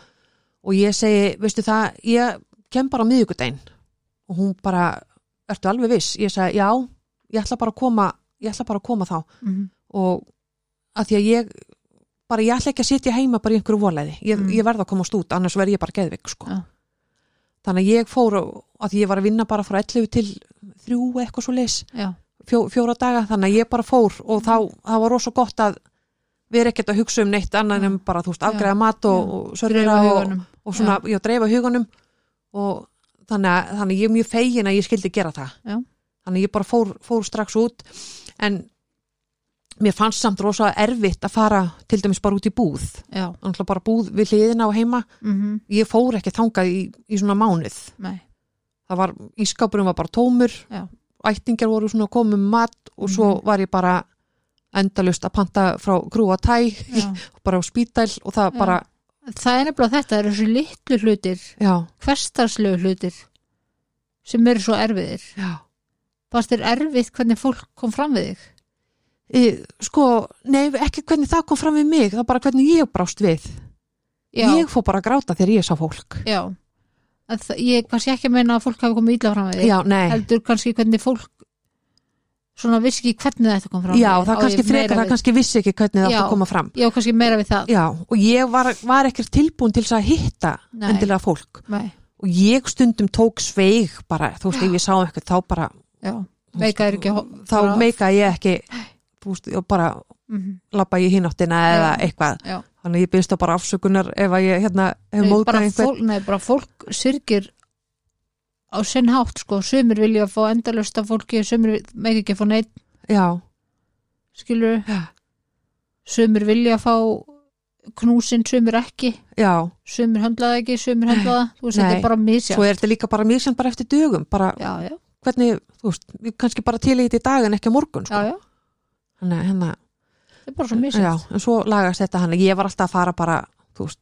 [SPEAKER 2] og ég segi, veistu það ég kem bara á miðvikudaginn og hún bara, ertu alveg viss ég sagði já, ég ætla bara að koma ég ætla bara að koma þá
[SPEAKER 1] mhm.
[SPEAKER 2] og að því að ég bara ég ætla ekki að sitja heima bara í einhverju volæði ég,
[SPEAKER 1] Mm.
[SPEAKER 2] ég verð að komast út, annars verð ég bara geðvik sko.
[SPEAKER 1] Já.
[SPEAKER 2] þannig að ég fór og- að ég var að vinna bara frá 11 til 3 eitthvað svo leis
[SPEAKER 1] Já.
[SPEAKER 2] fjó, fjóra daga, þannig að ég bara fór og þá,
[SPEAKER 1] Mm.
[SPEAKER 2] þá var rosa gott að við erum ekkert að hugsa um neitt annað en bara þú veist, afgræða mat og,
[SPEAKER 1] Mm. Já.
[SPEAKER 2] og
[SPEAKER 1] Dreifa
[SPEAKER 2] sörfira og,
[SPEAKER 1] huganum.
[SPEAKER 2] og svona, já, dreifa hugunum og þannig að, þannig að ég er mjög fegin að ég skildi gera það
[SPEAKER 1] Já.
[SPEAKER 2] þannig að ég bara fór, fór strax út en mér fannst samt rosa erfitt að fara til dæmis bara út í búð
[SPEAKER 1] já,
[SPEAKER 2] Þannig bara búð við hliðina á heima
[SPEAKER 1] mm
[SPEAKER 2] ég fór ekki þangað í, í svona mánuð
[SPEAKER 1] nei
[SPEAKER 2] það var, ískapurum var bara tómur
[SPEAKER 1] Já. Mhm.
[SPEAKER 2] ættingar voru svona að koma um mat og svo var ég bara endalust að panta frá grúa tæ
[SPEAKER 1] Já.
[SPEAKER 2] bara á spítæl og það
[SPEAKER 1] Já.
[SPEAKER 2] bara
[SPEAKER 1] það er nefnilega þetta, það eru þessu litlu hlutir
[SPEAKER 2] já,
[SPEAKER 1] hverstarslegu hlutir sem eru svo erfiðir
[SPEAKER 2] já,
[SPEAKER 1] Fannst þér erfitt hvernig fólk kom fram við þig?
[SPEAKER 2] Í- sko, nei, ekki hvernig það kom fram við mig, það er bara hvernig ég brást við
[SPEAKER 1] Já,
[SPEAKER 2] ég fór bara að gráta þegar ég sá fólk
[SPEAKER 1] já. En það- Ég kannski ekki að meina að fólk hafi komið illa fram við þig.
[SPEAKER 2] já, nei,
[SPEAKER 1] Heldur kannski hvernig fólk svona vissi ekki hvernig þetta kom fram
[SPEAKER 2] já,
[SPEAKER 1] við. þig. Á
[SPEAKER 2] það
[SPEAKER 1] ég
[SPEAKER 2] kannski
[SPEAKER 1] meira
[SPEAKER 2] frekar, það
[SPEAKER 1] við-
[SPEAKER 2] kannski vissi ekki hvernig það átti
[SPEAKER 1] Já.
[SPEAKER 2] að koma fram
[SPEAKER 1] Já, kannski meira við það.
[SPEAKER 2] já, og ég var, var ekkert tilbúin til þess að hitta
[SPEAKER 1] Nei.
[SPEAKER 2] endilega fólk
[SPEAKER 1] Nei,
[SPEAKER 2] og ég stundum tók sveig bara, þú veist, ef ég sá eitthvað þá bara,
[SPEAKER 1] já. Veika er ekki að ho-
[SPEAKER 2] þá
[SPEAKER 1] bara-
[SPEAKER 2] meika ég ekki þú veist, og bara
[SPEAKER 1] Mhm.
[SPEAKER 2] labba ég hináttina eða eitthvað
[SPEAKER 1] Já.
[SPEAKER 2] þannig að ég byrst á bara afsökunar ef að ég hérna hef
[SPEAKER 1] Nei, bara,
[SPEAKER 2] móðgað einhver
[SPEAKER 1] fólk, nei, bara fólk syrgir á sinn hátt sko, sumir vilja fá endalust af fólki, sumir vil- mega ekki fá neitt
[SPEAKER 2] já,
[SPEAKER 1] skilur,
[SPEAKER 2] Já.
[SPEAKER 1] sumir vilja fá knúsin, sumir ekki
[SPEAKER 2] já,
[SPEAKER 1] sumir höndlaða ekki, sumir höndlaða þú veist,
[SPEAKER 2] Nei.
[SPEAKER 1] þetta er bara misja
[SPEAKER 2] svo er þetta líka bara mjög sem bara eftir dögum, bara
[SPEAKER 1] já, já,
[SPEAKER 2] hvernig, þú veist, ég kannski bara til í þetta í dag en ekki á morgun,
[SPEAKER 1] já,
[SPEAKER 2] sko
[SPEAKER 1] já,
[SPEAKER 2] þannig að hérna,
[SPEAKER 1] þetta er bara svo misja
[SPEAKER 2] já, en svo lagast þetta hann, ég var alltaf að fara bara, þú veist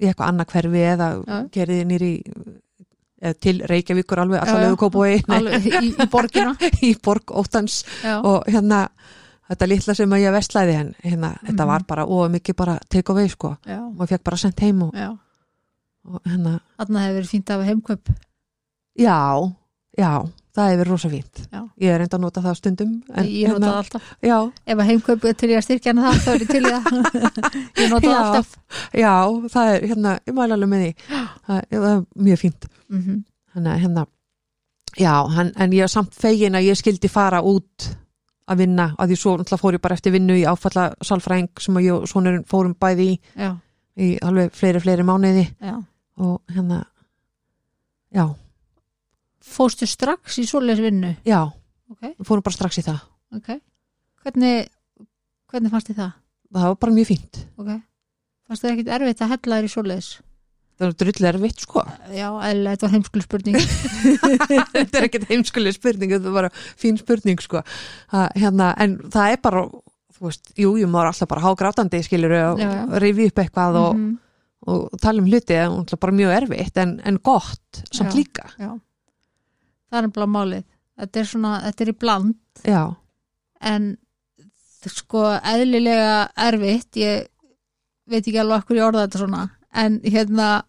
[SPEAKER 2] í eitthvað annað hverfi eða
[SPEAKER 1] Já.
[SPEAKER 2] gerði nýri eða til Reykjavíkur alveg,
[SPEAKER 1] Já, já.
[SPEAKER 2] allavegu kópói
[SPEAKER 1] Alveg, í, í borgina
[SPEAKER 2] í borg óttans
[SPEAKER 1] já,
[SPEAKER 2] og hérna þetta litla sem að ég veslaði en hérna, þetta
[SPEAKER 1] Mhm.
[SPEAKER 2] var bara of mikið bara take away sko,
[SPEAKER 1] já,
[SPEAKER 2] maður fekk bara sendt heim og,
[SPEAKER 1] já
[SPEAKER 2] og hérna,
[SPEAKER 1] þarna hefur verið fínt að hafa heimkaup
[SPEAKER 2] já já, það hefur rosa fínt
[SPEAKER 1] Já.
[SPEAKER 2] ég er enda að nota það stundum en, hérna-
[SPEAKER 1] ég nota það alltaf,
[SPEAKER 2] já,
[SPEAKER 1] ef að heimkaup er til ég að styrkja hana það, þá er ég til ég að ég nota
[SPEAKER 2] Já.
[SPEAKER 1] það alltaf
[SPEAKER 2] já, það er hérna, ég mæla alveg með því það, það er mjög fínt
[SPEAKER 1] mm
[SPEAKER 2] Þannig að hérna, já, hann, en ég er samt fegin að ég skildi fara út að vinna, að því svo náttúrulega fór ég bara eftir vinnu í áfalla salfræng sem að ég og sonurinn fórum bæði í,
[SPEAKER 1] já,
[SPEAKER 2] í alveg fleiri, fleiri mánuði
[SPEAKER 1] já
[SPEAKER 2] og hérna, já,
[SPEAKER 1] fóstu strax í svoleiðis vinnu
[SPEAKER 2] já,
[SPEAKER 1] ok,
[SPEAKER 2] við fórum bara strax í það.
[SPEAKER 1] ok hvernig, hvernig fannst þið það?
[SPEAKER 2] Það var bara mjög fínt.
[SPEAKER 1] ok, fannst þið ekkit erfitt að hella þér í svoleiðis?
[SPEAKER 2] Það var drull erfitt, sko.
[SPEAKER 1] já, eða þetta var heimskul spurning
[SPEAKER 2] Þetta er ekkert heimskuleg spurning, þetta er bara fín spurning, sko. Það, hérna, en það er bara, þú veist, jú, jú, maður er alltaf bara hágrátandi, skilur, og
[SPEAKER 1] Já, já.
[SPEAKER 2] rifi upp eitthvað og,
[SPEAKER 1] Mhm.
[SPEAKER 2] og tala um hluti er náttúrulega bara mjög erfitt en, en gott samt
[SPEAKER 1] Já.
[SPEAKER 2] líka
[SPEAKER 1] það er bara málið þetta er svona, þetta er í bland
[SPEAKER 2] já,
[SPEAKER 1] en þ- sko eðlilega erfitt ég veit ekki alveg okkur ég orða þetta svona en hérna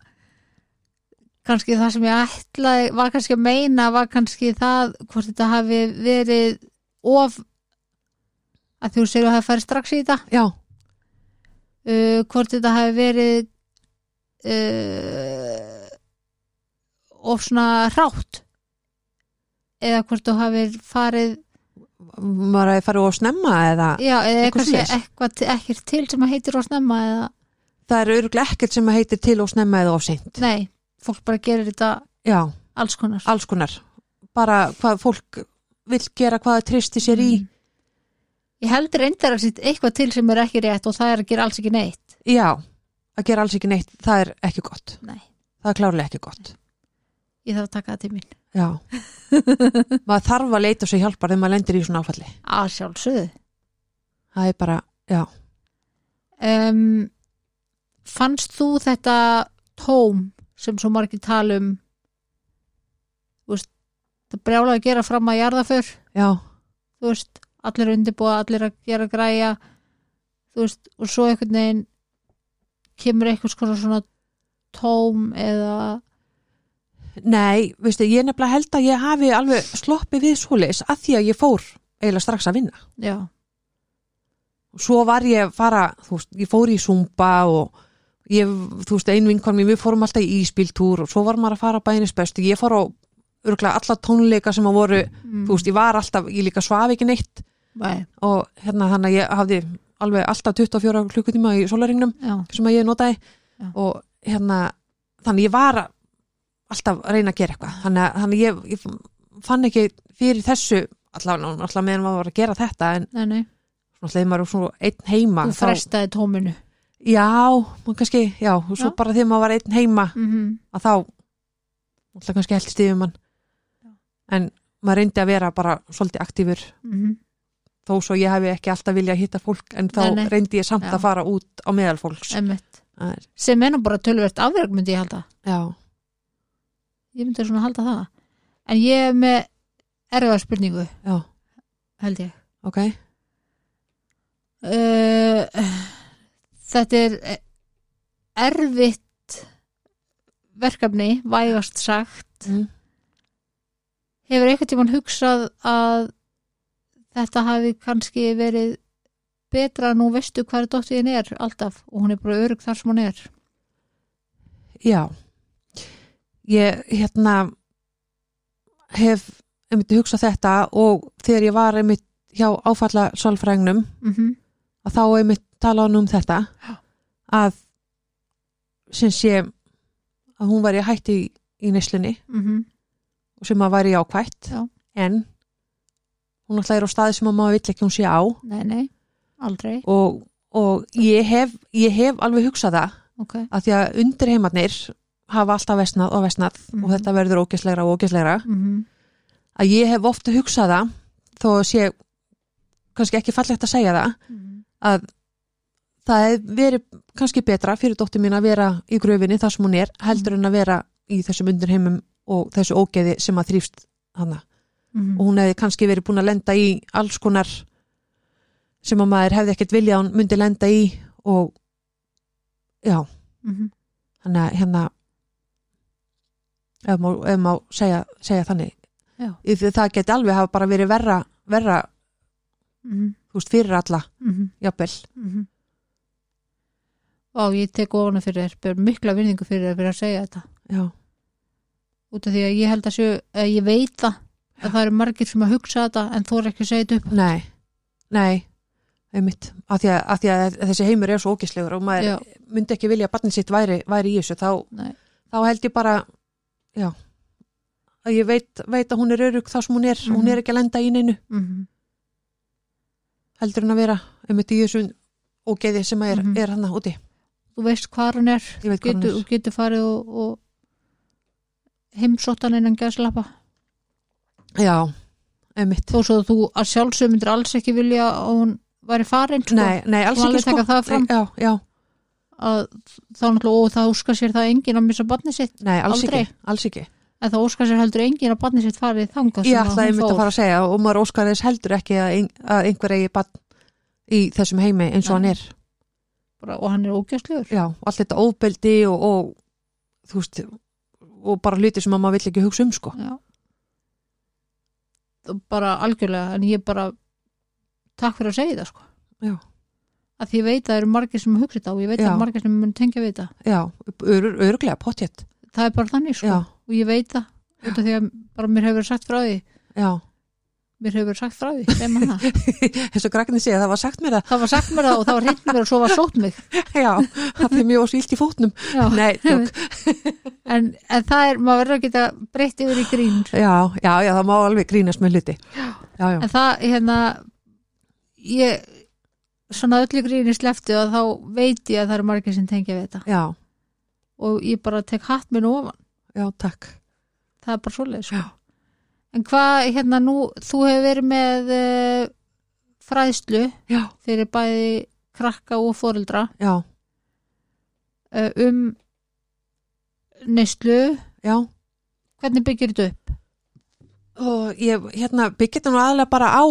[SPEAKER 1] kannski það sem ég ætlaði var kannski að meina var kannski það hvort þetta hafi verið of að þú segir að hafa farið strax í þetta
[SPEAKER 2] já,
[SPEAKER 1] uh, hvort þetta hafi verið uh, of svona rátt eða hvort þú hafið farið
[SPEAKER 2] maður að fara og snemma eða
[SPEAKER 1] já, eða
[SPEAKER 2] Eitthvað
[SPEAKER 1] kannski
[SPEAKER 2] svoleiðis.
[SPEAKER 1] eitthvað til- ekkert til sem að heitir of snemma eða,
[SPEAKER 2] það er örgulega ekkert sem heitir til og snemma eða of seint
[SPEAKER 1] nei, fólk bara gerir þetta
[SPEAKER 2] já,
[SPEAKER 1] alls konar
[SPEAKER 2] alls konar bara hvað fólk vill gera hvað það tristi sér í
[SPEAKER 1] Mm. ég heldur reyndar að sitt eitthvað til sem er ekki rétt og það er að gera alls ekki neitt
[SPEAKER 2] já, að gera alls ekki neitt það er ekki gott,
[SPEAKER 1] nei,
[SPEAKER 2] það er klárlega ekki gott
[SPEAKER 1] ég þarf að taka það til mín
[SPEAKER 2] já maður þarf að leita sér hjálpar þegar maður lendir í svona áfalli
[SPEAKER 1] að sjálfsögðu
[SPEAKER 2] það er bara, já,
[SPEAKER 1] um, fannst þú þetta tóm sem svo margir tala um þú veist það brjála að gera fram að jarðaför
[SPEAKER 2] já,
[SPEAKER 1] þú veist, allir er undirbúa, allir að gera græja þú veist, og svo einhvern veginn kemur einhvers konar svona tóm eða
[SPEAKER 2] nei, veistu ég nefnilega held að ég hafi alveg sloppið við svoleiðis að því að ég fór eiginlega strax að vinna
[SPEAKER 1] já,
[SPEAKER 2] svo var ég að fara, þú veist, ég fór í Zumba og ég, þú veist, ein vinkvar mér, við fórum alltaf í íspíltúr og svo var maður að fara bænis bestu, ég fór á örgulega alla tónleika sem að voru,
[SPEAKER 1] Mm.
[SPEAKER 2] þú veist, ég var alltaf, ég líka svaf ekki neitt
[SPEAKER 1] væ,
[SPEAKER 2] og hérna þannig að ég hafði alveg alltaf 24 klukkutíma í solaringnum
[SPEAKER 1] já,
[SPEAKER 2] sem að ég notaði
[SPEAKER 1] Já.
[SPEAKER 2] og hérna, þannig ég var alltaf að reyna að gera eitthvað þannig að, þannig að ég, ég fann ekki fyrir þessu, allavega, allavega meðan maður var að gera þetta en
[SPEAKER 1] nei, nei
[SPEAKER 2] svona þegar maður er svona einn heima
[SPEAKER 1] þú
[SPEAKER 2] þá-
[SPEAKER 1] frestaði tóminu
[SPEAKER 2] Já, maður kannski, já, og svo
[SPEAKER 1] Já.
[SPEAKER 2] bara þegar maður var einn heima
[SPEAKER 1] mm
[SPEAKER 2] að þá, alltaf kannski held stífum mann en maður reyndi að vera bara svolítið aktífur
[SPEAKER 1] Mhm,
[SPEAKER 2] þó svo ég hefði ekki alltaf viljað hitta fólk en þá
[SPEAKER 1] Nei, nei.
[SPEAKER 2] reyndi ég samt
[SPEAKER 1] Já.
[SPEAKER 2] að fara út á meðal fólks
[SPEAKER 1] emmitt
[SPEAKER 2] Það er-
[SPEAKER 1] sem er nú bara tölvert afverk myndi ég halda
[SPEAKER 2] Já,
[SPEAKER 1] ég myndi svona halda það en ég er með erfa spurningu
[SPEAKER 2] já,
[SPEAKER 1] held ég
[SPEAKER 2] ok
[SPEAKER 1] uh, þetta er eh, erfitt verkefni vægast sagt
[SPEAKER 2] mm.
[SPEAKER 1] hefur eitthvað tímann hugsað að þetta hafi kannski verið betra nú veistu hvað dóttiðin er alltaf og hún er bara örug þar sem hún er
[SPEAKER 2] Já, ég hérna hef einmitt hugsað þetta og þegar ég var einmitt hjá áfalla sálfrængnum
[SPEAKER 1] mm -hmm.
[SPEAKER 2] að þá einmitt tala hann um þetta
[SPEAKER 1] Já.
[SPEAKER 2] að sem sé að hún var í hætti í, í neslunni
[SPEAKER 1] Mm -hmm.
[SPEAKER 2] og sem að væri jákvætt
[SPEAKER 1] Já.
[SPEAKER 2] en hún alltaf er á staði sem að maður vill ekki að hún sé á
[SPEAKER 1] nei, nei, aldrei
[SPEAKER 2] og, og ég, hef, ég hef alveg hugsað það
[SPEAKER 1] ok,
[SPEAKER 2] að því að undir heimarnir hafa alltaf vesnað og vesnað
[SPEAKER 1] Mhm.
[SPEAKER 2] og þetta verður ógæslegra og ógæslegra
[SPEAKER 1] mm
[SPEAKER 2] að ég hef oft hugsað það þó að sé kannski ekki fallegt að segja það að það hef verið kannski betra fyrir dóttir mín að vera í gröfinni þar sem hún er heldur en að vera í þessum undir heimum og þessu ógeði sem að þrýfst hana og hún hefði kannski verið búin að lenda í alls konar sem að maður hefði ekkert viljað að hún myndi lenda í og já
[SPEAKER 1] Mhm,
[SPEAKER 2] þannig að hérna ef má, ef má segja, segja þannig
[SPEAKER 1] Já.
[SPEAKER 2] Í því það geti alveg hafa bara verið verra, verra
[SPEAKER 1] mhm,
[SPEAKER 2] þú veist, fyrir alla, jafnvel
[SPEAKER 1] Vá, ég tek ofana fyrir þér, ber mikla virðingu fyrir þér fyrir að segja þetta
[SPEAKER 2] já,
[SPEAKER 1] út af því að ég held að sjö, að ég veit það að það eru margir sem að hugsa þetta en þú er ekki að segja þetta upp
[SPEAKER 2] nei nei, einmitt af því að, af því að þessi heimur er svo ógislegur og maður
[SPEAKER 1] Já.
[SPEAKER 2] myndi ekki vilja að barnið sitt væri, væri í þessu, þá,
[SPEAKER 1] Nei.
[SPEAKER 2] þá held ég bara já að ég veit, veit að hún er örug þá sem hún er
[SPEAKER 1] Mhm.
[SPEAKER 2] hún er ekki að lenda í neinu,
[SPEAKER 1] mm -hmm.
[SPEAKER 2] heldur en að vera einmitt í þessu ógeði sem er,
[SPEAKER 1] Mhm.
[SPEAKER 2] er hann úti,
[SPEAKER 1] þú veist hvað hann er
[SPEAKER 2] ég veit hvað hún
[SPEAKER 1] getur,
[SPEAKER 2] er
[SPEAKER 1] og getur farið og, og heimsóttan innan gæslappa
[SPEAKER 2] Já, einmitt
[SPEAKER 1] þó svo að þú að sjálfsög myndir alls ekki vilja að hún væri farin sko,
[SPEAKER 2] Nei, nei, alls
[SPEAKER 1] Má
[SPEAKER 2] ekki
[SPEAKER 1] alveg
[SPEAKER 2] sko
[SPEAKER 1] taka það fram?
[SPEAKER 2] Nei, Já, já,
[SPEAKER 1] að þá náttúrulega og það óskar sér það enginn að missa barnið sitt
[SPEAKER 2] nei, alls
[SPEAKER 1] Aldrei.
[SPEAKER 2] ekki Alls ekki
[SPEAKER 1] en það óskar sér heldur enginn að barnið sitt farið þangað
[SPEAKER 2] Ég
[SPEAKER 1] sem
[SPEAKER 2] ætlaði
[SPEAKER 1] að hún
[SPEAKER 2] einmitt að
[SPEAKER 1] fór
[SPEAKER 2] fara að segja og maður óskar þess heldur ekki að, ein, að einhver eigi bann í þessum heimi eins og
[SPEAKER 1] Nei.
[SPEAKER 2] hann er
[SPEAKER 1] bara, og hann er ógjastlegur
[SPEAKER 2] Já, og allt þetta óbeldi og, og þú veist og bara hluti sem að maður vill ekki hugsa um sko
[SPEAKER 1] Já. Og bara algjörlega en ég bara takk fyrir að segja það sko
[SPEAKER 2] Já.
[SPEAKER 1] að því ég veit að það eru margir sem hugsa þetta og ég veit að
[SPEAKER 2] Já.
[SPEAKER 1] það eru margir sem mun tengja við þetta
[SPEAKER 2] Já, ör, örglega, potjett
[SPEAKER 1] það er bara þannig sko
[SPEAKER 2] Já,
[SPEAKER 1] og ég veit það út af því að bara mér hefur verið sagt frá því
[SPEAKER 2] já
[SPEAKER 1] mér hefur verið sagt frá því, segir maður það
[SPEAKER 2] eins og Gragnir segja, það var sagt mér
[SPEAKER 1] það var sagt mér það og það var hreint mér og svo var sótt mig
[SPEAKER 2] það Já, það er mjög svílt í fótnum
[SPEAKER 1] Já,
[SPEAKER 2] Nei, tjók
[SPEAKER 1] en, en það er, maður verður að geta breytt yfir í grín
[SPEAKER 2] Já, já, já, það má alveg grínast með hluti Já, já,
[SPEAKER 1] en það, hérna ég svona öllu gríni sleftu að þá veit ég að það eru margir sem tengja við þetta
[SPEAKER 2] já,
[SPEAKER 1] og ég bara tek hatt minn ofan
[SPEAKER 2] já, takk
[SPEAKER 1] það er bara svoleið sko.
[SPEAKER 2] Já.
[SPEAKER 1] en hvað, hérna nú, þú hefur verið með uh, fræðslu
[SPEAKER 2] Já,
[SPEAKER 1] fyrir bæði krakka og foreldra
[SPEAKER 2] já,
[SPEAKER 1] eh, um neyslu
[SPEAKER 2] já
[SPEAKER 1] hvernig byggir þetta upp?
[SPEAKER 2] og ég hérna byggja þetta nú aðlega bara á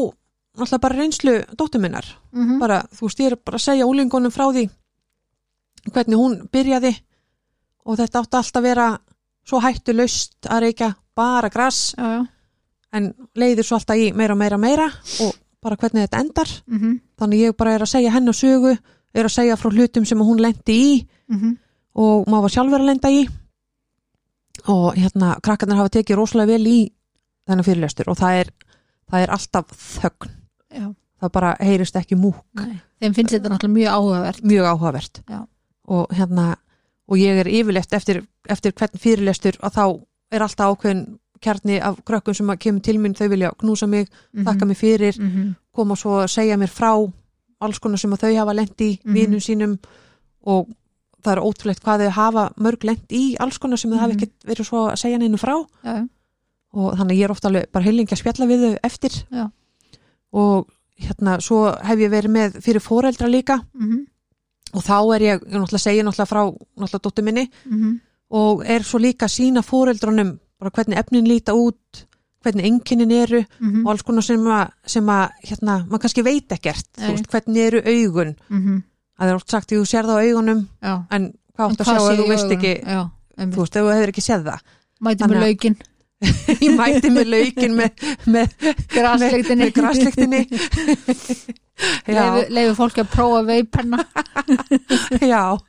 [SPEAKER 2] náttúrulega bara reynslu dóttur minnar
[SPEAKER 1] Mm
[SPEAKER 2] bara, þú veist, ég er bara að segja úlingunum frá því hvernig hún byrjaði og þetta átti alltaf að vera svo hættu laust að reykja bara grass
[SPEAKER 1] Já, já.
[SPEAKER 2] en leiðir svo alltaf í meira, meira, meira og bara hvernig þetta endar
[SPEAKER 1] Mm -hmm.
[SPEAKER 2] þannig ég bara er að segja hennu sögu er að segja frá hlutum sem hún lendi í Mhm. og maður var sjálfur að lenda í og hérna krakkarnar hafa tekið rosalega vel í þennan fyrirlestur og það er, það er alltaf þögn,
[SPEAKER 1] já.
[SPEAKER 2] það bara heyrist ekki múk,
[SPEAKER 1] Nei. Þeim finnst þetta náttúrulega mjög áhugavert.
[SPEAKER 2] mjög áhugavert
[SPEAKER 1] Já.
[SPEAKER 2] og hérna og ég er yfirleitt eftir, eftir hvern fyrirlestur að þá er alltaf ákveðin kjarni af krökkum sem að kemur til mín þau vilja knúsa mig,
[SPEAKER 1] Mhm.
[SPEAKER 2] þakka mig fyrir
[SPEAKER 1] Mm -hmm.
[SPEAKER 2] koma svo að segja mér frá alls konar sem að þau hafa lent í
[SPEAKER 1] Mhm.
[SPEAKER 2] vinum sínum og það er ótrúlegt hvað þau hafa mörg lent í alls konar sem þau hafa
[SPEAKER 1] Mhm.
[SPEAKER 2] ekkert verið svo að segja neinu frá
[SPEAKER 1] Já, já.
[SPEAKER 2] og þannig að ég er ofta alveg bara heilingi að spjalla við þau eftir
[SPEAKER 1] Já.
[SPEAKER 2] og hérna svo hef ég verið með fyrir foreldra líka
[SPEAKER 1] Mm -hmm.
[SPEAKER 2] og þá er ég, ég náttúrulega segja náttúrulega frá náttúrulega dóttu minni
[SPEAKER 1] Mm -hmm.
[SPEAKER 2] og er svo líka að sína foreldrunum bara hvernig efnin líta út hvernig enginin eru
[SPEAKER 1] mm
[SPEAKER 2] og alls konar sem að, sem að hérna, maður kannski veit ekkert, þú
[SPEAKER 1] Nei.
[SPEAKER 2] veist, hvernig eru augun að það er oft sagt, jú, sér það á augunum
[SPEAKER 1] já
[SPEAKER 2] en hvað átt
[SPEAKER 1] En
[SPEAKER 2] að sjá
[SPEAKER 1] hvað sé
[SPEAKER 2] ef
[SPEAKER 1] í
[SPEAKER 2] þú veist
[SPEAKER 1] augunum?
[SPEAKER 2] ekki
[SPEAKER 1] já,
[SPEAKER 2] þú veist, ef þú hefur ekki séð það
[SPEAKER 1] mæti
[SPEAKER 2] Þannig
[SPEAKER 1] með
[SPEAKER 2] að-
[SPEAKER 1] laukin
[SPEAKER 2] ég mæti með laukin með, með,
[SPEAKER 1] grasleiktinni
[SPEAKER 2] með grasleiktinni já,
[SPEAKER 1] leifu fólki að prófa veipenna
[SPEAKER 2] já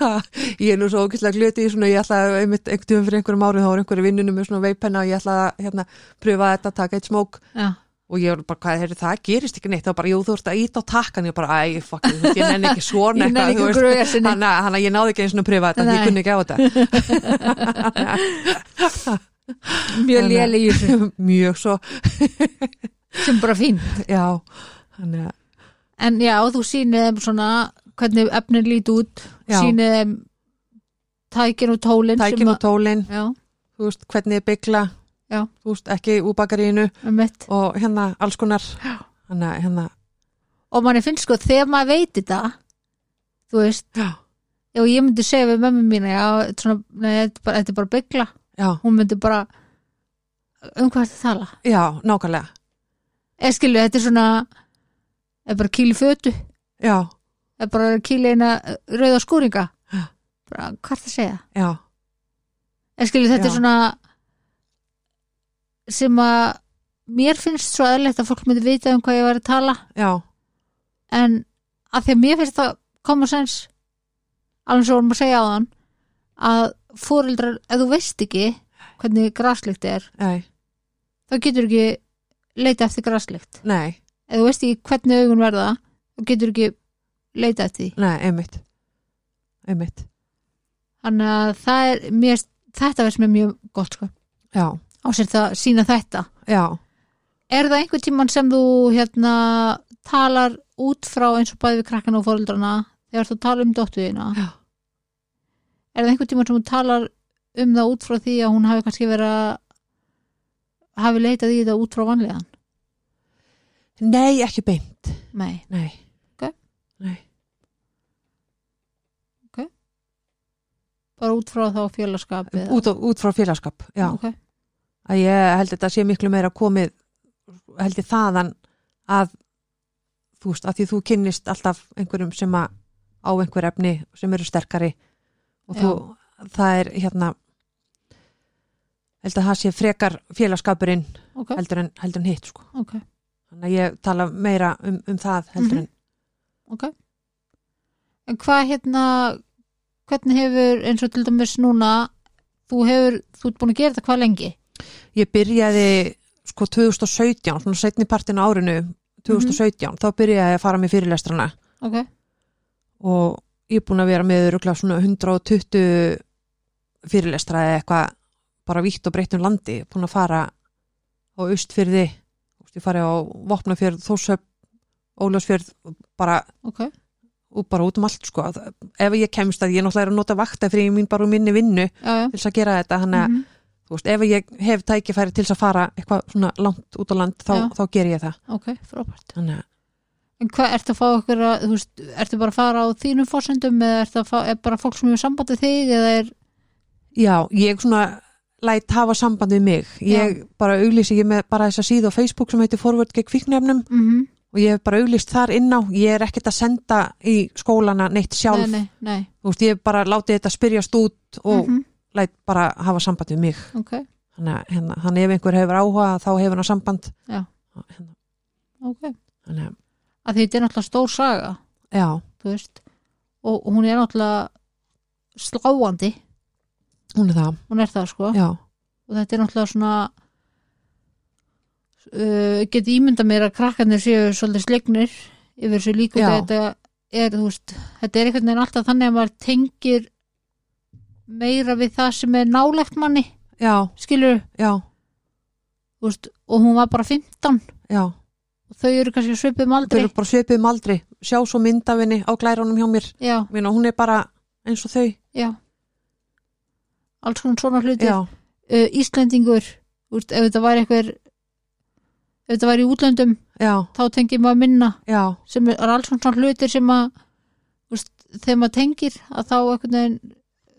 [SPEAKER 2] Ha, ég er nú svo ógæslega glöti í svona ég ætla að einmitt einhvern tíum fyrir einhverjum árið þá var einhverju vinnunum með svona veipenna og ég ætla að hérna, pröfa þetta, taka eitt smók
[SPEAKER 1] já,
[SPEAKER 2] og ég var bara, hvað er það, gerist ekki neitt það var bara, jú, þú ert að íta á takkan ég bara, æ, fuck, þú veist, ég nenni ekki
[SPEAKER 1] ég
[SPEAKER 2] svona
[SPEAKER 1] nefnir
[SPEAKER 2] eitthvað,
[SPEAKER 1] ekki
[SPEAKER 2] þú veist.
[SPEAKER 1] gröðjarsinni
[SPEAKER 2] Þannig að- þannig að ég náði ekki eins og að pröfa þetta,
[SPEAKER 1] Nei.
[SPEAKER 2] ég kunni ekki á þetta
[SPEAKER 1] mjög
[SPEAKER 2] Þannig að-
[SPEAKER 1] léli í þessu
[SPEAKER 2] mjög svo,
[SPEAKER 1] sem bara fín
[SPEAKER 2] já þannig að,
[SPEAKER 1] en já, þú sýnið þeim svona hvernig efnin líti út
[SPEAKER 2] Já.
[SPEAKER 1] sýnið þeim tækin og tólin sem
[SPEAKER 2] tækin og tólin
[SPEAKER 1] að- já,
[SPEAKER 2] þú veist, hvernig er byggla
[SPEAKER 1] Já.
[SPEAKER 2] þú veist, ekki úr bakarínu
[SPEAKER 1] um mitt
[SPEAKER 2] og hérna alls konar þannig að, hérna,
[SPEAKER 1] og manni finnst sko, þegar maður veit þetta þú veist
[SPEAKER 2] já,
[SPEAKER 1] og ég myndi segja við mömmu mína já, svona, nei, þetta er bara, þetta er bara byggla
[SPEAKER 2] já,
[SPEAKER 1] hún myndi bara um hvað þetta tala
[SPEAKER 2] já nákvæmlega
[SPEAKER 1] eða skilu, þetta er svona eða bara kýli fötu
[SPEAKER 2] já,
[SPEAKER 1] eða bara kýli eina rauða skúringa
[SPEAKER 2] Já.
[SPEAKER 1] bara, hvað er það að segja
[SPEAKER 2] já,
[SPEAKER 1] eða skilu, þetta
[SPEAKER 2] Já.
[SPEAKER 1] er svona sem að mér finnst svo aðlegt að fólk myndi vita um hvað ég var að tala
[SPEAKER 2] já
[SPEAKER 1] en að því að mér finnst það common sense alveg svo vorum að segja á þann að fóreldrar, ef þú veist ekki hvernig graslikt er
[SPEAKER 2] nei,
[SPEAKER 1] þá getur ekki leita eftir graslikt
[SPEAKER 2] nei,
[SPEAKER 1] ef þú veist ekki hvernig augun verða þá getur ekki leita eftir því
[SPEAKER 2] nei, einmitt einmitt,
[SPEAKER 1] þannig að það er mér, þetta verður sem er mjög gott sko.
[SPEAKER 2] já,
[SPEAKER 1] á sér það sína þetta
[SPEAKER 2] já
[SPEAKER 1] er það einhvern tímann sem þú hérna talar út frá eins og bæði við krakkana og fóreldrana þegar þú talar um dóttuðina
[SPEAKER 2] Já.
[SPEAKER 1] er það einhvern tímann sem þú talar um það út frá því að hún hafi kannski verið að hafi leitað í þetta út frá vanlegan
[SPEAKER 2] nei, ekki beint,
[SPEAKER 1] nei,
[SPEAKER 2] nei
[SPEAKER 1] Ok.
[SPEAKER 2] nei,
[SPEAKER 1] bara út frá þá félagskap eða-
[SPEAKER 2] út, á- út frá félagskap já,
[SPEAKER 1] Ok.
[SPEAKER 2] að ég held að þetta sé miklu meira komið held ég þaðan að þú veist, að því þú kynnist alltaf einhverjum sem að á einhver efni sem eru sterkari og þú, það er hérna held að það sé frekar félagskapurinn
[SPEAKER 1] ok,
[SPEAKER 2] heldur en, heldur en hitt sko
[SPEAKER 1] ok
[SPEAKER 2] þannig að ég tala meira um, um það heldur en
[SPEAKER 1] ok en hvað hérna hvernig hefur eins og til dæmis núna þú hefur, þú ert búin að gera þetta hvað lengi
[SPEAKER 2] ég byrjaði sko 2017, svona setni partin á árinu 2017, þá byrjaði ég að fara með fyrirlestrana
[SPEAKER 1] ok,
[SPEAKER 2] og ég er búin að vera með rúkla svona 120 fyrirlestra eða eitthvað bara vítt og breytt um landi, búin að fara á austfyrði þú veist, ég farið á Vopnafjörð, Þórsöp Óljósfjörð, bara
[SPEAKER 1] ok,
[SPEAKER 2] og bara út um allt sko Það- ef ég kemst að ég náttúrulega er að nota vakta fyrir ég mín bara úr minni vinnu
[SPEAKER 1] já já
[SPEAKER 2] til þess að gera þetta hann að,
[SPEAKER 1] Mhm.
[SPEAKER 2] þú veist, ef ég hef tækifæri til þess að fara eitthvað svona langt út á land þá,
[SPEAKER 1] Já.
[SPEAKER 2] þá ger ég það
[SPEAKER 1] ok, frábært
[SPEAKER 2] þannig að,
[SPEAKER 1] en hvað ertu að fá okkur að, þú veist, ertu bara að fara á þínum fórsendum eða ertu að fá, er bara fólk sem hefur sambandið þig eða er,
[SPEAKER 2] já, ég svona læt hafa samband við mig ég bara auglýsi, ég er með bara þessa síðu á Facebook sem heitir Forward gegn fíknefnum
[SPEAKER 1] mm -hmm.
[SPEAKER 2] og ég hef bara auglýst þar inn á ég er ekkert að senda í skólana neitt sjálf,
[SPEAKER 1] nei, nei, nei
[SPEAKER 2] þú veist, ég hef bara látið þetta spyrjast út og
[SPEAKER 1] Mhm.
[SPEAKER 2] læt bara hafa samband við mig
[SPEAKER 1] ok,
[SPEAKER 2] þannig að, hérna, þannig ef einhver hefur áhuga þá hefur hann samband
[SPEAKER 1] Já.
[SPEAKER 2] Og hérna,
[SPEAKER 1] ok
[SPEAKER 2] þannig að,
[SPEAKER 1] að því þetta er náttúrulega stór saga
[SPEAKER 2] já,
[SPEAKER 1] þú veist, og hún er náttúrulega sláandi
[SPEAKER 2] hún er það
[SPEAKER 1] hún er það sko
[SPEAKER 2] já,
[SPEAKER 1] og þetta er náttúrulega svona uh, geti ímynda mér að krakkarnir séu svolítið slegnir yfir þessu líku
[SPEAKER 2] Já.
[SPEAKER 1] þetta er, þú veist, þetta er einhvern veginn alltaf þannig að maður tengir meira við það sem er nálægt manni
[SPEAKER 2] já,
[SPEAKER 1] skilur,
[SPEAKER 2] já,
[SPEAKER 1] þú veist, og hún var bara 15
[SPEAKER 2] já
[SPEAKER 1] og þau eru kannski svipum
[SPEAKER 2] þau
[SPEAKER 1] aldrei
[SPEAKER 2] eru bara svipið um aldri sjá svo myndafinni á glærunum hjá mér
[SPEAKER 1] já,
[SPEAKER 2] Minna, hún er bara eins og þau
[SPEAKER 1] já alls konar svona hluti
[SPEAKER 2] já,
[SPEAKER 1] uh, Íslendingur, þú veist, ef þetta var eitthvað ef þetta var í útlöndum
[SPEAKER 2] já,
[SPEAKER 1] þá tengir maður minna
[SPEAKER 2] já,
[SPEAKER 1] sem er alls konar svona hlutir sem að þú veist, þegar maður tengir að þá einhvern veginn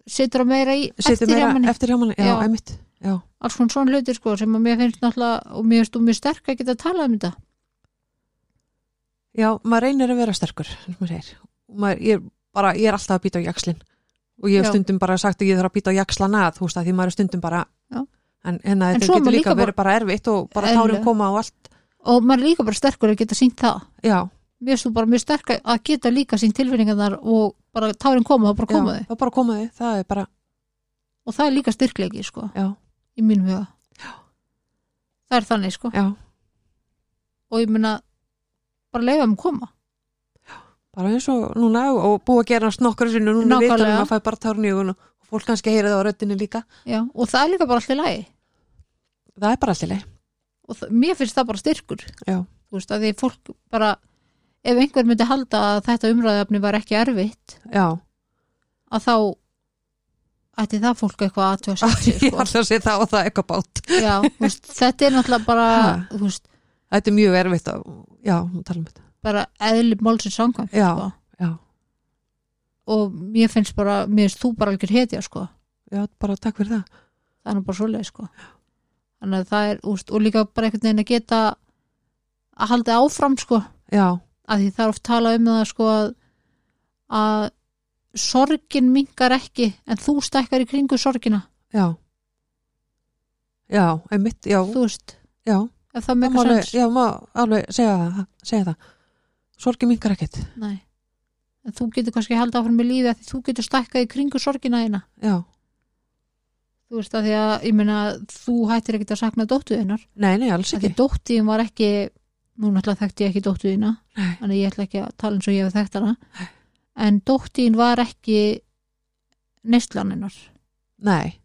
[SPEAKER 1] setur á meira í
[SPEAKER 2] setur
[SPEAKER 1] eftir hjá
[SPEAKER 2] meira
[SPEAKER 1] manni
[SPEAKER 2] eftir hjá manni já,
[SPEAKER 1] Já.
[SPEAKER 2] einmitt já,
[SPEAKER 1] alls konar svona hlutir sko sem að mér finnst náttúrulega og mér finnst þú mjög sterk að geta að tala um þetta
[SPEAKER 2] já, maður reynir að vera sterkur eins og maður segir Og maður, ég, er bara, ég er alltaf að býta á jakslin og ég hef
[SPEAKER 1] Já.
[SPEAKER 2] stundum bara sagt að ég þarf að býta á jakslana þú veist að því maður er stundum bara
[SPEAKER 1] Já.
[SPEAKER 2] en, en
[SPEAKER 1] En
[SPEAKER 2] þetta
[SPEAKER 1] svo er
[SPEAKER 2] getur
[SPEAKER 1] maður
[SPEAKER 2] líka
[SPEAKER 1] líka
[SPEAKER 2] verið bara erfitt og bara
[SPEAKER 1] Eðlilega.
[SPEAKER 2] tárin koma og allt
[SPEAKER 1] og maður er líka bara sterkur að geta sínt það
[SPEAKER 2] já,
[SPEAKER 1] mér finnst þú bara mjög sterk að geta líka sínt tilfinningarnar og bara tárin koma þá bara koma
[SPEAKER 2] já,
[SPEAKER 1] þau
[SPEAKER 2] þá bara komaði, það er bara
[SPEAKER 1] og það er líka styrkleiki sko
[SPEAKER 2] já,
[SPEAKER 1] í mínum huga það er þannig sko
[SPEAKER 2] já,
[SPEAKER 1] og ég meina bara leifa um að koma
[SPEAKER 2] bara eins og núna og- og búið að gera snokkur sinu núna
[SPEAKER 1] Nákvæmlega.
[SPEAKER 2] viðtalum að fæ bara tárin í augun og og fólk kannski heyra það á röddinni líka
[SPEAKER 1] já, og það er líka bara allir lægi
[SPEAKER 2] það er bara allir
[SPEAKER 1] og það, mér finnst það bara styrkur
[SPEAKER 2] Já.
[SPEAKER 1] þú veist að því fólk bara ef einhver myndi halda að þetta umræðafni var ekki erfitt
[SPEAKER 2] já,
[SPEAKER 1] að þá ætti það fólk eitthvað aðtjóða sér
[SPEAKER 2] ég
[SPEAKER 1] sko.
[SPEAKER 2] ætla að segja það og það er eitthvað bát
[SPEAKER 1] já, þú veist, þetta er náttúrulega bara,
[SPEAKER 2] Ha.
[SPEAKER 1] þú veist,
[SPEAKER 2] þetta er mjög erfitt að, já, tala um þetta
[SPEAKER 1] bara eðli málsins samkvæmt
[SPEAKER 2] já,
[SPEAKER 1] sko.
[SPEAKER 2] já,
[SPEAKER 1] og mér finnst bara, mér finnst þú bara algjör hetja sko.
[SPEAKER 2] já, bara takk fyrir það
[SPEAKER 1] það er nú bara svoleið sko. þannig að það er, úst, og líka bara einhvern veginn að geta að halda áfram sko,
[SPEAKER 2] já,
[SPEAKER 1] að því það er oft tala um það sko að, að sorgin mingar ekki en þú stækkar í kringu sorgina
[SPEAKER 2] já já, einmitt, já,
[SPEAKER 1] þú veist,
[SPEAKER 2] já
[SPEAKER 1] ef það
[SPEAKER 2] það má
[SPEAKER 1] megar
[SPEAKER 2] alveg,
[SPEAKER 1] sens
[SPEAKER 2] já, má alveg segja það, segja það sorgi mingar ekkert,
[SPEAKER 1] Nei. en þú getur kannski að halda áfram með lífi að því þú getur stækkað í kringu sorgina þína
[SPEAKER 2] já
[SPEAKER 1] þú veist að því að, ég meina þú hættir ekkert að sakna dóttuðinnar
[SPEAKER 2] nei, nei, alls
[SPEAKER 1] að því
[SPEAKER 2] ekki,
[SPEAKER 1] dóttuðin var ekki nú náttúrulega þekkti ég ekki dóttuðina
[SPEAKER 2] nei,
[SPEAKER 1] þannig að ég ætla ekki að tala eins og ég hef þekkt hana en dóttin var ekki neistlaninnar
[SPEAKER 2] nei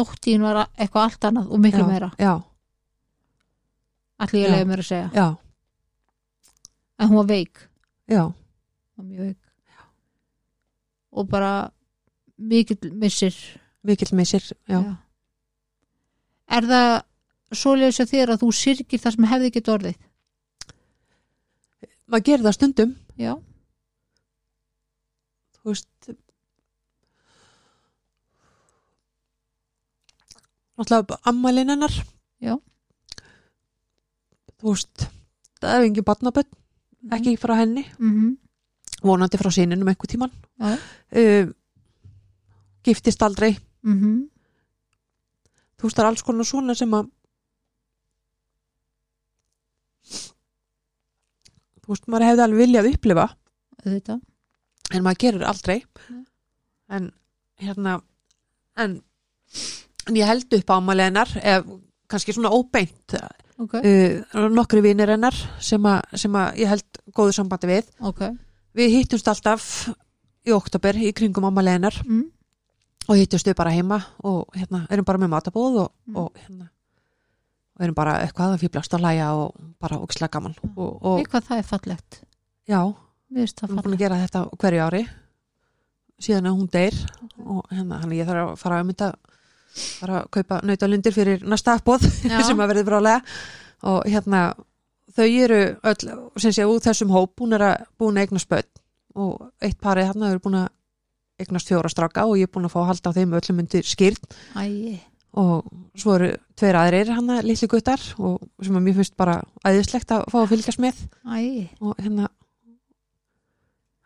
[SPEAKER 1] dóttin var eitthvað allt annað og miklu
[SPEAKER 2] já,
[SPEAKER 1] meira
[SPEAKER 2] já,
[SPEAKER 1] allir ég
[SPEAKER 2] Já.
[SPEAKER 1] leiði mér að segja
[SPEAKER 2] já,
[SPEAKER 1] en hún var veik,
[SPEAKER 2] já,
[SPEAKER 1] hún var mjög veik. og bara mikill missir
[SPEAKER 2] mikill missir já,
[SPEAKER 1] Já. er það svoleiðis að þér að þú syrgir það sem hefði ekki orðið
[SPEAKER 2] maður gerir það stundum
[SPEAKER 1] já,
[SPEAKER 2] þú veist náttúrulega ammælin hennar
[SPEAKER 1] Já.
[SPEAKER 2] þú veist það er engin barnaböld
[SPEAKER 1] Mhm.
[SPEAKER 2] ekki frá henni,
[SPEAKER 1] mm
[SPEAKER 2] vonandi frá sininum einhver tíman
[SPEAKER 1] Já.
[SPEAKER 2] uh, giftist aldrei
[SPEAKER 1] Mhm.
[SPEAKER 2] þú veist það er alls konar svona sem að þú veist maður hefði alveg viljað upplifa
[SPEAKER 1] auðvitað
[SPEAKER 2] en maður gerir aldrei
[SPEAKER 1] Nei.
[SPEAKER 2] en hérna en, en ég held upp ámæli hennar ef, kannski svona óbeint
[SPEAKER 1] ok,
[SPEAKER 2] uh, nokkri vinir hennar sem, a, sem að ég held góðu sambandi við
[SPEAKER 1] ok
[SPEAKER 2] við hittumst alltaf í oktober í kringum ámæli hennar
[SPEAKER 1] mm.
[SPEAKER 2] og hittumst við bara heima og hérna erum bara með matabóð og,
[SPEAKER 1] Mm.
[SPEAKER 2] og hérna og erum bara eitthvað að fýblast að læja og bara ókslega gaman og, og
[SPEAKER 1] eitthvað það er fallegt
[SPEAKER 2] já,
[SPEAKER 1] Mér finnst það
[SPEAKER 2] Við erum búin að
[SPEAKER 1] fallegt
[SPEAKER 2] gera þetta á hverju ári síðan að hún deyr og hérna, hann ég þarf að fara að mynda fara að kaupa nautalundir fyrir næsta uppbóð
[SPEAKER 1] Já.
[SPEAKER 2] sem að verði brálega og hérna, þau eru öll, sem sé, út þessum hóp búin að, búin að eignast börn og eitt parið hann eru búin að eignast fjóra stráka og ég er búin að fá að halda á þeim öllum undir skýrt
[SPEAKER 1] Æi,
[SPEAKER 2] og svo eru tveir aðrir hann að litli guttar og sem að mér finnst bara æðislegt að fá að fylgjast með
[SPEAKER 1] æi
[SPEAKER 2] og hérna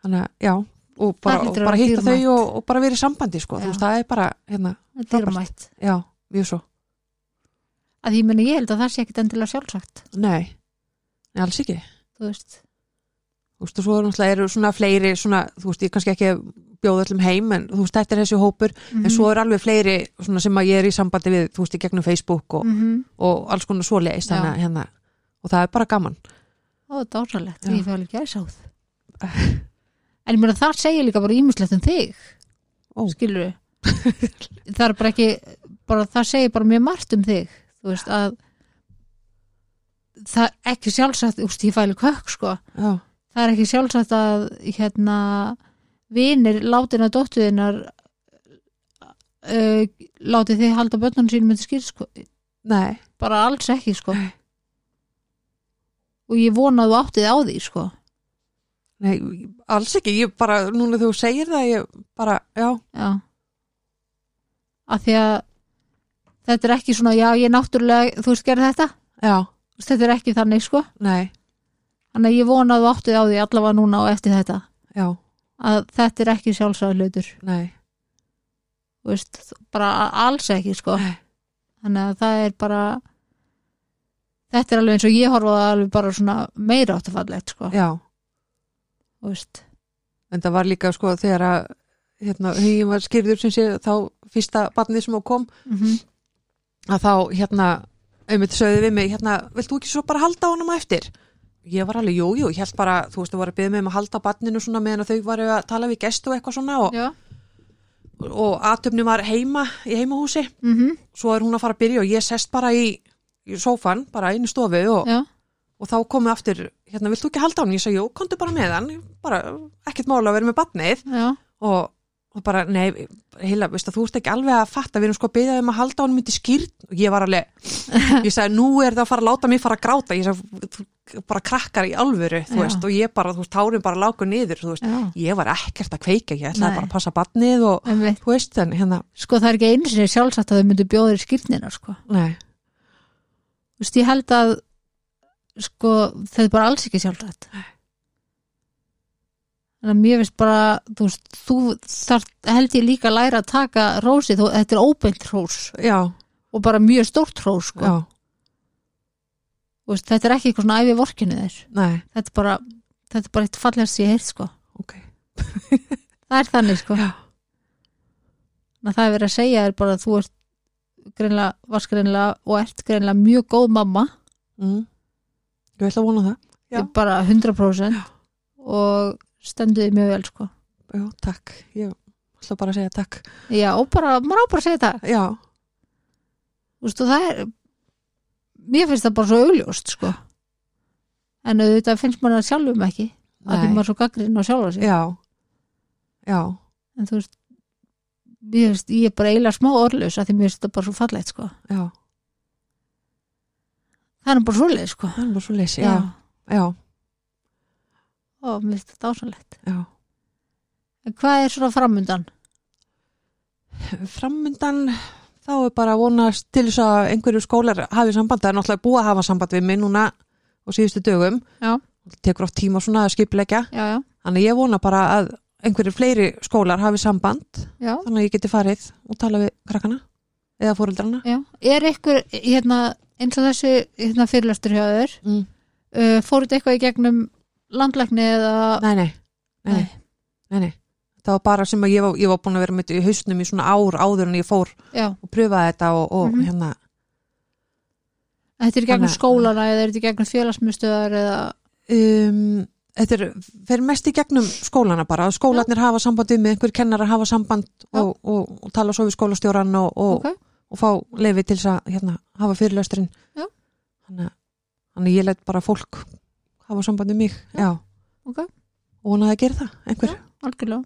[SPEAKER 2] þannig að já og bara, og
[SPEAKER 1] hlýtur að
[SPEAKER 2] bara
[SPEAKER 1] vera
[SPEAKER 2] hitta þau
[SPEAKER 1] dýrmætt.
[SPEAKER 2] og, og bara verið sambandi sko,
[SPEAKER 1] Já.
[SPEAKER 2] þú veist, það er bara hérna,
[SPEAKER 1] Það er mætt.
[SPEAKER 2] já, mjög svo
[SPEAKER 1] Að því, ég meni, ég held að það sé ekkit endilega sjálfsagt,
[SPEAKER 2] nei, nei alls ekki
[SPEAKER 1] þú veist.
[SPEAKER 2] þú veist, og svo er náttúrulega eru svona fleiri svona, þú veist, ég er kannski ekki að bjóða öllum heim en þú veist, þetta er þessi hópur
[SPEAKER 1] Mhm.
[SPEAKER 2] en svo er alveg fleiri svona sem að ég er í sambandi við, þú veist, í gegnum Facebook og,
[SPEAKER 1] mm -hmm.
[SPEAKER 2] og alls konar svoleiðis, þannig að hérna og það er bara gaman,
[SPEAKER 1] Það er dásalegt,
[SPEAKER 2] Já.
[SPEAKER 1] ég fæ alveg gæsáð. en ég meina, það segir líka bara ímislegt um þig,
[SPEAKER 2] Ó.
[SPEAKER 1] skilur það er bara ekki, bara, það segir bara mjög margt um þig, þú veist, að það er ekki sjálfsagt, úst, ég fæ alveg kökk, sko.
[SPEAKER 2] já,
[SPEAKER 1] það er ekki sjálfsagt að hérna vinir látina dóttuðinnar uh, láti þið halda börnunum sínum með skýr sko.
[SPEAKER 2] nei,
[SPEAKER 1] bara alls ekki sko. og ég vona að þú áttið á því sko.
[SPEAKER 2] nei alls ekki, ég bara, núna þú segir það ég bara, já,
[SPEAKER 1] já að því að þetta er ekki svona, já ég náttúrulega þú veist gerði þetta,
[SPEAKER 2] já,
[SPEAKER 1] Þú veist, þetta er ekki þannig sko,
[SPEAKER 2] nei,
[SPEAKER 1] þannig að ég vona að þú áttið á því allavega núna og eftir þetta
[SPEAKER 2] já,
[SPEAKER 1] að þetta er ekki sjálfsaglutur
[SPEAKER 2] nei
[SPEAKER 1] veist, bara alls ekki sko
[SPEAKER 2] Nei.
[SPEAKER 1] þannig að það er bara þetta er alveg eins og ég horfa á það alveg bara svona meira áttafallegt sko
[SPEAKER 2] já,
[SPEAKER 1] þú veist,
[SPEAKER 2] en það var líka sko þegar að hérna, hugin var skýrður sem sé þá fyrsta barnið sem á kom
[SPEAKER 1] mm
[SPEAKER 2] að þá hérna einmitt sögðu við mig, hérna, vilt þú ekki svo bara halda honum á eftir? Ég var alveg, jú, jú, ég held bara, þú veist, þú voru að byrja mig um að halda barninu svona meðan að þau varu að tala við gestu og eitthvað svona og,
[SPEAKER 1] já,
[SPEAKER 2] og atöfni var heima í heimahúsi,
[SPEAKER 1] mm
[SPEAKER 2] svo er hún að fara að byrja og ég sest bara í, í sófan, bara einu stofu og,
[SPEAKER 1] já,
[SPEAKER 2] og þá komið aftur, hérna, vilt þú ekki halda honum? Ég sagði, jú, komdu bara með hann, bara ekkert mála að vera með barnið
[SPEAKER 1] já
[SPEAKER 2] og, og bara, nei, heila, veist að þú ert ekki alveg að fatta, við erum sko að byggja um að halda honum myndi skýrt og ég var alveg, ég sagði, nú er það að fara að láta mig fara að gráta, ég sagði, þú bara krakkar í alvöru, þú
[SPEAKER 1] Já.
[SPEAKER 2] veist, og ég bara, þú veist, tárin bara lágu niður, þú veist,
[SPEAKER 1] já,
[SPEAKER 2] ég var ekkert að kveika, ég ætlaði
[SPEAKER 1] Nei.
[SPEAKER 2] bara að passa barnið og,
[SPEAKER 1] einmitt
[SPEAKER 2] þú veist, en hérna,
[SPEAKER 1] sko það er ekki einu sinni sjálfsagt að þau myndu bjóður í skýrnina sko,
[SPEAKER 2] nei,
[SPEAKER 1] þú veist, ég held að sko, þau er bara alls ekki sjálfsagt þannig að mér finnst bara þú veist, þú þart, held ég líka að læra að taka rósið, þú, þetta er óbeint rós
[SPEAKER 2] já,
[SPEAKER 1] og bara mjög stórt rós sko.
[SPEAKER 2] já,
[SPEAKER 1] Þú veist, þetta er ekki eitthvað svona æfi vorkinu þér
[SPEAKER 2] nei,
[SPEAKER 1] þetta er bara, þetta er bara eitt fallegast sem ég heilt sko.
[SPEAKER 2] ok,
[SPEAKER 1] það er þannig sko.
[SPEAKER 2] Já.
[SPEAKER 1] Ná, það er verið að segja er bara að þú ert greinlega, varst greinlega og ert greinlega mjög góð mamma
[SPEAKER 2] mm. ég ætla að vona það, Já.
[SPEAKER 1] bara 100% og stenduði mjög vel sko.
[SPEAKER 2] já, takk, ég ætla bara að segja takk,
[SPEAKER 1] já og bara, maður á bara að segja það
[SPEAKER 2] já,
[SPEAKER 1] Vistu, það er mér finnst það bara svo augljóst sko. en auðvitað finnst maður það sjálfum ekki að því
[SPEAKER 2] Nei.
[SPEAKER 1] maður er svo gaggrinn á sjálfa sig
[SPEAKER 2] já, já,
[SPEAKER 1] en þú veist ég, veist, ég er bara eiginlega smá orðlaus að því mér finnst þetta bara svo fallegt sko.
[SPEAKER 2] já,
[SPEAKER 1] það er nú bara svoleið sko.
[SPEAKER 2] það er bara svo leysi, já, já,
[SPEAKER 1] og mér finnst þetta ásanlegt
[SPEAKER 2] já.
[SPEAKER 1] en hvað er svona framundan?
[SPEAKER 2] framundan þá er bara að vonast til þess að einhverju skólar hafi samband, það er náttúrulega búið að hafa samband við mig núna og síðustu dögum
[SPEAKER 1] Já.
[SPEAKER 2] tekur oft tíma svona að skipleggja
[SPEAKER 1] já, já,
[SPEAKER 2] þannig að ég vona bara að einhverju fleiri skólar hafi samband
[SPEAKER 1] já,
[SPEAKER 2] þannig að ég geti farið og tala við krakkana eða fóreldrana
[SPEAKER 1] já. er ykkur hérna, eins og þessi hérna, fyrirlestur hjá þér
[SPEAKER 2] mm.
[SPEAKER 1] uh, fóruð þið eitthvað í gegnum landlækni eða
[SPEAKER 2] nei, nei, nei, nei, nei, nei það var bara sem að ég var, ég var búin að vera með þetta í hausnum í svona ár áður en ég fór
[SPEAKER 1] já,
[SPEAKER 2] og pröfaði þetta og, og
[SPEAKER 1] Mhm.
[SPEAKER 2] hérna
[SPEAKER 1] þetta er í gegnum
[SPEAKER 2] Þannig að-
[SPEAKER 1] skólana eða er þetta í gegnum félagsmyndstöðar eða
[SPEAKER 2] um, þetta er, fer mest í gegnum skólana bara, að skólanir hafa samband við með einhver kennarar hafa samband
[SPEAKER 1] Já.
[SPEAKER 2] og, og, og tala svo við skólastjóran og, og,
[SPEAKER 1] Ok.
[SPEAKER 2] og fá leifi til þess að hérna, hafa fyrirlösturinn
[SPEAKER 1] Já.
[SPEAKER 2] þannig, að- þannig að ég let bara fólk hafa samband við mig já.
[SPEAKER 1] ok,
[SPEAKER 2] og hún að það gera það einhver,
[SPEAKER 1] algjörlega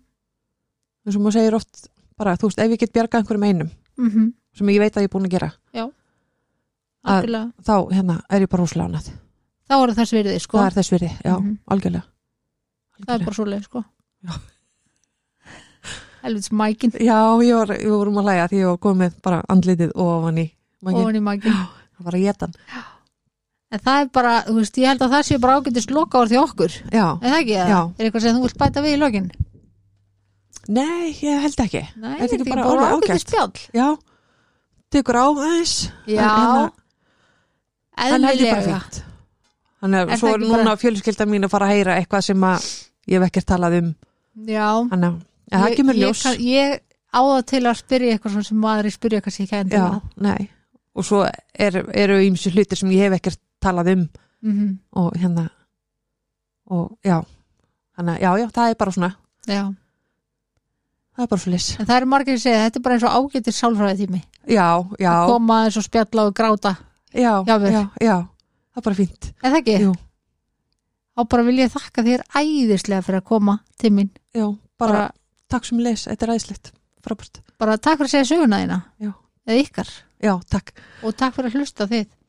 [SPEAKER 2] eins og maður segir oft bara, þú veist, ef ég get bjargað einhverjum einum
[SPEAKER 1] mm
[SPEAKER 2] sem ég veit að ég er búin að gera Að-
[SPEAKER 1] algjörlega,
[SPEAKER 2] þá hérna, er ég bara húslánað
[SPEAKER 1] þá er það svirði sko.
[SPEAKER 2] það er þess virði, já,
[SPEAKER 1] Mhm.
[SPEAKER 2] algjörlega
[SPEAKER 1] það er bara svoleið sko.
[SPEAKER 2] Já.
[SPEAKER 1] helvits mækin
[SPEAKER 2] Já, ég var, við vorum að hlæja því ég var komið bara andlitið ofan í mangin.
[SPEAKER 1] ofan í mækin
[SPEAKER 2] Það var að geta hann.
[SPEAKER 1] En það er bara, þú veist, ég held að það sé bara ágætist loka því okkur,
[SPEAKER 2] Já.
[SPEAKER 1] er það ekki? eða?
[SPEAKER 2] Já.
[SPEAKER 1] Er eitthvað sem þú vilt bæta við í lokin?
[SPEAKER 2] Nei, ég held ekki.
[SPEAKER 1] Nei,
[SPEAKER 2] Er þetta ekki bara orðið
[SPEAKER 1] ágætist spjall?
[SPEAKER 2] Já. Tekur á aðeins.
[SPEAKER 1] Já,
[SPEAKER 2] hérna- En held hérna ég bara
[SPEAKER 1] eðlilega.
[SPEAKER 2] fínt. Þannig
[SPEAKER 1] Er
[SPEAKER 2] að svo
[SPEAKER 1] það
[SPEAKER 2] er
[SPEAKER 1] ekki
[SPEAKER 2] núna
[SPEAKER 1] bara-
[SPEAKER 2] fjölskylda mín að fara að heyra eitthvað sem að ég hef ekkert talað um.
[SPEAKER 1] Já.
[SPEAKER 2] Þannig að en það
[SPEAKER 1] Ég-
[SPEAKER 2] kemur
[SPEAKER 1] ég
[SPEAKER 2] ljós.
[SPEAKER 1] kann- Ég áða til að spyrja eitthvað svona sem maður spyrja kannski ekki endur
[SPEAKER 2] Já,
[SPEAKER 1] að.
[SPEAKER 2] nei. Og svo er, eru ímsu hlutir sem ég hef ekkert talað um
[SPEAKER 1] Mhm.
[SPEAKER 2] og hérna og já. Þannig að já, já, það er bara svona.
[SPEAKER 1] Já.
[SPEAKER 2] Það er bara svo
[SPEAKER 1] En það eru margir að segja, þetta er bara eins og ágætist sálfræði tími.
[SPEAKER 2] Já, já.
[SPEAKER 1] Að koma eins og spjalla og gráta.
[SPEAKER 2] já, já,
[SPEAKER 1] Jafnvel.
[SPEAKER 2] já, það er bara fínt
[SPEAKER 1] Er það ekki?
[SPEAKER 2] Jú.
[SPEAKER 1] Þá bara vil ég þakka þér æðislega fyrir að koma til mín.
[SPEAKER 2] já, bara,
[SPEAKER 1] Bara,
[SPEAKER 2] takk sem les, þetta er æðislegt frábært,
[SPEAKER 1] bara takk fyrir að segja söguna þína.
[SPEAKER 2] Já.
[SPEAKER 1] Eða ykkar.
[SPEAKER 2] já, takk
[SPEAKER 1] Og takk fyrir að hlusta á þið.